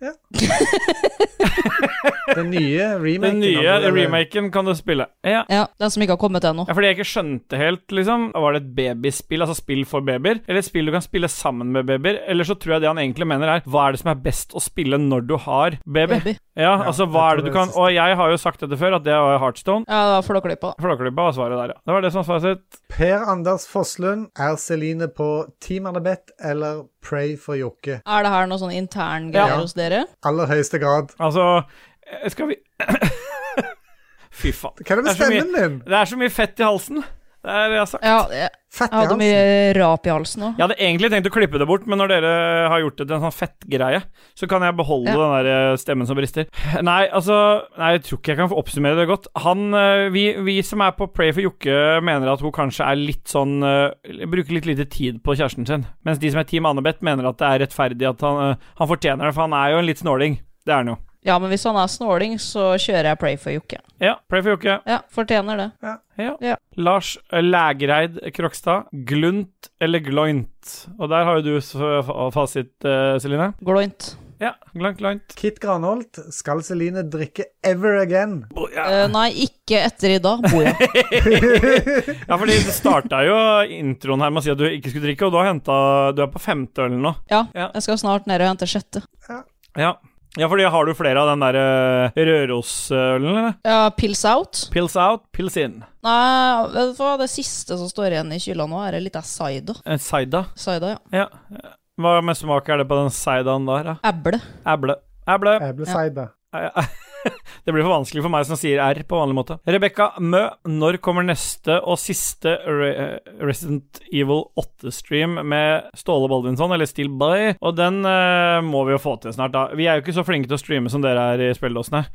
Speaker 3: den nye
Speaker 1: Den
Speaker 3: remaken.
Speaker 1: nye
Speaker 3: av det, eller-
Speaker 1: remaken kan du spille. Ja.
Speaker 2: Ja, den som ikke har kommet ennå.
Speaker 1: ja, fordi jeg ikke skjønte helt, liksom. Var det et babyspill, altså spill for babyer? Eller et spill du kan spille sammen med babyer? Eller så tror jeg det han egentlig mener er, hva er det som er best å spille når du har baby?
Speaker 2: Baby.
Speaker 1: Ja, altså
Speaker 3: jeg
Speaker 1: hva er
Speaker 3: tror
Speaker 1: det du
Speaker 3: det er
Speaker 1: kan
Speaker 3: det siste.
Speaker 1: Og jeg har jo sagt dette før, at det var Heartstone.
Speaker 2: Ja, det var Flåklypa.
Speaker 1: Flåklypa var svaret der, ja. Det var det som var svaret sitt.
Speaker 3: Per Anders Fosslund, er Celine på Team Anabeth eller Pray for Jokke?
Speaker 2: Er det her noe sånn intern greier
Speaker 3: Ja.
Speaker 2: hos dere?
Speaker 3: Aller høyeste grad.
Speaker 1: Altså, eh, skal vi Fy faen.
Speaker 3: Hva er det med
Speaker 1: så mye-
Speaker 3: stemmen din?
Speaker 1: Det er så mye fett i halsen. Det er altså, det jeg har sagt.
Speaker 2: Ja, jeg, jeg hadde
Speaker 3: Fattighals.
Speaker 2: mye rap i halsen òg.
Speaker 1: Jeg hadde egentlig tenkt å klippe det bort, men når dere har gjort det til en sånn fettgreie, så kan jeg beholde
Speaker 2: Ja.
Speaker 1: den der eh, stemmen som brister. Nei, altså Nei, jeg tror ikke jeg kan få oppsummere det godt. Han eh, Vi, vi som er på Pray for Jokke, mener at hun kanskje er litt sånn eh, Bruker litt lite tid på kjæresten sin. Mens de som er Team Annebeth, mener at det er rettferdig at han, eh, han fortjener det, for han er jo en litt snåling. Det er han jo.
Speaker 2: Ja, men hvis han er snåling, så kjører jeg Pray for Jokke.
Speaker 1: Ja, Pray for Jokke.
Speaker 2: Ja, fortjener det.
Speaker 1: Ja.
Speaker 2: Ja.
Speaker 1: Lars Lægreid Krokstad. Glunt eller gloint? Og der har jo du s- fa- fasit, eh, Celine.
Speaker 2: Gloint.
Speaker 1: Ja, gloint, gloint.
Speaker 3: Kit Granholt, skal Celine drikke Ever Again?
Speaker 2: Eh, nei, ikke etter i dag, Boja.
Speaker 1: Ja, fordi du starta jo introen her med å si at du ikke skulle drikke, og du har henta Du er på femte ølen nå.
Speaker 2: Ja,
Speaker 1: Ja.
Speaker 2: jeg skal snart ned og hente sjette.
Speaker 1: Ja. ja, fordi har du flere av den der eh, Rørosølen, eller?
Speaker 2: Ja, Pils out.
Speaker 1: Pills out, pills in.
Speaker 2: Nei, vet du hva, det siste som står igjen i kylla nå, er litt av Saida.
Speaker 1: Eh, Saida.
Speaker 2: Saida, ja.
Speaker 1: Ja. Hva med smak er det på den saidaen der, da?
Speaker 2: Eble.
Speaker 1: Æble. Æble.
Speaker 3: Æbleside.
Speaker 1: Æ- æ- Det blir for vanskelig for meg som sier R på vanlig måte. Rebekka Mø, når kommer neste og siste Re eh, Resident Evil 8-stream med Ståle Baldvinsson, eller Still By? Og den eh, må vi jo få til snart, da. Vi er jo ikke så flinke til å streame som dere er i spilledåsene.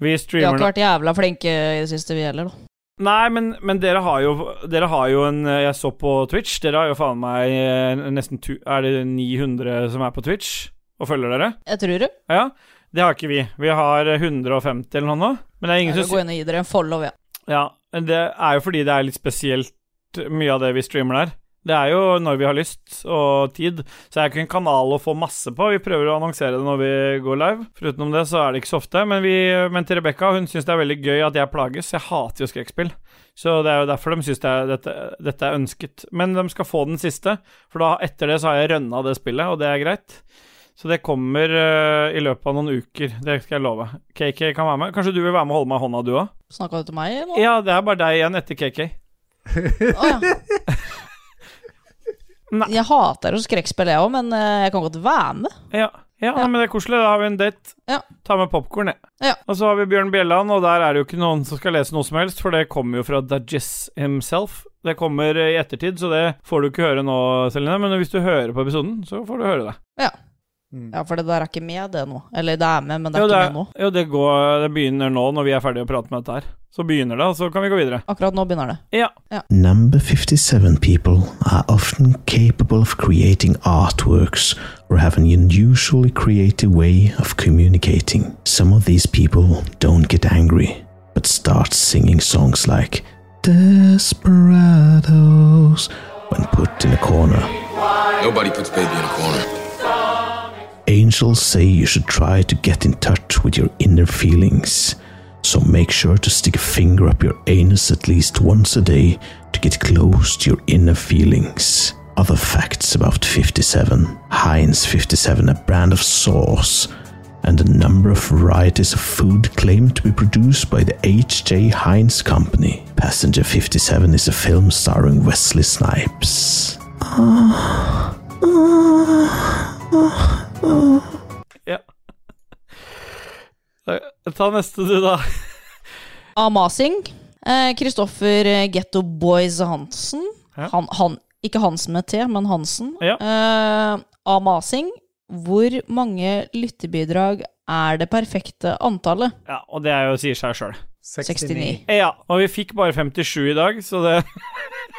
Speaker 1: Vi
Speaker 2: Vi har
Speaker 1: streamer
Speaker 2: ikke vært jævla flinke i det siste, vi heller, da.
Speaker 1: Nei, men, men dere, har jo, dere har jo en eh, Jeg så på Twitch. Dere har jo faen meg eh, nesten tu, Er det 900 som er på Twitch og følger dere?
Speaker 2: Jeg tror det.
Speaker 1: Ja. Det har ikke vi. Vi har 150 eller noe nå. Men det er ingen
Speaker 2: Jeg
Speaker 1: som
Speaker 2: skal gå inn og gi dere en follow, jeg.
Speaker 1: Ja, men det er jo fordi det er litt spesielt eh, mye av det vi streamer der. Det er jo når vi har lyst og tid, så det er ikke en kanal å få masse på. Vi prøver å annonsere det når vi går live. Foruten om det, så er det ikke så ofte. Men, vi, men til Rebekka, hun syns det er veldig gøy at jeg plages. Jeg hater jo skrekkspill. Så det er jo derfor de syns det er, dette, dette er ønsket. Men de skal få den siste, for da, etter det så har jeg rønna det spillet, og det er greit. Så det kommer eh, i løpet av noen uker, det skal jeg love. KK kan være med. Kanskje du vil være med og holde meg i hånda, du òg?
Speaker 2: Snakka du til meg nå?
Speaker 1: Ja, det er bare deg igjen etter KK.
Speaker 2: Å, ja.
Speaker 1: Nei.
Speaker 2: Jeg hater jo skrekkspill, jeg òg, men eh, jeg kan godt være med.
Speaker 1: Ja, ja, nei, men det er koselig. Da har vi en date.
Speaker 2: Ja.
Speaker 1: Ta med popkorn, jeg.
Speaker 2: Ja.
Speaker 1: Og så har vi Bjørn Bjelland, og der er det jo ikke noen som skal lese noe som helst, for det kommer jo fra Dajess himself. Det kommer eh, i ettertid, så det får du ikke høre nå, Celine. Men hvis du hører på episoden, så får du høre det.
Speaker 2: Ja, for det der er ikke med, det nå. Eller det er med, men det er
Speaker 1: jo, det,
Speaker 2: ikke
Speaker 1: er-
Speaker 2: med nå.
Speaker 1: jo, det, går, det begynner nå, når vi er ferdige å prate med dette her. Så begynner det, og så kan vi gå videre.
Speaker 2: Akkurat nå begynner det.
Speaker 1: Ja.
Speaker 8: Number 57 people are often capable of creating artworks or have an unusually creative way of communicating. Some of these people don't get angry, but start singing songs like Desperados when put in a corner.
Speaker 9: Nobody puts baby in a corner.
Speaker 8: Angels say you should try to get in touch with your inner feelings. So make sure to stick a finger up your anus at least once a day to get close to your inner feelings. Other facts about 57 Heinz 57, a brand of sauce, and a number of varieties of food claimed to be produced by the H.J. Heinz Company. Passenger 57 is a film starring Wesley Snipes.
Speaker 1: Eh, Ta neste, du, da.
Speaker 2: Amasing. Kristoffer eh, Getto Boys Hansen.
Speaker 1: Ja.
Speaker 2: Han, han, ikke Hans med T, men Hansen.
Speaker 1: Ja.
Speaker 2: Eh, Amasing. Hvor mange lyttebidrag er det perfekte antallet?
Speaker 1: Ja, og det er jo sier seg sjøl.
Speaker 2: 69.
Speaker 1: Ja, og vi fikk bare 57 i dag, så det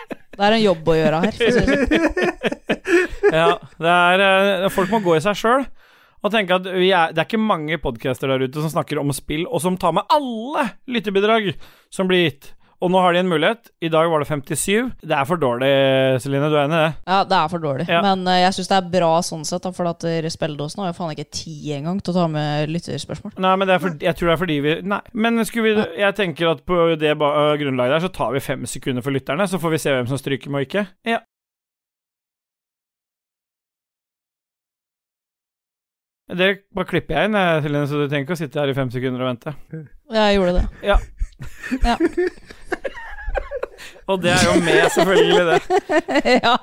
Speaker 2: Det er en jobb å gjøre her. For å si det sånn.
Speaker 1: Ja, det er, eh, folk må gå i seg sjøl og tenke at vi er, det er ikke mange podcaster der ute som snakker om spill, og som tar med alle lyttebidrag som blir gitt. Og nå har de en mulighet. I dag var det 57. Det er for dårlig, Celine. Du er enig i det?
Speaker 2: Ja, det er for dårlig.
Speaker 1: Ja.
Speaker 2: Men eh, jeg syns det er bra sånn sett, da, for at eh, spilledåsen har jo faen ikke tid engang til å ta med lytterspørsmål.
Speaker 1: Nei, men det er for, jeg tror det er fordi vi Nei. Men skulle vi, jeg tenker at på det ba, øh, grunnlaget der, så tar vi fem sekunder for lytterne, så får vi se hvem som stryker med og ikke. Ja. Det bare klipper jeg inn, eh, Celine, så du trenger ikke å sitte her i fem sekunder og vente.
Speaker 2: Jeg gjorde det.
Speaker 1: Ja.
Speaker 2: Ja.
Speaker 1: og det er jo med, selvfølgelig, det.
Speaker 2: ja.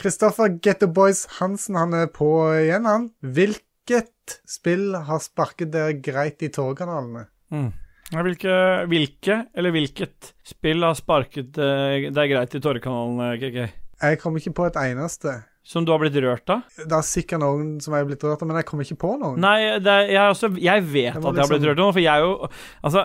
Speaker 3: Kristoffer Getto Boys Hansen, han er på igjen, han. Hvilket spill har sparket dere greit i tårekanalene?
Speaker 1: Ja, Hvilke, hvilke eller hvilket spill har sparket eh, deg greit i tårekanalen, KK?
Speaker 3: Jeg kom ikke på et eneste.
Speaker 1: Som du har blitt rørt av?
Speaker 3: Det er sikkert noen som jeg er blitt rørt av, men jeg kom ikke på noen.
Speaker 1: Nei, det er, jeg, er også, jeg vet
Speaker 3: Det
Speaker 1: at
Speaker 3: var
Speaker 1: jeg har blitt
Speaker 3: liksom-
Speaker 1: rørt nå, for jeg er jo Altså,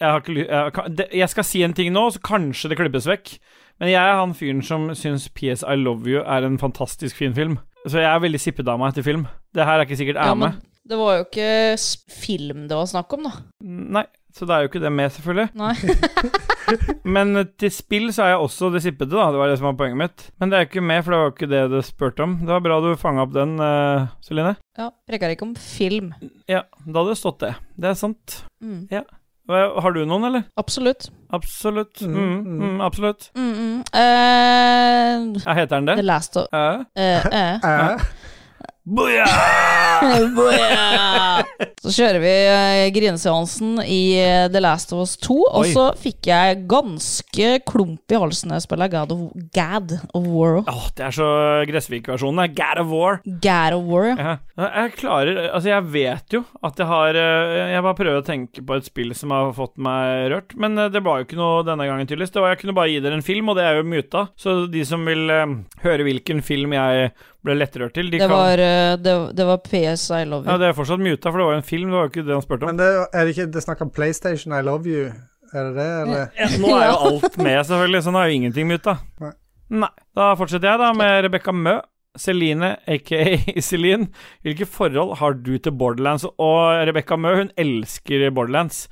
Speaker 1: jeg har ikke ly- jeg, kan- det- jeg skal si en ting nå, så kanskje det klippes vekk. Men jeg er han fyren som syns PS I Love You er en fantastisk fin film. Så jeg er veldig sippedama etter film. Det her er ikke sikkert er
Speaker 2: ja,
Speaker 1: med.
Speaker 2: men det var jo ikke s- film det var snakk om, da.
Speaker 1: Nei, så det er jo ikke det med, selvfølgelig.
Speaker 2: Nei.
Speaker 1: Men eh, til spill så er jeg også det sippete, da. Det var det som var poenget mitt. Men det er jo ikke med, for det var jo ikke det det spurte om. Det var bra du fanga opp den, eh, Celine.
Speaker 2: Ja, Preker ikke om film.
Speaker 1: Ja, da hadde det stått det. Det er sant.
Speaker 2: Mm.
Speaker 1: Hva- Har du noen, eller?
Speaker 2: Absolutt.
Speaker 1: Absolutt.
Speaker 3: Mm,
Speaker 1: Mm,
Speaker 3: mm.
Speaker 1: mm, absolutt.
Speaker 2: Mm -mm. Eh,
Speaker 1: Ja, heter den
Speaker 2: the
Speaker 1: det?
Speaker 2: Last of
Speaker 1: Eh?
Speaker 2: eh, eh.
Speaker 3: Eh,
Speaker 1: Booyah!
Speaker 2: Så kjører vi eh, grineseansen i eh, The Last of Us 2, og
Speaker 1: Oi.
Speaker 2: så fikk jeg ganske klump i halsen da jeg spiller God of, Gad of War.
Speaker 1: Åh, det er så Gressvik-versjonen. det er God of War.
Speaker 2: Gad of War, ja.
Speaker 1: Ja. Jeg klarer Altså, jeg vet jo at jeg har eh, Jeg bare prøver å tenke på et spill som har fått meg rørt, men eh, det var jo ikke noe denne gangen, tydeligvis. Det var, jeg kunne bare gi dere en film, og det er jo muta. Så de som vil eh, høre hvilken film jeg ble lettrørt til, de
Speaker 2: Det
Speaker 1: kan
Speaker 2: var, eh, det, det var PS I Love
Speaker 1: Ja,
Speaker 2: You.
Speaker 1: det er fortsatt muta, for det var jo en film, det var jo ikke det han spurte om.
Speaker 3: Men det, er det ikke det er snakk om PlayStation, I love you? Er det det, eller?
Speaker 1: Ja, Nå er jo alt med, selvfølgelig, så nå er jo ingenting muta.
Speaker 3: Nei.
Speaker 1: Nei. Da fortsetter jeg, da, med Rebekka Mø. Celine, aka Celine, hvilke forhold har du til Borderlands? Og Rebekka Mø, hun elsker Borderlands.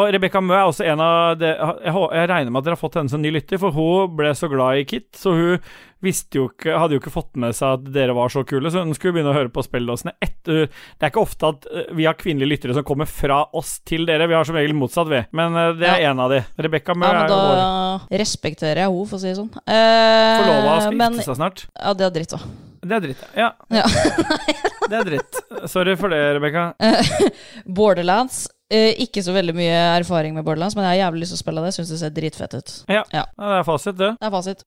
Speaker 1: Og Rebekka Mø er også en av de, jeg, hå- jeg regner med at dere har fått henne som ny lytter, for hun ble så glad i Kit, så hun visste jo ikke, hadde jo ikke fått med seg at dere var så kule, så hun skulle begynne å høre på spilledåsene etter Det er ikke ofte at eh, vi har kvinnelige lyttere som kommer fra oss til dere, vi har som regel motsatt, vi. Men eh, det er en av de. Rebekka Mø
Speaker 2: Ja, men
Speaker 1: er jo vår.
Speaker 2: da respekterer jeg henne, for å si det sånn. Eh,
Speaker 1: Forlova og skal
Speaker 2: men-
Speaker 1: gifte seg snart.
Speaker 2: Ja, det er dritt, da.
Speaker 1: Det er dritt. Ja,
Speaker 2: Ja.
Speaker 1: det er dritt. Sorry for det, Rebekka.
Speaker 2: Borderlands. Eh, ikke så veldig mye erfaring med Borderlands, men jeg har jævlig lyst til å spille det. Syns det ser dritfett ut.
Speaker 1: Ja, det er fasit, det.
Speaker 2: Det er fasit.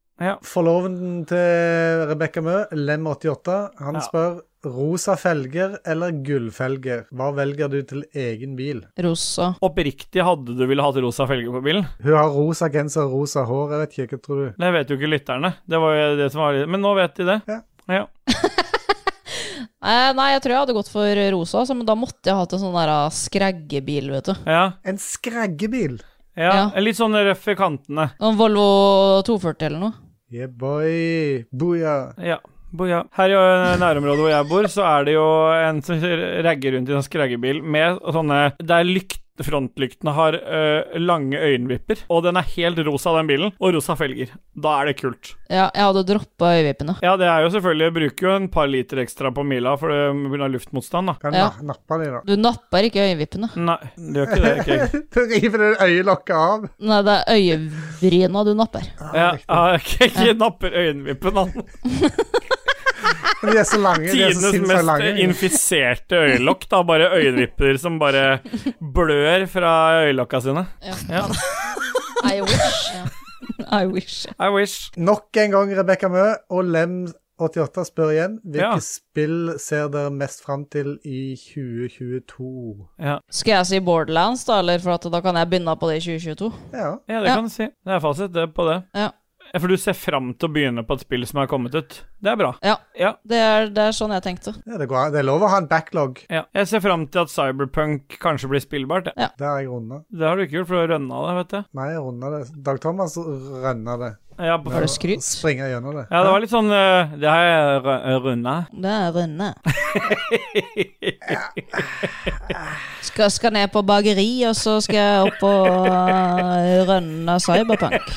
Speaker 3: Forloveden til Rebekka Mø, Lem88, han
Speaker 1: Ja.
Speaker 3: spør rosa felger eller gullfelger. Hva velger du til egen bil?
Speaker 2: Rosa.
Speaker 1: Oppriktig hadde du ville hatt rosa felger på bilen.
Speaker 3: Hun har rosa genser og rosa hår, jeg vet ikke, hva tror du?
Speaker 1: Det vet jo ikke lytterne. Det var jo det som var Men nå vet de det.
Speaker 3: Ja.
Speaker 1: Ja.
Speaker 2: Eh, nei, jeg tror jeg hadde gått for rosa, altså, men da måtte jeg hatt en sånn der ah, skreggebil, vet du.
Speaker 1: ja.
Speaker 3: En skreggebil!
Speaker 1: ja.
Speaker 2: Ja.
Speaker 1: Litt sånn røff i kantene.
Speaker 2: En Sånn Volvo 240 eller noe.
Speaker 3: Yeah, boy! Booyah!
Speaker 1: Ja. Bo- ja. Her i ø, nærområdet hvor jeg bor, så er det jo en som ragger rundt i en sånn skreggebil med sånne Der lykt, frontlyktene har ø, lange øyenvipper, og den er helt rosa, den bilen, og rosa felger. Da er det kult.
Speaker 2: Ja, jeg hadde droppa øyevippene.
Speaker 1: Ja, det er jo selvfølgelig Jeg bruker jo en par liter ekstra på mila for det pga. luftmotstand, da.
Speaker 3: Kan
Speaker 2: Ja.
Speaker 3: na- nappe de, da.
Speaker 2: Du napper ikke øyevippene.
Speaker 1: Nei, det gjør ikke det. Ikke. jeg.
Speaker 3: Du river det øyelokket av.
Speaker 2: Nei, det er øyevriene du napper.
Speaker 1: Ja, ja, ikke, ikke napper øyenvippen, han.
Speaker 3: Men De er så lange. De er så
Speaker 1: Tidenes
Speaker 3: sinnssykt
Speaker 1: mest
Speaker 3: lange.
Speaker 1: infiserte øyelokk, da. Bare øyenvipper som bare blør fra øyelokka sine. Ja.
Speaker 2: I wish. I wish.
Speaker 1: I wish.
Speaker 3: Nok en gang Rebekka Mø og Lem88 spør igjen hvilke
Speaker 1: Ja.
Speaker 3: spill ser dere mest fram til i 2022?
Speaker 2: Skal jeg si Borderlands, da, eller for at da kan jeg begynne på det i 2022?
Speaker 3: Ja.
Speaker 1: Ja, det
Speaker 2: Ja.
Speaker 1: kan du si. Det er fasit det på det.
Speaker 2: Ja.
Speaker 1: Ja, For du ser fram til å begynne på et spill som er kommet ut. Det er bra.
Speaker 2: Ja.
Speaker 1: Ja.
Speaker 2: Det er, det er sånn jeg tenkte.
Speaker 3: ja, det går an. Det er lov å ha en backlog.
Speaker 1: Ja. Jeg ser fram til at Cyberpunk kanskje blir spillbart. jeg.
Speaker 3: Der er jeg runda.
Speaker 1: Det har du ikke gjort, for du har rønna det, vet du.
Speaker 3: Nei, jeg runda det. Dag Thomas rønna det.
Speaker 1: Ja, på-
Speaker 2: Var det skryt?
Speaker 3: Springer gjennom det.
Speaker 1: Ja, det var litt sånn eh, Det har jeg rø- runda.
Speaker 2: Det er Rønne. skal, skal ned på bakeri, og så skal jeg opp og eh, rønne cyberpunk.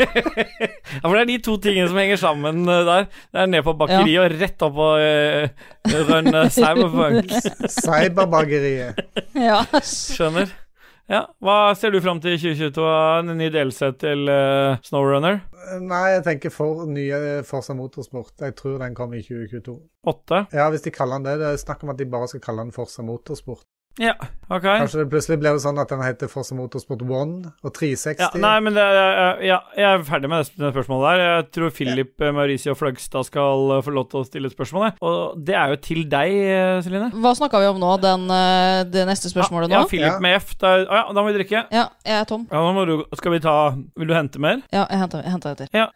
Speaker 1: Ja, for det er de to tingene som henger sammen eh, der. Det er ned på bakeriet og rett opp og uh, rønne cyberpunk.
Speaker 3: Cyberbakeriet.
Speaker 2: Ja.
Speaker 1: Skjønner. Ja, Hva ser du fram til i 2022? En ny delsett til eh, Snowrunner?
Speaker 3: Nei, jeg tenker for nye Forsa Motorsport. Jeg tror den kommer i 2022.
Speaker 1: Åtte?
Speaker 3: Ja, hvis de kaller den det. Det er snakk om at de bare skal kalle den Forsa Motorsport.
Speaker 1: Ja, OK.
Speaker 3: Kanskje det plutselig blir det sånn at den heter Forsa Motorsport 1 og 360.
Speaker 1: Ja, nei, men det, eh, ja, jeg er ferdig med det sp- det spørsmålet der. Jeg tror Philip eh, Mauricio Fløgstad skal eh, få lov til å stille et spørsmål. jeg. Og det er jo til deg, eh, Celine.
Speaker 2: Hva snakka vi om nå? Den, eh, det neste spørsmålet
Speaker 1: Ah, Ja,
Speaker 2: nå?
Speaker 1: Philip
Speaker 3: Ja.
Speaker 1: med F. Da, å ja, da må vi drikke.
Speaker 2: Ja, jeg er tom.
Speaker 1: Ja, nå må du, skal vi ta Vil du hente mer?
Speaker 2: Ja, jeg henter, jeg henter etter.
Speaker 1: Ja.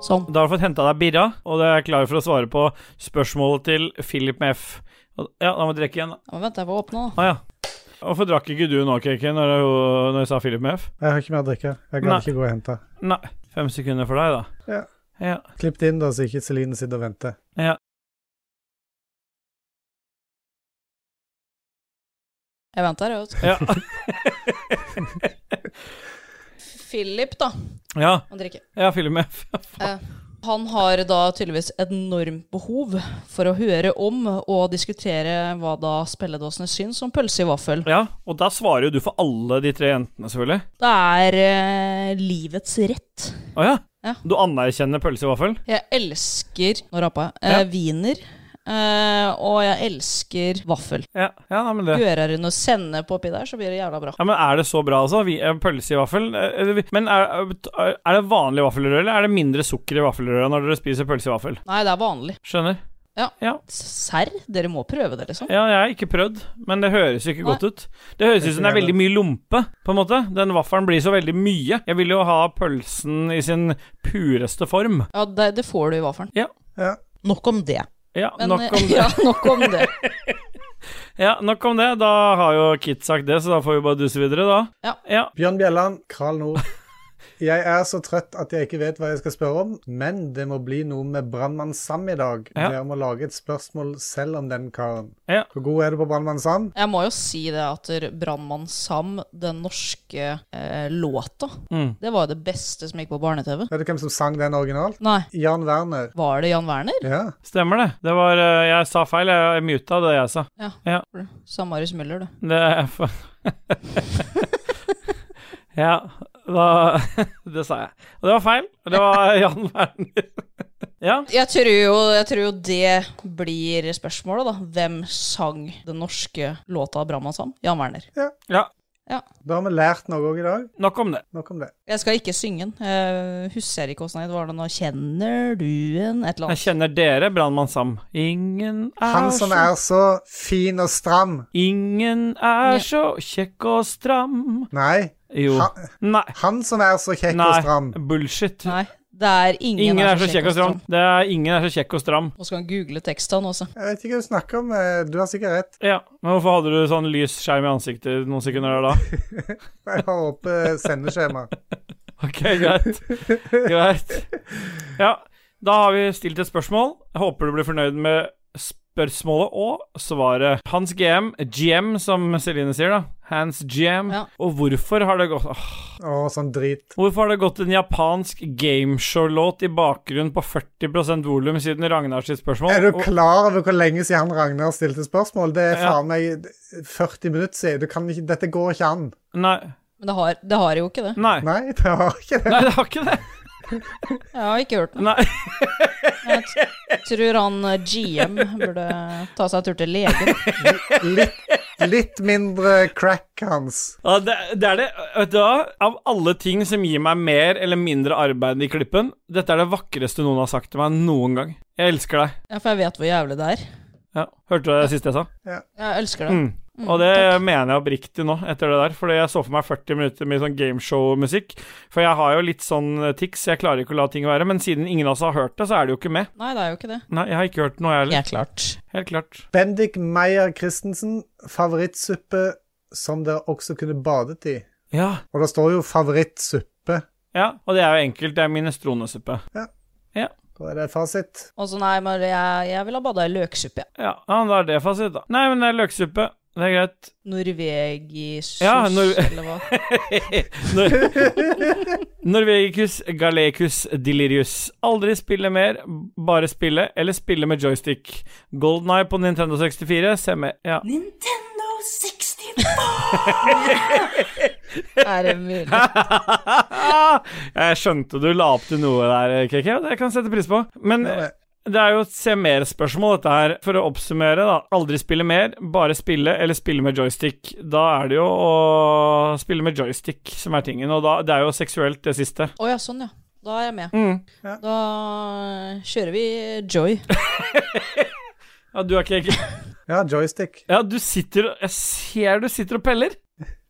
Speaker 2: Sånn.
Speaker 1: Da har du fått henta deg birra, og du er klar for å svare på spørsmålet til Philip med F. Og- Ja, da må vi drikke igjen, da.
Speaker 2: Ja, men vent, jeg får åpne, da.
Speaker 1: Å ja. Hvorfor drakk ikke du nå, KK, når, jeg- når jeg sa Philip med F?
Speaker 3: Jeg har ikke mer å drikke. Jeg kan
Speaker 1: Nei.
Speaker 3: ikke gå og hente.
Speaker 1: Nei. Fem sekunder for deg, da.
Speaker 3: Ja.
Speaker 1: Ja.
Speaker 3: Klipp det inn, da, så ikke Celine sitter og venter.
Speaker 2: Jeg venter, jeg. vet du.
Speaker 1: ja.
Speaker 2: Philip, da.
Speaker 1: Ja,
Speaker 2: Han drikker.
Speaker 1: ja film F.
Speaker 2: Eh, Han har da tydeligvis enormt behov for å høre om og diskutere hva da spilledåsene syns om pølse i vaffel.
Speaker 1: Ja, og da svarer jo du for alle de tre jentene, selvfølgelig.
Speaker 2: Det er eh, livets rett.
Speaker 1: Å ja.
Speaker 2: Ja.
Speaker 1: Du anerkjenner pølse i vaffel?
Speaker 2: Jeg elsker Nå rapa jeg. Eh,
Speaker 1: Ja.
Speaker 2: Wiener. Eh, og jeg elsker vaffel.
Speaker 1: Ja, ja nei, men det
Speaker 2: Hører hun å sende på oppi der, så blir det jævla bra.
Speaker 1: ja, men Er det så bra, altså? Vi, eh, pølse i vaffel? Eh, eh, Men er, er det vanlig vaffelrøre, eller er det mindre sukker i vaffelrøra når dere spiser pølse i vaffel?
Speaker 2: Nei, det er vanlig.
Speaker 1: Skjønner.
Speaker 2: Serr? Dere må prøve det, liksom.
Speaker 1: Ja, jeg har ikke prøvd, men det høres jo ikke
Speaker 2: Nei.
Speaker 1: godt ut. Det høres ut som det er veldig mye lompe, på en måte. Den vaffelen blir så veldig mye. Jeg vil jo ha pølsen i sin pureste form.
Speaker 2: Ja, det, det får du i vaffelen.
Speaker 10: Nok om det.
Speaker 1: Ja,
Speaker 2: Men,
Speaker 1: nok om
Speaker 2: eh,
Speaker 1: det.
Speaker 2: Ja, nok om det.
Speaker 1: Ja, nok om det. Da har jo Kit sagt det, så da får vi bare duse videre, da.
Speaker 2: Ja.
Speaker 1: ja.
Speaker 3: Bjørn Bjelland, Karl Nord. Jeg er så trøtt at jeg ikke vet hva jeg skal spørre om, men det må bli noe med Brannmann Sam i dag.
Speaker 1: Ja.
Speaker 3: Dere må lage et spørsmål selv om den karen.
Speaker 1: Ja.
Speaker 3: Hvor god er du på Brannmann Sam?
Speaker 2: Jeg må jo si det at Brannmann Sam, den norske eh, låta,
Speaker 1: Mm.
Speaker 2: det var jo det beste som gikk på barne-TV.
Speaker 3: Vet du hvem som sang den originalt?
Speaker 2: Nei,
Speaker 3: Jan Werner.
Speaker 2: var det Jan Werner?
Speaker 3: Ja.
Speaker 1: Stemmer det. Det var eh, Jeg sa feil. Jeg jeg muta det jeg sa.
Speaker 2: Sa Marius Müller, du.
Speaker 1: Det er for... Ja, da Det sa jeg. Og det var feil. Det var Jan Werner. Ja.
Speaker 2: Jeg tror, jo, jeg tror jo det blir spørsmålet, da. Hvem sang den norske låta Brannmann Sam? Jan Werner.
Speaker 3: Da har vi lært noe òg i dag.
Speaker 1: Nok om det.
Speaker 3: Nok om det.
Speaker 2: Jeg skal ikke synge den. Jeg husker ikke åssen det var. det nå Kjenner du en Et eller
Speaker 1: Jeg
Speaker 2: annet.
Speaker 1: kjenner dere, Brannmann Sam. Ingen er
Speaker 3: Han som
Speaker 1: så
Speaker 3: er så fin og stram.
Speaker 1: Ingen
Speaker 2: Ja.
Speaker 1: er så kjekk og stram
Speaker 3: Nei,
Speaker 1: Jo.
Speaker 3: Ha-
Speaker 1: Nei.
Speaker 3: han som er så kjekk og
Speaker 1: Nei.
Speaker 3: stram.
Speaker 1: Bullshit.
Speaker 2: Nei, det er ingen,
Speaker 1: Ingen er så kjekk og stram. Det er ingen er så kjekk og stram.
Speaker 2: Nå skal han google teksten altså. også.
Speaker 3: Jeg vet ikke hva du snakker om. eh, Du har sikkert rett.
Speaker 1: Ja, Men hvorfor hadde du sånn lys skjerm i ansiktet noen sekunder der da?
Speaker 3: Jeg har åpent sendeskjema.
Speaker 1: Ok, greit. greit. Ja, da har vi stilt et spørsmål. Jeg håper du blir fornøyd med spørsmålet og svaret. Hans GM, GM som Celine sier, da. Hans GM.
Speaker 2: Ja.
Speaker 1: Og hvorfor har det gått Åh,
Speaker 3: Å, sånn drit.
Speaker 1: Hvorfor har det gått en japansk gameshow-låt i bakgrunnen på 40 volum siden Ragnars sitt spørsmål?
Speaker 3: Er du
Speaker 1: Og-
Speaker 3: klar over hvor lenge siden han Ragnar stilte spørsmål? Det er
Speaker 1: Ja.
Speaker 3: faen meg 40 minutter siden. Du kan ikke, dette går ikke an.
Speaker 1: Nei.
Speaker 2: Men det har, det har jo ikke det.
Speaker 1: Nei.
Speaker 3: Nei, det har ikke det.
Speaker 1: Nei, det har ikke det.
Speaker 2: Jeg har ikke hørt den.
Speaker 1: Nei.
Speaker 2: Jeg t- tror han eh, GM burde ta seg en tur til legen.
Speaker 3: Litt, litt mindre crack hans.
Speaker 1: Ja, det, det er det Vet du hva? Av alle ting som gir meg mer eller mindre arbeid i klippen, dette er det vakreste noen har sagt til meg noen gang. Jeg elsker deg.
Speaker 2: Ja, for jeg vet hvor jævlig det er.
Speaker 1: Ja. Hørte du det siste jeg sa?
Speaker 2: Jeg elsker det.
Speaker 1: Mm. Og det mener jeg oppriktig nå, etter det der. Fordi jeg så for meg 40 minutter med sånn gameshow-musikk. For jeg har jo litt sånn tics, jeg klarer ikke å la ting være. Men siden ingen av oss har hørt det, så er det jo ikke med.
Speaker 2: Nei, det er jo ikke det.
Speaker 1: Nei, jeg har ikke hørt noe, jeg heller.
Speaker 10: Ja, klart.
Speaker 1: Helt klart.
Speaker 3: Bendik Meyer Christensen, favorittsuppe som dere også kunne badet i.
Speaker 1: Ja.
Speaker 3: Og det står jo favorittsuppe.
Speaker 1: ja. Og det er jo enkelt, det er minestronesuppe.
Speaker 3: Da er det fasit.
Speaker 2: Og så nei, men jeg, jeg vil ha bada i løksuppe. jeg.
Speaker 1: Ja, ja, da er det fasit, da. Nei, men det er løksuppe. Det er greit.
Speaker 2: Norvegisus,
Speaker 1: Ja, nor-
Speaker 2: eller hva.
Speaker 1: Nor Norvegicus galecus delirius. Aldri spille mer, bare spille, eller spille med joystick. Golden Eye på Nintendo 64, se med Ja.
Speaker 6: Nintendo 64!
Speaker 2: Er det mulig?
Speaker 1: Jeg skjønte du la opp til noe der, KK, og det kan jeg sette pris på. Men det er jo et se mer-spørsmål, dette her. For å oppsummere, da. Aldri spille mer, bare spille, eller spille med joystick. Da er det jo å spille med joystick som er tingen, og da Det er jo seksuelt, det siste.
Speaker 2: Å ja, sånn ja. Da er jeg med.
Speaker 1: Mm.
Speaker 2: Da kjører vi Joy.
Speaker 1: Ja, du er ikke KK.
Speaker 3: Ja, joystick.
Speaker 1: Ja, du sitter og Jeg ser du sitter og peller.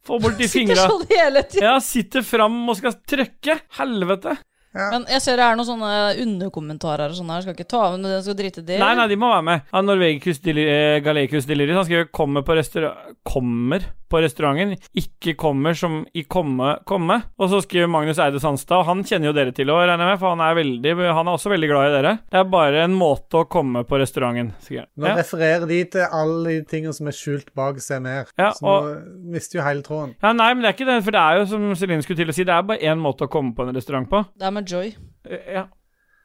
Speaker 1: Få bort de
Speaker 2: Sitter
Speaker 1: fingra.
Speaker 2: sånn hele tiden.
Speaker 1: Ja, sitter fram og skal trykke. Helvete.
Speaker 2: Men jeg ser det er noen sånne underkommentarer og sånn her. Skal ikke ta men jeg skal drite i det.
Speaker 1: Nei, nei, de må være med. Ja, Norvegicus Deli- eh, Galecus delirius. Han skriver 'kommer på restaurant'. Kommer på restauranten ikke kommer som i komme, komme. Og så skriver Magnus Eide Sandstad, og han kjenner jo dere til òg, regner jeg med, for han er, veldig, han er også veldig glad i dere. Det er bare en måte å komme på restauranten, sier han.
Speaker 3: Nå
Speaker 1: Ja.
Speaker 3: refererer de til alle de tingene som er skjult bak CMR.
Speaker 1: Ja,
Speaker 3: så nå mister jo hele tråden.
Speaker 1: Ja, nei, men det er ikke det, for det er jo som Celine skulle til å si, det er bare én måte å komme på en restaurant på.
Speaker 2: Det er med Joy.
Speaker 1: Eh, Ja,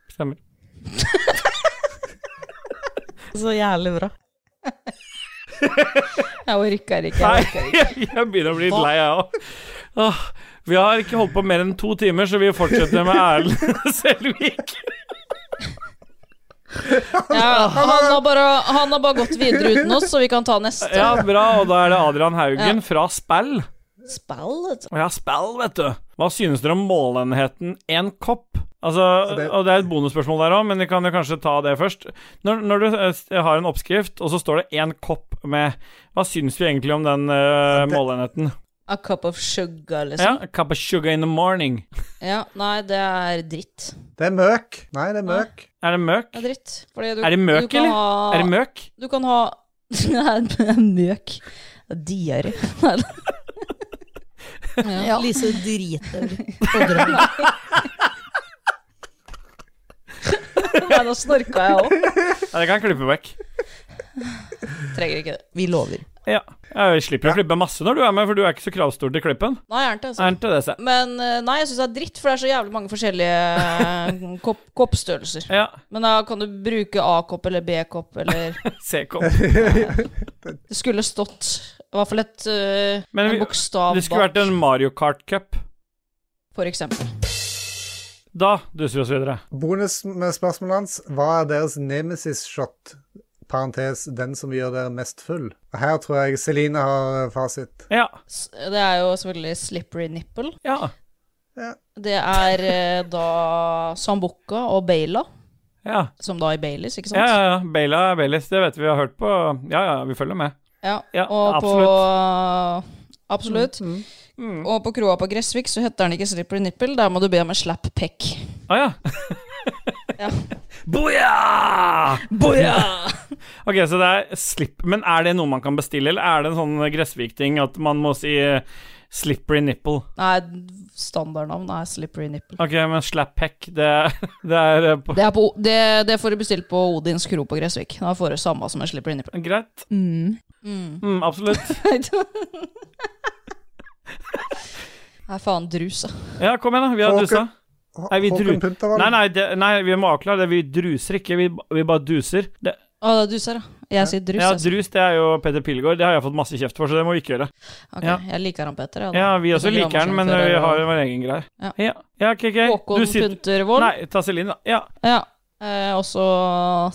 Speaker 1: stemmer.
Speaker 10: Så jævlig bra.
Speaker 2: Jeg orker ikke.
Speaker 1: Nei,
Speaker 2: Jeg orker ikke.
Speaker 1: jeg begynner å bli litt lei, jeg òg. Åh, Vi har ikke holdt på mer enn to timer, så vi fortsetter med Erlend Selvik.
Speaker 2: Ja, han, har bare, han har bare gått videre uten oss, så vi kan ta neste.
Speaker 1: Ja, bra, og da er det Adrian Haugen fra Spell.
Speaker 2: Spill, vet du.
Speaker 1: Å ja, Spell, vet du. Hva synes dere om målenheten én kopp? Altså,
Speaker 3: det-
Speaker 1: og det er et bonusspørsmål der òg, men vi kan jo kanskje ta det først. Når, når du eh, s- har en oppskrift, og så står det én kopp med Hva syns du egentlig om den eh, måleenheten?
Speaker 2: A cup of
Speaker 1: Ja,
Speaker 2: sugar, liksom.
Speaker 1: a cup of sugar in the morning.
Speaker 2: Ja. Nei, det er dritt.
Speaker 3: Det er møk. Nei, det er møk.
Speaker 1: Er det møk?
Speaker 2: Det er dritt. Fordi du,
Speaker 1: Er det møk,
Speaker 2: du kan
Speaker 1: eller?
Speaker 2: Ha,
Speaker 1: Er det møk?
Speaker 2: Du kan ha Nei, møk. Diaré. Nei da. Ja.
Speaker 10: Lise driter på drøm.
Speaker 2: Nei, nå snorka jeg òg.
Speaker 1: Ja, det kan jeg klippe vekk.
Speaker 2: Trenger ikke det.
Speaker 10: Vi lover.
Speaker 1: Ja, jeg slipper å klippe masse når du er med, for du er ikke så kravstor til klippen.
Speaker 2: Nei, jeg er ikke det. Altså.
Speaker 1: Er ikke det, se.
Speaker 2: Men eh, nei, jeg syns det er dritt, for det er så jævlig mange forskjellige eh, kopp, koppstørrelser.
Speaker 1: Ja,
Speaker 2: Men da kan du bruke A-kopp eller B-kopp eller
Speaker 1: C-kopp.
Speaker 2: Det skulle stått i hvert fall et eh,
Speaker 1: Men vi-
Speaker 2: en bokstav
Speaker 1: Det skulle
Speaker 2: bak,
Speaker 1: vært en Mario Kart-cup.
Speaker 2: for eksempel.
Speaker 1: Da duser vi oss videre.
Speaker 3: Bonus med spørsmålet hans. Hva er deres nemesis-shot? Parentes den som gjør dere mest full. Her tror jeg Celine har eh, fasit.
Speaker 1: Ja.
Speaker 2: S- Det er jo selvfølgelig slippery nipple.
Speaker 1: Ja.
Speaker 2: Det er eh, da Sambuca og Baila,
Speaker 1: Ja,
Speaker 2: som da i Baileys, ikke
Speaker 1: ja,
Speaker 2: sant?
Speaker 1: ja, ja. Baila er Baileys, det vet vi vi har hørt på. Ja, ja, vi følger med.
Speaker 2: Ja,
Speaker 1: Ja,
Speaker 2: og absolutt. på Absolutt.
Speaker 1: Mm.
Speaker 2: Og på kroa på Gressvik så heter den ikke Slippery Nipple, der må du be om en slap peck.
Speaker 1: Å ja.
Speaker 2: Ja.
Speaker 1: Boja!
Speaker 2: Boja!
Speaker 1: Ok, så det er slip. Men er det noe man kan bestille, eller er det en sånn Gressvik-ting at man må si eh, slippery nipple?
Speaker 2: Nei, standardnavn er Slippery Nipple.
Speaker 1: Ok, men slap heck, det, det er eh, på
Speaker 2: Det, er på, det, det får du bestilt på Odins kro på Gressvik. Da får du samme som en Slippery Nipple.
Speaker 1: Greit.
Speaker 2: Mm. Mm.
Speaker 1: Mm, absolutt.
Speaker 2: Nei, faen, drusa.
Speaker 1: Ja, kom igjen, da. Vi har
Speaker 3: Håkon-
Speaker 1: dusa.
Speaker 3: Hå-
Speaker 1: Nei, vi dru-
Speaker 3: Håkon Puntervold.
Speaker 1: Nei, nei, det, nei, vi må avklare det. Vi druser ikke, vi, ba- vi bare duser. Det,
Speaker 2: Å, det er duser, ja. Jeg sier drus.
Speaker 1: ja,
Speaker 2: altså.
Speaker 1: drus, det er jo Peter Pilgaard. Det har jeg fått masse kjeft for, så det må vi ikke gjøre.
Speaker 2: Ok,
Speaker 1: ja.
Speaker 2: Jeg liker han Peter. da.
Speaker 1: Ja, vi også
Speaker 2: Sånn
Speaker 1: liker den, men
Speaker 2: gravemaskinfører
Speaker 1: vi har
Speaker 2: og-
Speaker 1: jo vår egen greie.
Speaker 2: Ja.
Speaker 1: Ja, ja ok, ok.
Speaker 2: Håkon
Speaker 1: Du sitter-
Speaker 2: Puntervold.
Speaker 1: Nei, ta Celine, da. Ja.
Speaker 2: Ja. Eh, også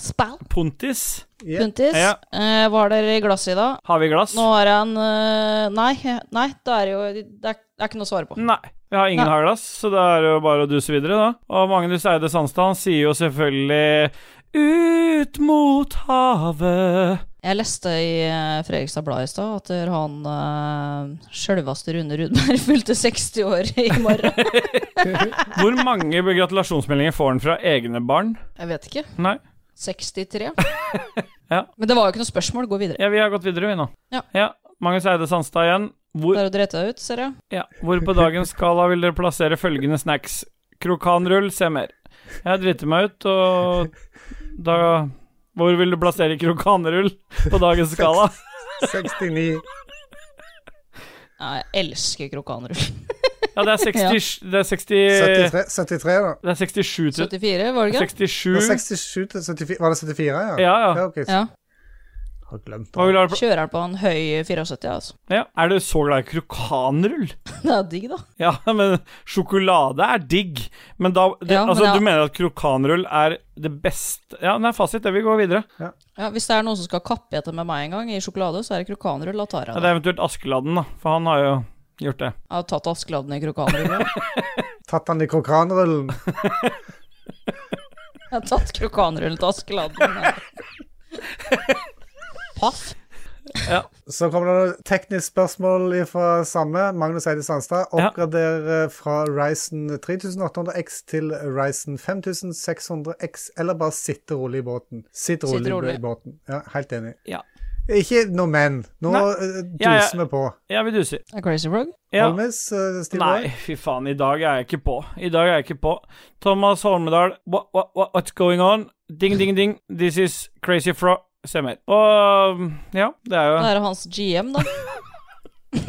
Speaker 2: Spal.
Speaker 1: Pontis.
Speaker 3: Ja.
Speaker 2: Puntis.
Speaker 1: Ja.
Speaker 2: Eh, var dere i glasset i dag?
Speaker 1: Har vi glass?
Speaker 2: Nå har jeg en eh, Nei, nei det er jo Det er, det er ikke noe å svare på.
Speaker 1: Nei. Vi har ingen
Speaker 2: Nei.
Speaker 1: har glass, så det er jo bare å duse videre, da. Og Magnus Eide Sandstad han sier jo selvfølgelig ut mot havet.
Speaker 2: Jeg leste i eh, Fredrikstad Blad i stad at der han uh, sjølveste Rune Rudberg fylte 60 år i morgen.
Speaker 1: Hvor mange gratulasjonsmeldinger får han fra egne barn?
Speaker 2: Jeg vet ikke.
Speaker 1: Nei.
Speaker 2: 63?
Speaker 1: Ja.
Speaker 2: Men det var jo ikke noe spørsmål. Gå videre.
Speaker 1: Ja, vi har gått videre, vi nå.
Speaker 2: Ja.
Speaker 1: Magnus Eide Sandstad igjen. Hvor,
Speaker 2: Bare å drete deg ut, ser jeg.
Speaker 1: ja, hvor på dagens skala vil dere plassere følgende snacks? Krokanrull, se mer. Jeg driter meg ut, og da Hvor vil du plassere krokanrull på dagens skala?
Speaker 3: 69.
Speaker 2: Nei, jeg elsker krokanrull.
Speaker 1: Ja, det er 60 Det er 60
Speaker 3: 73, 73 da.
Speaker 1: Det er 67 til
Speaker 2: 74, var det ikke?
Speaker 3: Det var
Speaker 1: 67
Speaker 3: 67 til 74. Var det 74, ja?
Speaker 1: Ja, ja.
Speaker 3: ok.
Speaker 2: Ja.
Speaker 3: Jeg har glemt
Speaker 1: Hva
Speaker 3: det.
Speaker 1: vil du ha på-
Speaker 2: Kjører den på en høy 74, altså.
Speaker 1: ja. Er du så glad i krokanrull?
Speaker 2: Det er digg, da.
Speaker 1: Ja, men sjokolade er digg. Men da det,
Speaker 2: Ja, men
Speaker 1: Altså,
Speaker 2: ja.
Speaker 1: du mener at krokanrull er det beste Ja, nei, fasit. Det vil gå videre.
Speaker 2: Ja, hvis det er noen som skal kappe etter med meg en gang i sjokolade, så er det krokanrull. Da tar
Speaker 1: Ja,
Speaker 2: jeg
Speaker 1: det
Speaker 2: det.
Speaker 1: er eventuelt Askeladden, da. For han har jo gjort det.
Speaker 2: Jeg har tatt Askeladden i krokanrull. ja.
Speaker 3: Tatt han i krokanrullen.
Speaker 2: Jeg har tatt krokanrull til Askeladden. ja. Paff.
Speaker 3: Så kommer det et teknisk spørsmål fra samme, Magnus Eide Sandstad.
Speaker 1: Ja.
Speaker 3: Oppgradere fra Ryzen 3800X til Ryzen 5600X, eller bare sitte rolig i båten? Sitt rolig,
Speaker 2: rolig.
Speaker 3: i båten. Ja, helt enig.
Speaker 1: Ja.
Speaker 3: Ikke noe men. Nå
Speaker 1: Nei.
Speaker 3: eh, duser
Speaker 1: Ja, ja.
Speaker 3: vi på.
Speaker 1: Ja, vi duser.
Speaker 2: Crazy Frog?
Speaker 1: Ja.
Speaker 3: Holmes, eh, Steve
Speaker 1: Nei,
Speaker 3: Roy?
Speaker 1: fy faen, i dag er jeg ikke på. I dag er jeg ikke på. Thomas Holmedal, what, what, what, what's going on? Ding, ding, ding. This is Crazy Fro... Stemmer. Og mm, ja, det er jo
Speaker 2: Det er jo hans GM, da.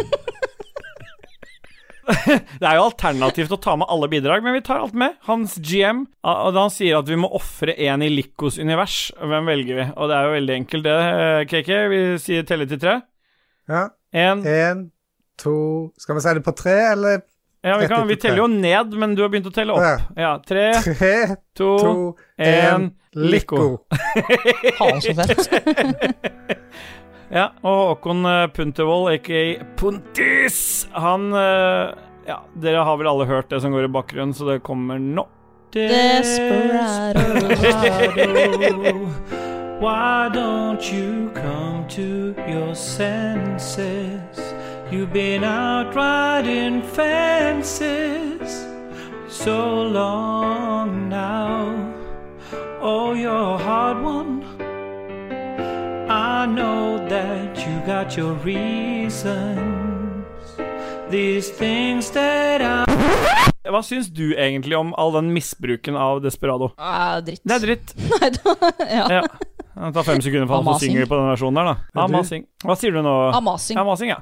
Speaker 1: Det er jo alternativt å ta med alle bidrag, men vi tar alt med. Hans GM ah, og da han sier at vi må ofre én i Likos univers. Hvem velger vi? Og det er jo veldig enkelt, det, eh, KK. Vi sier telle til tre.
Speaker 3: Ja.
Speaker 1: Én
Speaker 3: En, to Skal vi si det på tre, eller
Speaker 1: Ja, vi,
Speaker 3: ett
Speaker 1: kan, vi
Speaker 3: etter tre.
Speaker 1: teller jo ned, men du har begynt å telle opp. Ja, tre,
Speaker 3: tre,
Speaker 1: to,
Speaker 3: to,
Speaker 1: én
Speaker 3: en, Lico?
Speaker 2: Faen så fett.
Speaker 1: Ja, og Håkon eh, Puntervold, aka Puntis, han eh, Ja, dere har vel alle hørt det som går i bakgrunnen, så det kommer nå.
Speaker 2: Desperado.
Speaker 1: Desperado, Why don't you come to your senses? You've been out riding fences so long now. Oh, you're a hard one. I know that you got your reasons. These things that I Hva syns du egentlig om all den misbruken av Desperado?
Speaker 2: Ah, dritt.
Speaker 1: Det er dritt.
Speaker 2: Nei, da, ja.
Speaker 1: Ja. Det tar fem sekunder for han som
Speaker 2: Amasing.
Speaker 1: synger på den versjonen der, da. Amasing. Hva sier du nå?
Speaker 2: Amasing.
Speaker 1: Amasing, ja.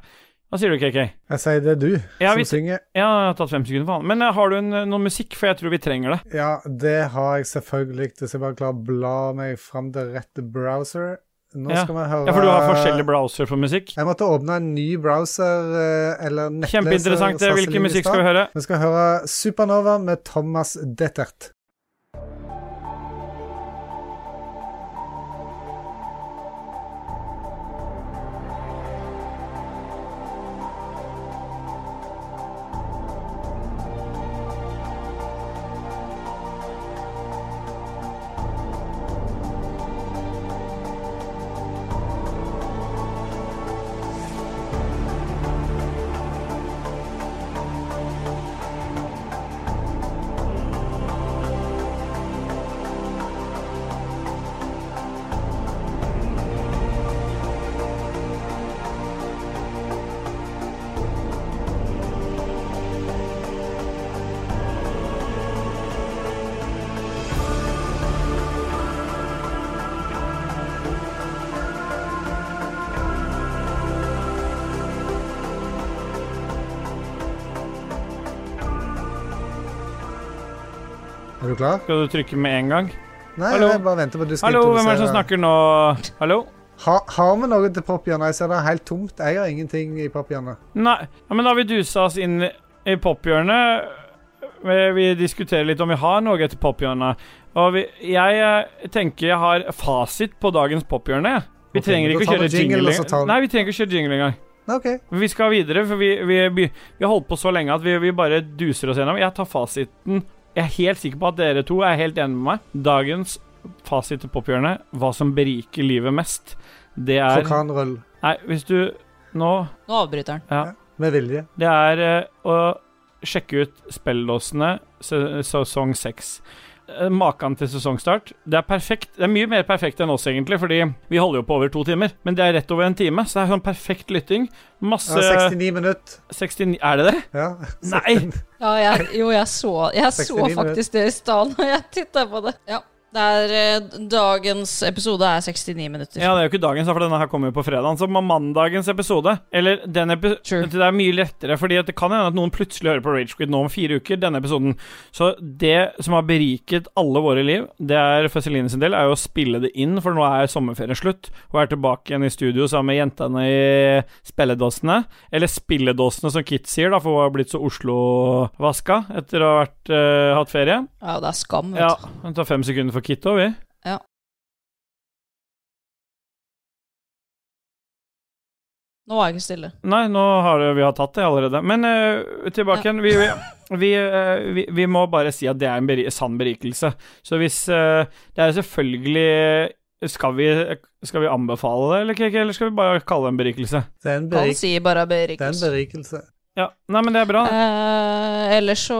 Speaker 1: Hva sier du, KK?
Speaker 3: Jeg sier det er du
Speaker 1: Ja,
Speaker 3: som
Speaker 1: vi-
Speaker 3: synger.
Speaker 1: Ja, jeg har tatt fem sekunder for han. Men eh, har du en, noe musikk, for jeg tror vi trenger det.
Speaker 3: Ja, det har jeg selvfølgelig. Hvis jeg bare klarer å bla meg fram til rette browser Nå
Speaker 1: Ja.
Speaker 3: skal vi høre
Speaker 1: Ja, For du har forskjellige browser for musikk.
Speaker 3: Jeg måtte åpne en ny browser eh, eller nettleser.
Speaker 1: Kjempeinteressant. eh, Hvilken musikk skal vi høre?
Speaker 3: Vi skal høre Supernova med Thomas Dettert. Er du klar?
Speaker 1: Skal du trykke med en gang?
Speaker 3: Nei,
Speaker 1: Hallo?
Speaker 3: jeg bare venter på at du skal
Speaker 1: Hallo, hvem er det som
Speaker 3: introdusere.
Speaker 1: snakker nå? Hallo?
Speaker 3: Ha, har vi noe til pophjørnet? Jeg ser det er helt tomt. Jeg har ingenting i pophjørnet.
Speaker 1: Nei, ja, men da har vi dusa oss inn i pophjørnet. Vi vi diskuterer litt om vi har noe etter pophjørnet. Og vi, jeg eh, tenker jeg har fasit på dagens pophjørne. jeg. Vi
Speaker 3: Ok,
Speaker 1: trenger
Speaker 3: men
Speaker 1: ikke
Speaker 3: da
Speaker 1: å
Speaker 3: tar
Speaker 1: kjøre
Speaker 3: vi jingle,
Speaker 1: jingle
Speaker 3: og så tar
Speaker 1: engang.
Speaker 3: vi-
Speaker 1: Nei, vi trenger ikke å kjøre jingle engang.
Speaker 3: Nei, OK.
Speaker 1: Men Vi skal videre, for vi, vi, by- vi har holdt på så lenge at vi, vi bare duser oss gjennom. Jeg tar fasiten. Jeg er helt sikker på at dere to er helt enige med meg. Dagens fasit til pophjørnet, hva som beriker livet mest, det er
Speaker 3: Fokanrull.
Speaker 1: Nei, hvis du nå
Speaker 2: Nå avbryter han.
Speaker 3: Med vilje.
Speaker 1: Det er eh, å sjekke ut spilledåsene se- sesong seks. Eh, Maken til sesongstart. Det er perfekt. Det er mye mer perfekt enn oss, egentlig, fordi vi holder jo på over to timer. Men det er rett over en time, så det er sånn perfekt lytting.
Speaker 3: Ja,
Speaker 1: Masse
Speaker 3: 69 minutter.
Speaker 1: 69 Er det det?
Speaker 3: Ja.
Speaker 1: Nei!
Speaker 2: Ja, jeg, jo, jeg så, jeg så
Speaker 3: 69
Speaker 2: faktisk det i stad når jeg titta på det. Ja. Det er, eh, dagens episode er 69 minutter.
Speaker 1: Ja, det er jo ikke dagens, da, for denne her kommer jo på fredagen. Så med mandagens episode Eller den epi
Speaker 2: True.
Speaker 1: Det er mye lettere, Fordi at det kan hende at noen plutselig hører på Ragequid nå om fire uker, denne episoden. Så det som har beriket alle våre liv, det er for Celine sin del, er jo å spille det inn, for nå er sommerferien slutt. Hun er tilbake igjen i studio sammen med jentene i spilledåsene. Eller spilledåsene, som Kit sier, da, for hun har blitt så Oslo-vaska etter å ha vært, eh, hatt ferie.
Speaker 2: Ja, det er skam. Vet
Speaker 1: Ja,
Speaker 2: du.
Speaker 1: det tar fem sekunder for Kit òg, vi.
Speaker 2: Nå var jeg ikke stille.
Speaker 1: Nei, nå har det- vi har tatt det allerede. Men eh, tilbake igjen. Vi, vi, vi, eh, vi, vi må bare si at det er en beri sann berikelse. Så hvis eh, Det er selvfølgelig skal vi, skal vi anbefale det, eller, ikke, eller skal vi bare kalle det en berikelse?
Speaker 3: Det er en
Speaker 2: Han
Speaker 3: berik
Speaker 2: sier bare
Speaker 3: det er en
Speaker 2: berikelse.
Speaker 3: berikelse.
Speaker 1: Ja, Nei, men det er bra.
Speaker 2: Eh, ellers så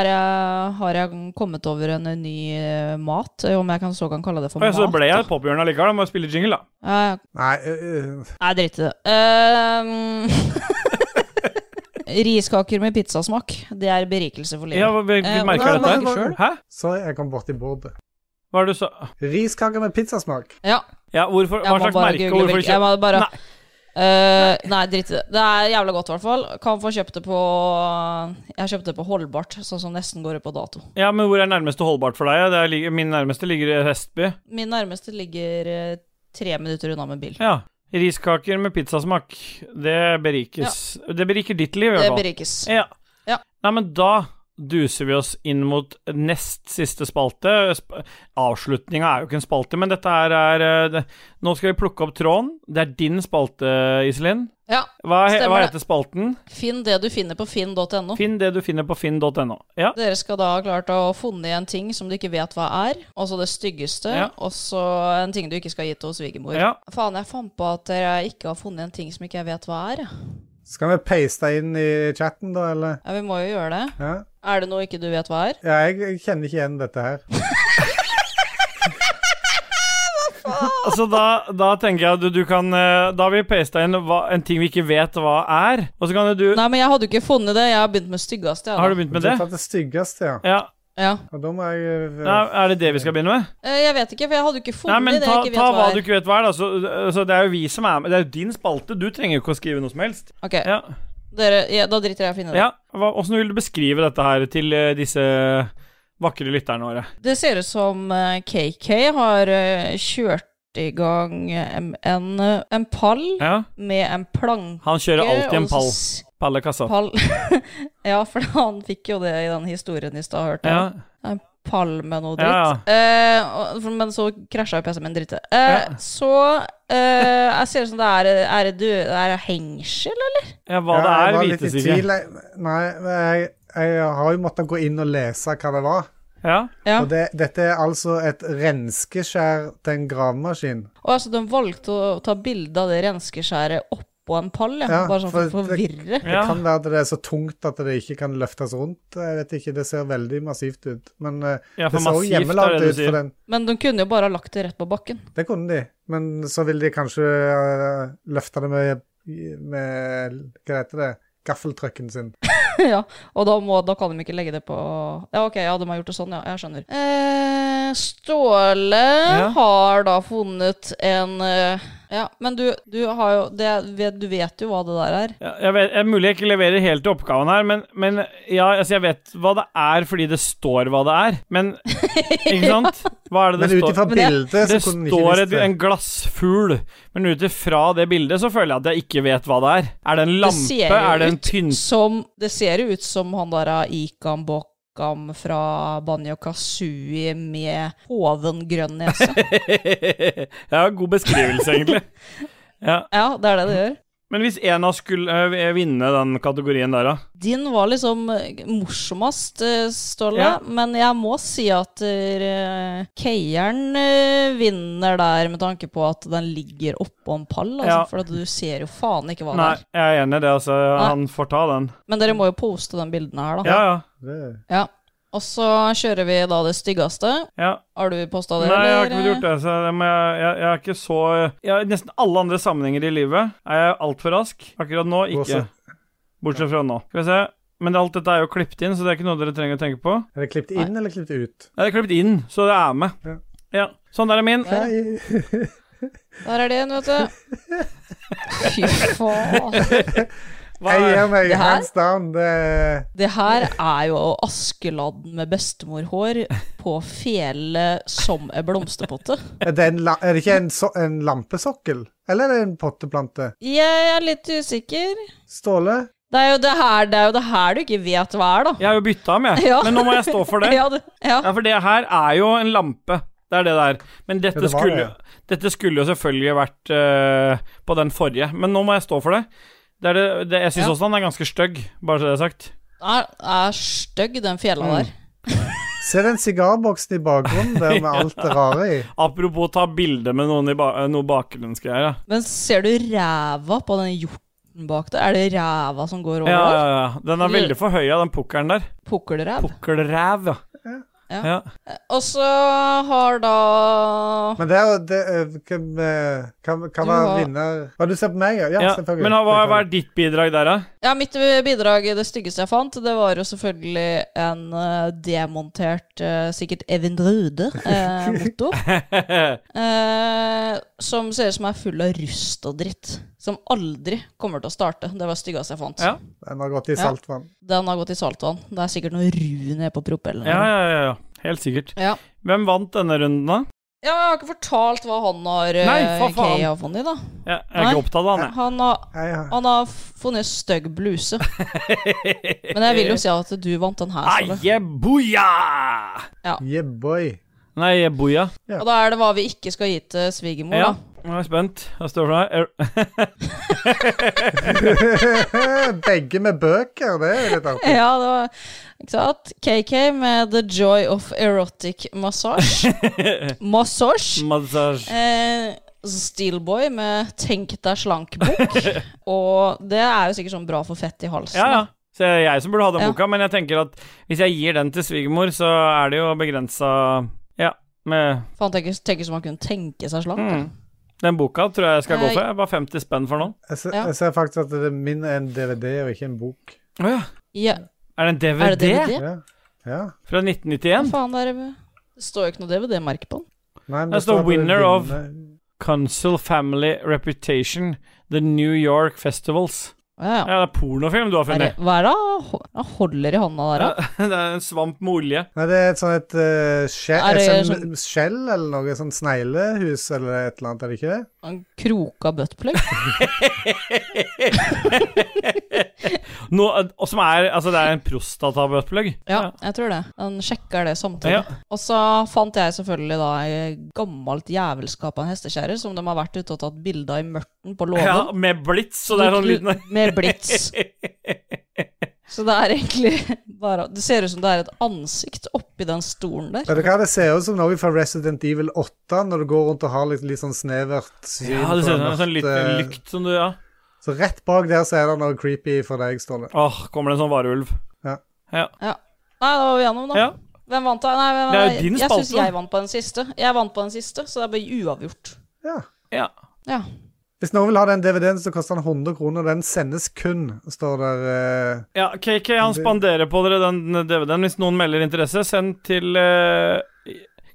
Speaker 2: er jeg, har jeg kommet over en ny eh, mat, om jeg kan, så kan kalle det for
Speaker 1: Oi, så
Speaker 2: mat.
Speaker 1: ble jeg et pophjørne allikevel. Da må jeg spille jingle, da.
Speaker 2: Eh,
Speaker 3: Nei,
Speaker 2: Nei, drit i det. Ehm, riskaker med pizzasmak, det er berikelse for livet.
Speaker 1: Ja, vi, vi
Speaker 2: Eh, og
Speaker 1: merka
Speaker 3: nei,
Speaker 1: dette.
Speaker 3: nei,
Speaker 1: her.
Speaker 3: nei.
Speaker 1: Hæ?
Speaker 3: Sorry, jeg kom borti bordet.
Speaker 1: Hva er det du sa?
Speaker 3: Riskaker med pizzasmak.
Speaker 2: Ja,
Speaker 1: Ja, hvorfor,
Speaker 2: jeg
Speaker 1: hva
Speaker 2: må
Speaker 1: slags
Speaker 2: bare
Speaker 1: merke? og
Speaker 2: google
Speaker 1: Hvorfor
Speaker 2: hvilket. Jeg
Speaker 1: ikke?
Speaker 2: må bare
Speaker 1: Nei.
Speaker 2: Eh, nei, drit i det. Det er jævla godt, i hvert fall. Kan få kjøpt det på Jeg kjøpte det på holdbart, sånn som nesten går ut på dato.
Speaker 1: Ja, men hvor er nærmeste holdbart for deg? Det er, lig- min nærmeste ligger i Vestby.
Speaker 2: Min nærmeste ligger eh, tre minutter unna med bil.
Speaker 1: Ja. Riskaker med pizzasmak. Det berikes. Det beriker ditt liv, i
Speaker 2: Det
Speaker 1: hvert fall.
Speaker 2: berikes.
Speaker 1: Ja.
Speaker 2: Ja.
Speaker 1: Nei, men da duser vi oss inn mot nest siste spalte. Sp Avslutninga er jo ikke en spalte, men dette her er eh, det. Nå skal vi plukke opp tråden. Det er din spalte, Iselin.
Speaker 2: Ja,
Speaker 1: Hva, he hva
Speaker 2: Stemmer det.
Speaker 1: heter spalten?
Speaker 2: Finn det du finner på finn.no.
Speaker 1: Finn det du finner på finn.no. Ja.
Speaker 2: Dere skal da ha klart å ha funnet en ting som du ikke vet hva er, og så det styggeste,
Speaker 1: Ja.
Speaker 2: og så en ting du ikke skal gi til svigermor.
Speaker 1: Ja.
Speaker 2: Faen, jeg fant på at dere ikke har funnet en ting som ikke jeg vet hva er. jeg.
Speaker 3: Skal vi paste det inn i chatten, da, eller?
Speaker 2: Ja, vi må jo gjøre det.
Speaker 3: Ja,
Speaker 2: Er det noe ikke du vet hva er?
Speaker 3: ja jeg, jeg kjenner ikke igjen dette her.
Speaker 1: Altså, da, da tenker jeg at du, du kan eh, Da har vi pasta inn hva, en ting vi ikke vet hva er, og så kan jo du
Speaker 2: Nei, men jeg hadde jo ikke funnet det. Jeg har begynt med styggeste. jeg, da.
Speaker 1: Har du begynt med det?
Speaker 3: Du har tatt det styggeste, ja.
Speaker 1: Ja.
Speaker 2: Ja.
Speaker 3: Og da må jeg eh,
Speaker 1: Nei, er det det vi skal begynne med?
Speaker 2: Eh, Jeg vet ikke, for jeg hadde jo ikke
Speaker 1: Nei,
Speaker 2: funnet
Speaker 1: men
Speaker 2: det
Speaker 1: ta,
Speaker 2: jeg ikke vet
Speaker 1: ta hva
Speaker 2: hva
Speaker 1: du
Speaker 2: er.
Speaker 1: ikke vet hva er, da. Så, så det er jo vi som er med. Det er jo din spalte. Du trenger jo ikke å skrive noe som helst.
Speaker 2: Ok,
Speaker 1: Ja.
Speaker 2: dere, ja, da driter jeg i å finne det.
Speaker 1: ja. Hva, hvordan vil du beskrive dette her til eh, disse vakre lytterne våre?
Speaker 2: Det ser ut som eh, KK har eh, kjørt i gang en, en, eh, en pall
Speaker 1: Ja.
Speaker 2: med en planke.
Speaker 1: Han kjører alltid en
Speaker 2: og så
Speaker 1: pall.
Speaker 2: s-
Speaker 1: Pallekassa.
Speaker 2: Pall Ja, for han fikk jo det i den historien i stad, hørte
Speaker 1: Ja.
Speaker 2: jeg. En pall med noe dritt.
Speaker 1: Ja,
Speaker 2: Eh, og- for- men så krasja jo PC-en min dritt. Eh,
Speaker 1: Ja.
Speaker 2: Så eh, Jeg ser ut som det er Er det, du, det er hengsel, eller?
Speaker 1: ja, hva
Speaker 3: ja, jeg
Speaker 1: det
Speaker 3: var
Speaker 1: er,
Speaker 3: litt i
Speaker 1: vites ikke.
Speaker 3: tvil. Jeg- Nei, men jeg, jeg har jo måttet gå inn og lese hva det var.
Speaker 1: Ja.
Speaker 2: Ja.
Speaker 3: Og det, dette er altså et renskeskjær til en gravemaskin.
Speaker 2: Og altså, de valgte å ta bilde av det renskeskjæret oppå en pall, ja.
Speaker 3: Ja,
Speaker 2: Bare sånn for å
Speaker 3: for det-
Speaker 2: forvirre.
Speaker 3: Det
Speaker 1: Ja.
Speaker 3: kan være at det er så tungt at det ikke kan løftes rundt. Jeg vet ikke, Det ser veldig massivt ut. Men eh,
Speaker 1: Ja, for
Speaker 3: det ser jo
Speaker 1: massivt er
Speaker 3: hjemmelavd
Speaker 1: det
Speaker 3: ut.
Speaker 1: du sier.
Speaker 3: For den.
Speaker 2: Men de kunne jo bare ha lagt det rett på bakken.
Speaker 3: Det kunne de. Men så vil de kanskje eh, løfte det med, med Hva heter det? Gaffeltrucken sin.
Speaker 2: ja, og da, må, da kan de ikke legge det på Ja, ok, ja, de har gjort det sånn, ja. Jeg skjønner. Eh, Ståle
Speaker 1: Ja.
Speaker 2: har da funnet en eh, Ja, men du, du har jo det, vet, Du vet jo hva det der er.
Speaker 1: Ja, Jeg vet, jeg, mulig jeg ikke leverer helt til oppgaven her, men, men ja, altså jeg vet hva det er fordi det står hva det er. Men Ikke sant? Hva er det
Speaker 3: Men
Speaker 1: det
Speaker 3: ut ifra
Speaker 1: står?
Speaker 2: Men det-
Speaker 3: bildet så
Speaker 1: Det
Speaker 3: kunne de ikke
Speaker 1: står
Speaker 3: visst
Speaker 1: et,
Speaker 3: det.
Speaker 1: en glassfugl, men ut ifra det bildet så føler jeg at jeg ikke vet hva det er. Er det en
Speaker 2: Det
Speaker 1: lampe?
Speaker 2: ser jo
Speaker 1: Er det en
Speaker 2: ut
Speaker 1: pynt...
Speaker 2: Som Det ser jo ut som han der av Ikam Bokam fra Banjo Kazooie med hoven grønn nese.
Speaker 1: ja, god beskrivelse, egentlig. Ja.
Speaker 2: ja, det er det det gjør.
Speaker 1: Men hvis en av oss skulle øh, vinne den kategorien der, da?
Speaker 2: Din var liksom eh, morsomst, eh, Ståle.
Speaker 1: Ja.
Speaker 2: Men jeg må si at eh, Keieren eh, vinner der, med tanke på at den ligger oppå en pall. Altså,
Speaker 1: Ja.
Speaker 2: For at du ser jo faen ikke hva
Speaker 1: Nei,
Speaker 2: det er.
Speaker 1: jeg er enig i det, altså. Han får ta den.
Speaker 2: Men dere må jo poste de bildene her, da.
Speaker 1: Ja, ja.
Speaker 3: Det-
Speaker 2: Ja. Og så kjører vi da det styggeste.
Speaker 1: ja.
Speaker 2: Har du posta
Speaker 1: Nei, jeg
Speaker 2: det,
Speaker 1: har ikke fått
Speaker 2: eller?
Speaker 1: gjort det. Så det må jeg, jeg, jeg er ikke så jeg, I Nesten alle andre sammenhenger i livet er jeg altfor rask. Akkurat nå ikke.
Speaker 3: Også-
Speaker 1: Bortsett fra nå. Skal vi se. Men alt dette er jo klippet inn, så det er ikke noe dere trenger å tenke på.
Speaker 3: Er det klippet inn eller klippet ut?
Speaker 1: Det er klippet inn, så det er med.
Speaker 3: Ja.
Speaker 1: Ja. Sånn der er min.
Speaker 2: Ja.
Speaker 3: Nei,
Speaker 2: Der er det en, vet du. Fy faen.
Speaker 1: Hva
Speaker 3: jeg
Speaker 1: er
Speaker 3: gir meg
Speaker 2: Det her?
Speaker 3: hands down. Det,
Speaker 2: Det her er jo Askeladden med bestemorhår på fele som en blomsterpotte.
Speaker 3: er, det en, la- er det ikke en, so en lampesokkel? Eller er det en potteplante?
Speaker 2: Jeg er litt usikker.
Speaker 3: Ståle?
Speaker 2: Det er jo det her, det er jo det her du ikke vet hva er, da.
Speaker 1: Jeg har jo bytta om, jeg.
Speaker 2: Ja.
Speaker 1: Men nå må jeg stå for det.
Speaker 2: Ja, det, ja.
Speaker 1: Ja, for det her er jo en lampe. Det er det der. Men dette,
Speaker 3: Ja, det var
Speaker 1: skulle,
Speaker 3: det.
Speaker 1: dette skulle jo selvfølgelig vært eh, på den forrige, men nå må jeg stå for det. det, er det, det jeg syns
Speaker 2: Ja.
Speaker 1: også han er ganske stygg, bare så det er sagt.
Speaker 2: Er, er stygg, den fjella
Speaker 1: Mm.
Speaker 2: der.
Speaker 3: Se den sigarboksen i bakgrunnen der med alt det rare i.
Speaker 1: Apropos ta bilde med noen i ba noe eh, bakgrunnsgreier. ja.
Speaker 2: Men ser du ræva på den hjorten Pusten bak det. Er det ræva som går over?
Speaker 1: Ja, ja,
Speaker 2: der?
Speaker 1: ja. Den er veldig forhøya, den pukkelen der.
Speaker 2: Pukkelræv.
Speaker 1: Pukkelræv, ja.
Speaker 2: Ja.
Speaker 1: ja.
Speaker 2: Og så har da
Speaker 3: Men det er jo det, eh, Hvem eh, hva- hva
Speaker 2: Du
Speaker 3: var
Speaker 2: har-
Speaker 3: vinner Hva du ser på meg, ja? Ja,
Speaker 1: Ja,
Speaker 3: selvfølgelig.
Speaker 1: Men hva, hva er ditt bidrag der, da?
Speaker 2: Ja, mitt bidrag, det styggeste jeg fant, det var jo selvfølgelig en eh, demontert, eh, sikkert Evin Rude-motor. Eh, som ser ut som er full av rust og dritt. Som aldri kommer til å starte. Det var det styggeste jeg fant.
Speaker 1: Ja.
Speaker 3: Den har gått i
Speaker 2: Ja.
Speaker 3: saltvann.
Speaker 2: Den har gått i saltvann. Det er sikkert noe ru nede på propellen.
Speaker 1: Ja, ja, ja, ja. Helt sikkert.
Speaker 2: Ja.
Speaker 1: Hvem vant denne runden, da?
Speaker 2: Ja, jeg har ikke fortalt hva han har eh,
Speaker 1: Nei, for faen.
Speaker 2: Kay har funnet, da.
Speaker 1: Ja, jeg er
Speaker 2: Nei.
Speaker 1: ikke opptatt av han, jeg.
Speaker 2: Han har,
Speaker 3: Ja, ja.
Speaker 2: han har funnet stygg bluse. Men jeg vil jo si at du vant den her. Ståle.
Speaker 1: Aieboja!
Speaker 3: Yeah, boy.
Speaker 1: Nei, boja.
Speaker 3: Ja.
Speaker 2: Og da er det hva vi ikke skal gi til svigermor,
Speaker 1: Ja.
Speaker 2: da.
Speaker 1: Nå er jeg spent. Hva står det for noe? Er-
Speaker 3: Begge med bøker, det er jo litt artig.
Speaker 2: Ja, det var Ikke sant? KK med The Joy of Erotic Massage. Massage.
Speaker 1: Massage.
Speaker 2: Eh, Steelboy med Tenk deg slank-bok. Og det er jo sikkert sånn bra for fett i halsen.
Speaker 1: Ja, ja. Så det er jeg som burde ha den
Speaker 2: Ja.
Speaker 1: boka, men jeg tenker at hvis jeg gir den til svigermor, så er det jo begrensa Ja, med
Speaker 2: For han tenker, tenker som han kunne tenke seg slank.
Speaker 1: mm. Den boka tror jeg jeg skal gå
Speaker 2: Nei.
Speaker 1: for. Jeg var 50 spenn for nå.
Speaker 3: Jeg ser,
Speaker 2: Ja.
Speaker 3: jeg ser faktisk at det er mindre en DVD og ikke en bok.
Speaker 1: Å ja.
Speaker 2: Ja.
Speaker 1: Er det en DVD?
Speaker 2: Er det DVD?
Speaker 3: Ja. ja.
Speaker 1: Fra
Speaker 2: Hva
Speaker 1: 1991?
Speaker 2: faen er det Det står jo ikke noe DVD-merke på den.
Speaker 3: Nei, men
Speaker 1: Det står
Speaker 3: at det er
Speaker 1: winner of-
Speaker 3: vinner-
Speaker 1: Consul Family Reputation, The New York Festivals.
Speaker 2: Ja, ja.
Speaker 1: Ja, det er pornofilm du har
Speaker 2: Er det,
Speaker 1: funnet.
Speaker 2: hva er det han ho- han holder i hånda der,
Speaker 1: Ja,
Speaker 2: da?
Speaker 1: det er en svamp med olje.
Speaker 3: Nei, det er et sånt et eh, skje,
Speaker 2: Er det
Speaker 3: et sånn skjell eller noe sånn sneglehus eller et eller annet, er det ikke det?
Speaker 2: En kroka buttplug?
Speaker 1: Nå, og som er Altså, det er en prostatabøtplugg.
Speaker 2: Ja, jeg tror det. Han sjekker det samtidig.
Speaker 1: Ja.
Speaker 2: Og så fant jeg selvfølgelig da ei gammelt jævelskap av en hestekjerre som de har vært ute og tatt bilde av i mørten på låven.
Speaker 1: ja, med blits, så det er sånn liten
Speaker 2: Med blits. Så det er egentlig bare Det ser ut som det er et ansikt oppi den stolen der.
Speaker 3: Vet du hva, det ser ut som noe fra Resident Evil 8, når du går rundt og har litt, litt sånn snevert syn.
Speaker 1: Ja, det
Speaker 3: på
Speaker 1: ser ut som en
Speaker 3: mørkt,
Speaker 1: sånn liten
Speaker 3: eh,
Speaker 1: lykt som du Ja.
Speaker 3: Så rett bak der så er det noe creepy for deg, Ståle.
Speaker 1: Åh, kommer det en sånn varulv.
Speaker 2: Ja. Nei, da var vi gjennom, da.
Speaker 1: Ja.
Speaker 2: Hvem vant, da? Nei, nei,
Speaker 1: Det
Speaker 2: nei,
Speaker 1: er jo din
Speaker 2: jeg
Speaker 1: spalte,
Speaker 2: syns
Speaker 1: da.
Speaker 2: jeg vant på den siste. Jeg vant på den siste, så det ble uavgjort.
Speaker 3: Ja.
Speaker 1: Ja.
Speaker 2: Ja.
Speaker 3: Hvis noen vil ha den DVD-en, så koster den 100 kroner. Den sendes kun, står der. eh.
Speaker 1: ja KK, han spanderer på dere den DVD-en. Hvis noen melder interesse, send til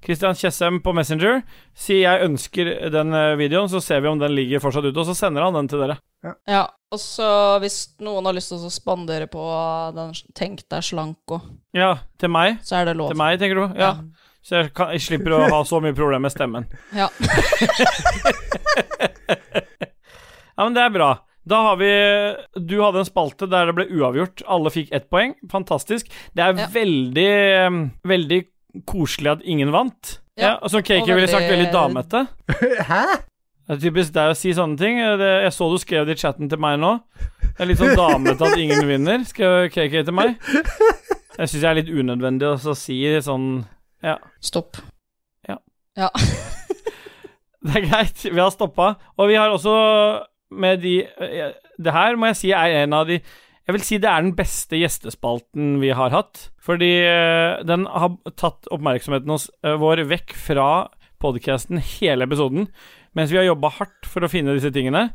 Speaker 1: Kristian Tjessem på Messenger. Si 'jeg ønsker den eh, videoen', så ser vi om den ligger fortsatt ute. Og så sender han den til dere.
Speaker 2: ja. Og så, hvis noen har lyst til å spandere på den Tenk deg slank og
Speaker 1: Ja, til meg.
Speaker 2: så er det lov.
Speaker 1: Til meg, tenker du? Ja. Så jeg, kan, jeg slipper å ha så mye problemer med stemmen.
Speaker 2: Ja.
Speaker 1: Ja, men det er bra. Da har vi Du hadde en spalte der det ble uavgjort. Alle fikk ett poeng. Fantastisk. Det er
Speaker 2: Ja.
Speaker 1: veldig um, Veldig koselig at ingen vant.
Speaker 2: Ja,
Speaker 1: Ja, og Som Kake
Speaker 2: og
Speaker 1: ville sagt,
Speaker 2: veldig-
Speaker 1: veldig damete.
Speaker 3: Hæ?
Speaker 1: Det er typisk deg å si sånne ting. Det, jeg så du skrev det i chatten til meg nå. Det er litt sånn damete at ingen vinner, skrev KK til meg. Jeg syns jeg er litt unødvendig å så si sånn
Speaker 2: Stopp.
Speaker 1: Det er greit, vi har stoppa. Og vi har også med de eh, Det her må jeg si er en av de Jeg vil si det er den beste gjestespalten vi har hatt. Fordi eh, den har tatt oppmerksomheten hos, eh, vår vekk fra podkasten hele episoden. Mens vi har jobba hardt for å finne disse tingene.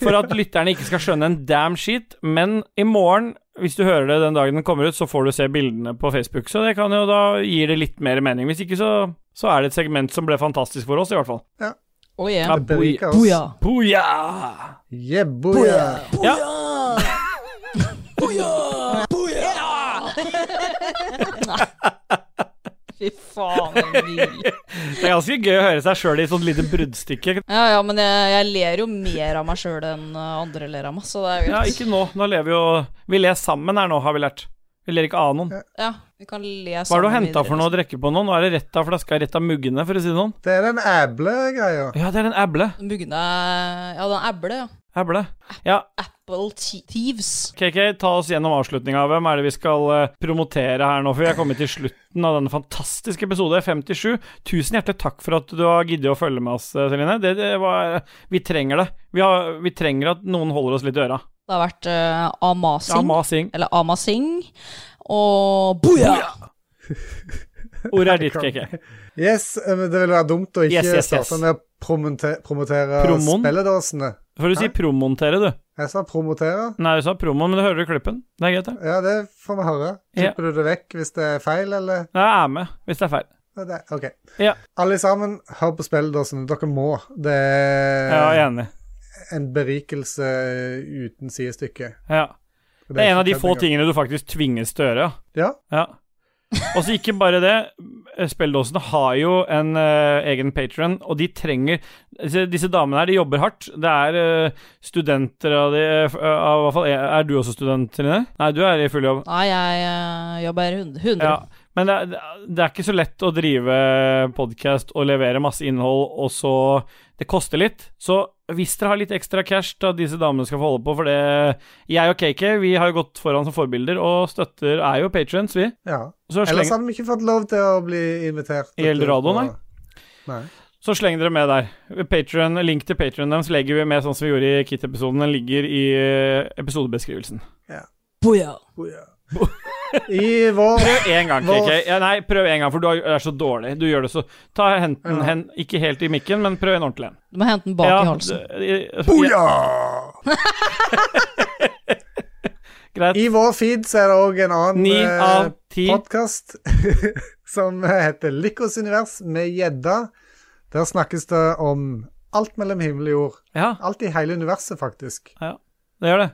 Speaker 1: For at lytterne ikke skal skjønne en damn shit. Men i morgen, hvis du hører det den dagen den kommer ut, så får du se bildene på Facebook. Så det kan jo da gir det litt mer mening. Hvis ikke, så, så er det et segment som ble fantastisk for oss, i hvert fall.
Speaker 2: Oh, yeah.
Speaker 1: Ja,
Speaker 3: Det beriker oss.
Speaker 2: Boja.
Speaker 1: Boja!
Speaker 3: Yeah, boya.
Speaker 2: Fy faen. det er nydelig.
Speaker 1: Det er ganske gøy å høre seg sjøl i et sånt lite bruddstykke.
Speaker 2: Ja, ja, men jeg, jeg ler jo mer av meg sjøl enn eh, andre ler av meg, så det er jo
Speaker 1: Ja,
Speaker 2: greit.
Speaker 1: ikke nå. Nå lever vi jo Vi ler sammen her nå, har vi lært. Vi ler ikke av noen.
Speaker 2: Ja, vi kan le
Speaker 1: Hva er det du
Speaker 2: sammen
Speaker 1: henta
Speaker 2: videre,
Speaker 1: for noe å drikke på nå? Nå er det rett av flaska, rett av muggene, for å si det sånn.
Speaker 3: Det er den æble-greia.
Speaker 1: Ja, det er en eble.
Speaker 2: liksom. Mugne Ja, den eble, ja.
Speaker 1: Eple. Ja,
Speaker 10: Apple Thie- Thieves.
Speaker 1: KK, ta oss gjennom avslutninga. Hvem er det vi skal eh, promotere her nå? For vi er kommet til slutten av denne fantastiske episode 57. Tusen hjertelig takk for at du har giddet å følge med oss, eh, Celine. Det, det var, vi trenger det. Vi, har, vi trenger at noen holder oss litt i øra.
Speaker 2: Det har vært eh, Ama Singh,
Speaker 1: Ama Singh.
Speaker 2: eller Ama Singh, og Booyah!
Speaker 1: Ordet er ditt, KK.
Speaker 3: Yes, eh, men det ville være dumt å ikke
Speaker 1: Yes, yes, yes.
Speaker 3: starte med å promote- promotere
Speaker 1: Promon?
Speaker 3: spilledåsene.
Speaker 1: For du sier promontere, du.
Speaker 3: Jeg sa promotere.
Speaker 1: Nei, du sa promon, men du hører i klippen. Det er greit, det.
Speaker 3: Ja, det får vi høre.
Speaker 1: Ja.
Speaker 3: Klipper du det vekk hvis det er feil, eller?
Speaker 1: Nei, Jeg er med, hvis det er feil.
Speaker 3: Ja, Det, OK.
Speaker 1: Ja.
Speaker 3: Alle sammen, hør på spilledåsene. Dere må. Det er
Speaker 1: Ja, jeg er enig.
Speaker 3: en berikelse eh, uten sidestykke.
Speaker 1: Ja.
Speaker 3: Og
Speaker 1: Det er en av de
Speaker 3: ikke
Speaker 1: få
Speaker 3: kødd engang.
Speaker 1: tingene du faktisk tvinges til å gjøre, ja.
Speaker 3: Ja,
Speaker 1: Ja. Og så ikke bare det. Spelledåsene har jo en eh, egen patron, og de trenger disse, disse damene her, de jobber hardt. Det er eh, studenter av de eh, av, hvert fall, Er er du også student, Trine? Nei, du er i full jobb.
Speaker 2: Nei, jeg eh, jobber 100. 100.
Speaker 1: Ja. Men det er, det er ikke så lett å drive podkast og levere masse innhold, og så Det koster litt. Så hvis dere har litt ekstra cash til at disse damene skal få holde på, for det Jeg og KK, vi har jo gått foran som forbilder, og støtter er jo patrons, vi.
Speaker 3: ja.
Speaker 1: Så sleng-
Speaker 3: Ellers hadde vi ikke fått lov til å bli invitert.
Speaker 1: I Eldorado, nei.
Speaker 3: Nei.
Speaker 1: Så sleng dere med der. Patreon, link til Patreon deres legger vi med sånn som vi gjorde i Kit-episoden. Den ligger i eh, episodebeskrivelsen.
Speaker 10: Booyah.
Speaker 3: Oh, ja. I vår
Speaker 1: Prøv én gang,
Speaker 3: Hva-
Speaker 1: KK. Ja, nei, prøv én gang, for du har- er så dårlig. Du gjør det så Ta henten
Speaker 3: Ja.
Speaker 1: hen, ikke helt i mikken, men prøv en ordentlig en.
Speaker 2: Du må hente den bak i halsen.
Speaker 1: Boja! Greit.
Speaker 3: I vår feed så er det òg en
Speaker 1: Ni
Speaker 3: annen
Speaker 1: av ti.
Speaker 3: podkast som eh, heter Lykkos univers med gjedda. Der snakkes det om alt mellom himmel og jord.
Speaker 1: Ja,
Speaker 3: Alt i hele universet, faktisk.
Speaker 1: det gjør det.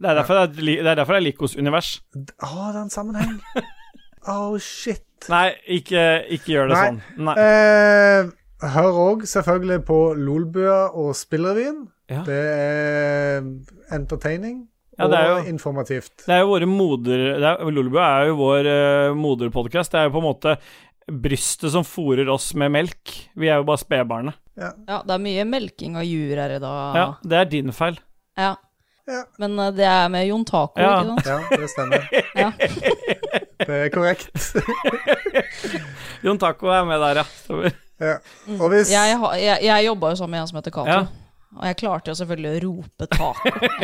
Speaker 1: Det er derfor det er, et li- det er, derfor det er Likos univers.
Speaker 3: D- Å, det er en sammenheng. Oh, shit.
Speaker 1: Nei, ikke, ikke gjør det
Speaker 3: Nei.
Speaker 1: sånn. Nei.
Speaker 3: Eh, hør òg selvfølgelig på Lolbua og Spillrevyen.
Speaker 1: Ja.
Speaker 3: Det er entertaining
Speaker 1: Ja, det er
Speaker 3: og
Speaker 1: jo-
Speaker 3: informativt.
Speaker 1: Det er jo våre moder... det er- Lolebua er jo vår uh, moderpodkast. Det er jo på en måte brystet som fôrer oss med melk. Vi er jo bare spedbarnet.
Speaker 2: Ja, det er mye melking av jur her i dag.
Speaker 1: Ja, det er din feil.
Speaker 2: Ja.
Speaker 3: Ja.
Speaker 2: Men eh, det er med Jon Taco,
Speaker 1: Ja.
Speaker 2: ikke sant?
Speaker 3: Ja, det stemmer.
Speaker 2: Ja.
Speaker 3: Det er korrekt.
Speaker 1: Jon Taco er med der, ja. Stemmer.
Speaker 3: Mm. Ja. Og hvis
Speaker 2: Jeg, har- jeg, jeg jobba jo sammen med en som heter Cato.
Speaker 1: Ja.
Speaker 2: Og jeg klarte jo selvfølgelig å rope taco.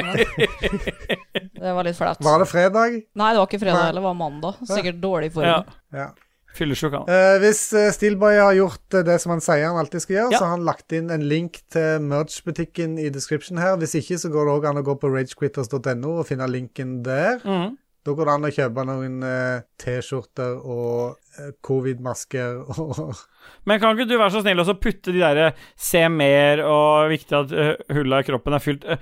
Speaker 2: Men Det var litt flaut.
Speaker 3: Var det fredag?
Speaker 2: Nei, det var ikke fredag
Speaker 3: Nei.
Speaker 2: heller, det var mandag. Sikkert dårlig form.
Speaker 1: Ja.
Speaker 3: Ja.
Speaker 1: Fyllesjuk, han.
Speaker 3: Eh, hvis eh, Steelboy har gjort eh, det som han sier han alltid skal gjøre,
Speaker 1: Ja.
Speaker 3: så har han lagt inn en link til merch-butikken i description her. Hvis ikke, så går det òg an å gå på ragequitters.no og finne linken der.
Speaker 1: Mhm.
Speaker 3: Da går det an å kjøpe noen eh, T-skjorter og eh, covid-masker og
Speaker 1: Men kan ikke du være så snill og så putte de derre 'se mer' og 'viktig at eh, hullet i kroppen er fylt' eh,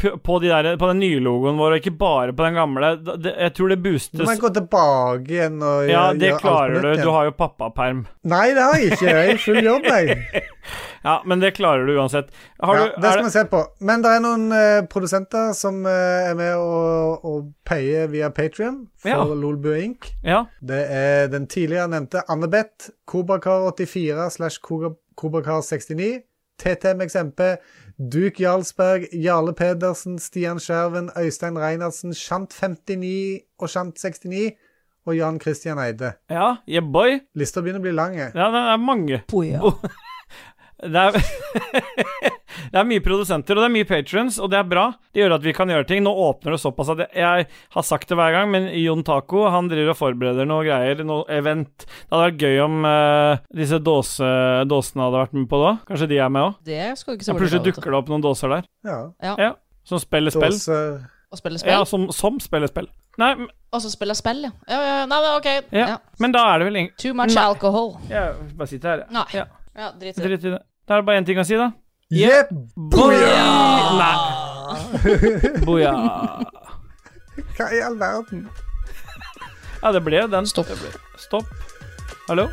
Speaker 1: p- på, de der, på den nye logoen vår, og ikke bare på den gamle. Da- Det, jeg tror det
Speaker 3: Du må
Speaker 1: boostes.
Speaker 3: gå tilbake igjen og gjøre,
Speaker 1: Ja, det
Speaker 3: gjøre
Speaker 1: klarer
Speaker 3: alt på
Speaker 1: du.
Speaker 3: nytt
Speaker 1: Du
Speaker 3: igjen.
Speaker 1: har jo pappaperm.
Speaker 3: Nei, det har jeg ikke. Jeg er i full jobb, jeg.
Speaker 1: Ja, men det klarer du uansett. Har
Speaker 3: ja,
Speaker 1: du,
Speaker 3: det
Speaker 1: er
Speaker 3: skal vi se på. Men det er noen eh, produsenter som eh, er med og, og payer via Patrion for
Speaker 1: Ja.
Speaker 3: Lolbø Inc.
Speaker 1: Ja.
Speaker 3: Det er den tidligere nevnte Annebeth, Kobrakar84 slash Kobrakar69, TTM Eksempel, Duke Jarlsberg, Jarle Pedersen, Stian Skjerven, Øystein Reinertsen, Shant59 og Shant69 og Jan Christian Eide.
Speaker 1: Ja, yeah boy.
Speaker 3: Lista begynner å bli lang. jeg.
Speaker 1: Ja, det er mange.
Speaker 2: Boja.
Speaker 1: Det er, det er mye produsenter, og det er mye patrons, og det er bra. Det gjør at vi kan gjøre ting. Nå åpner det såpass at jeg, jeg har sagt det hver gang, men Jon Taco han driver og forbereder noe greier, noe event. Det hadde vært gøy om eh, disse dåse, dåsene hadde vært med på da. Kanskje de er med òg.
Speaker 2: Det skal du ikke altså. se bort fra,
Speaker 1: Plutselig
Speaker 2: vet du.
Speaker 1: dukker det opp noen dåser der
Speaker 3: Ja.
Speaker 1: som spiller spill.
Speaker 3: Dåse
Speaker 2: Å spille spill?
Speaker 1: Ja, som, som spiller spill. Nei, m-
Speaker 2: Altså spille spill, ja. ja, ja. Nei, men ok.
Speaker 1: ja.
Speaker 2: Ja.
Speaker 1: men da er det vel ingen
Speaker 2: Too much
Speaker 1: Nei.
Speaker 2: alcohol.
Speaker 1: Jeg bare sitter her, jeg.
Speaker 2: Nei.
Speaker 1: Ja.
Speaker 2: Ja, drit i det.
Speaker 1: Drit i det. Da er det bare én ting å si, da.
Speaker 3: Jepp!
Speaker 1: Booyah! Nei. Booyah.
Speaker 3: Hva i all verden?
Speaker 1: Ja, det ble den.
Speaker 2: Stopp.
Speaker 1: Stopp. Hallo?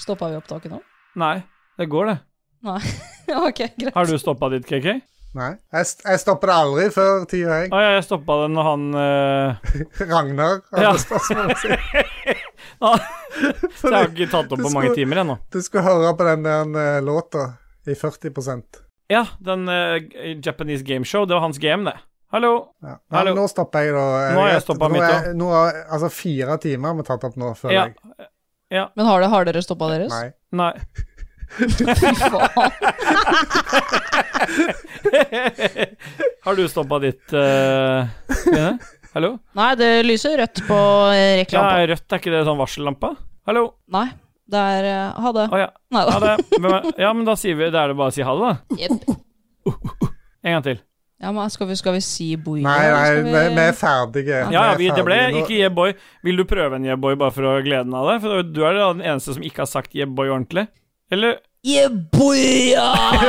Speaker 2: Stoppa vi opptaket nå?
Speaker 1: Nei, det går, det.
Speaker 2: Nei. ok, greit.
Speaker 1: Har du stoppa ditt, KK?
Speaker 3: Nei. Jeg, st- jeg stopper det aldri før tida, jeg.
Speaker 1: Å ja, jeg stoppa den når han eh,
Speaker 3: Ragnar hadde
Speaker 1: Ja.
Speaker 3: spørsmålet sitt.
Speaker 1: Så jeg har ikke tatt opp
Speaker 3: Du
Speaker 1: på mange
Speaker 3: skulle-
Speaker 1: timer ennå.
Speaker 3: Du skulle høre på den der eh, låta i 40
Speaker 1: Ja, den eh, Japanese Game Show, det var hans game, det. Hallo.
Speaker 3: ja. Nei,
Speaker 1: Hallo.
Speaker 3: Nå stopper jeg, da.
Speaker 1: Nå har jeg
Speaker 3: vet-
Speaker 1: stoppet
Speaker 3: nå
Speaker 1: mitt
Speaker 3: er- Nå har altså fire timer har vi tatt opp nå, føler
Speaker 1: Ja.
Speaker 3: jeg.
Speaker 2: Men har, det, har dere stoppa deres?
Speaker 3: Nei.
Speaker 1: Nei.
Speaker 2: Fy faen.
Speaker 1: har du stoppa ditt, eh, Trine? Hallo?
Speaker 2: Nei, det lyser rødt på eh,
Speaker 1: Ja,
Speaker 2: reklamen.
Speaker 1: rødt, er ikke det sånn varsellampa? Hallo?
Speaker 2: Nei, det er eh, Ha det.
Speaker 1: Å ja.
Speaker 2: Nei
Speaker 1: Ha
Speaker 2: da.
Speaker 1: det. Hvem er- Ja, men da sier vi Da er det bare å si ha det, da.
Speaker 2: Jepp.
Speaker 1: En gang til.
Speaker 2: Ja, men skal vi, skal vi si boia?
Speaker 3: Nei, nei,
Speaker 2: eller
Speaker 3: vi,
Speaker 2: skal
Speaker 3: vi er ferdige.
Speaker 1: Ja, ja, vi, det ble
Speaker 3: ferdige nå.
Speaker 1: ikke yeah boy. Vil du prøve en yeah boy bare for å glede deg av det? For du er da den eneste som ikke har sagt yeah boy ordentlig. Eller
Speaker 2: Yeah, boia!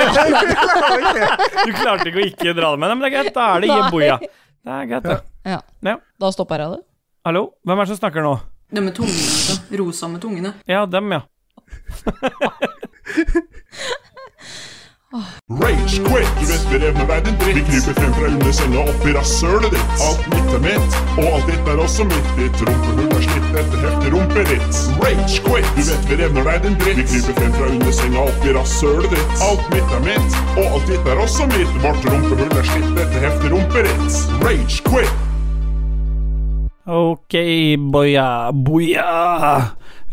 Speaker 1: Du klarte ikke å ikke dra det med deg, men det er greit. Da er det yeah boy, ja. Det er greit, det.
Speaker 2: Ja.
Speaker 1: Ja.
Speaker 2: Da stopper jeg det.
Speaker 1: Hallo? Hvem er det som snakker nå?
Speaker 11: Det med tungene, altså. Rosa med tungene.
Speaker 1: Ja, dem, ja.
Speaker 8: Rage quit. Du vet vi revner verden dritt. Vi kryper frem fra under cella opp i rasshølet ditt. Alt mitt er mitt, og alt ditt er også mitt. Ditt rumpehull er slitt etter heftig rumperitt. Rage quit. Du vet vi revner verden dritt. Vi kryper frem fra under senga opp i rasshølet ditt. Alt mitt er mitt, og alt ditt er også mitt. Vårt rumpehull er slitt etter heftig rumperitt. Rage quit.
Speaker 4: Ok, boya, boya.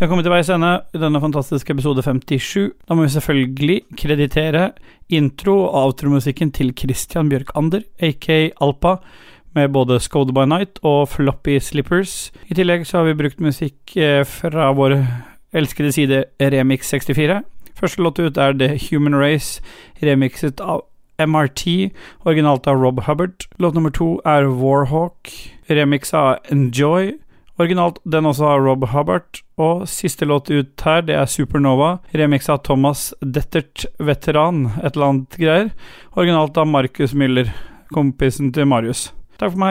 Speaker 4: Vi har kommet til veis ende i denne fantastiske episode 57. Da må vi selvfølgelig kreditere intro- og outromusikken til Christian Bjørkander, aka Alpa, med både Scode by Night og Floppy Slippers. I tillegg så har vi brukt musikk eh, fra vår elskede side Remix 64. Første låt ut er The Human Race, remixet av MRT, originalt av Rob Hubbard. Låt nummer to er Warhawk, remix av Enjoy. Originalt den også av Rob Hubbard. Og siste låt ut her, det er Supernova, remix av Thomas Dettert, veteran, et eller annet greier. Originalt av Markus Müller, kompisen til Marius. Takk for meg.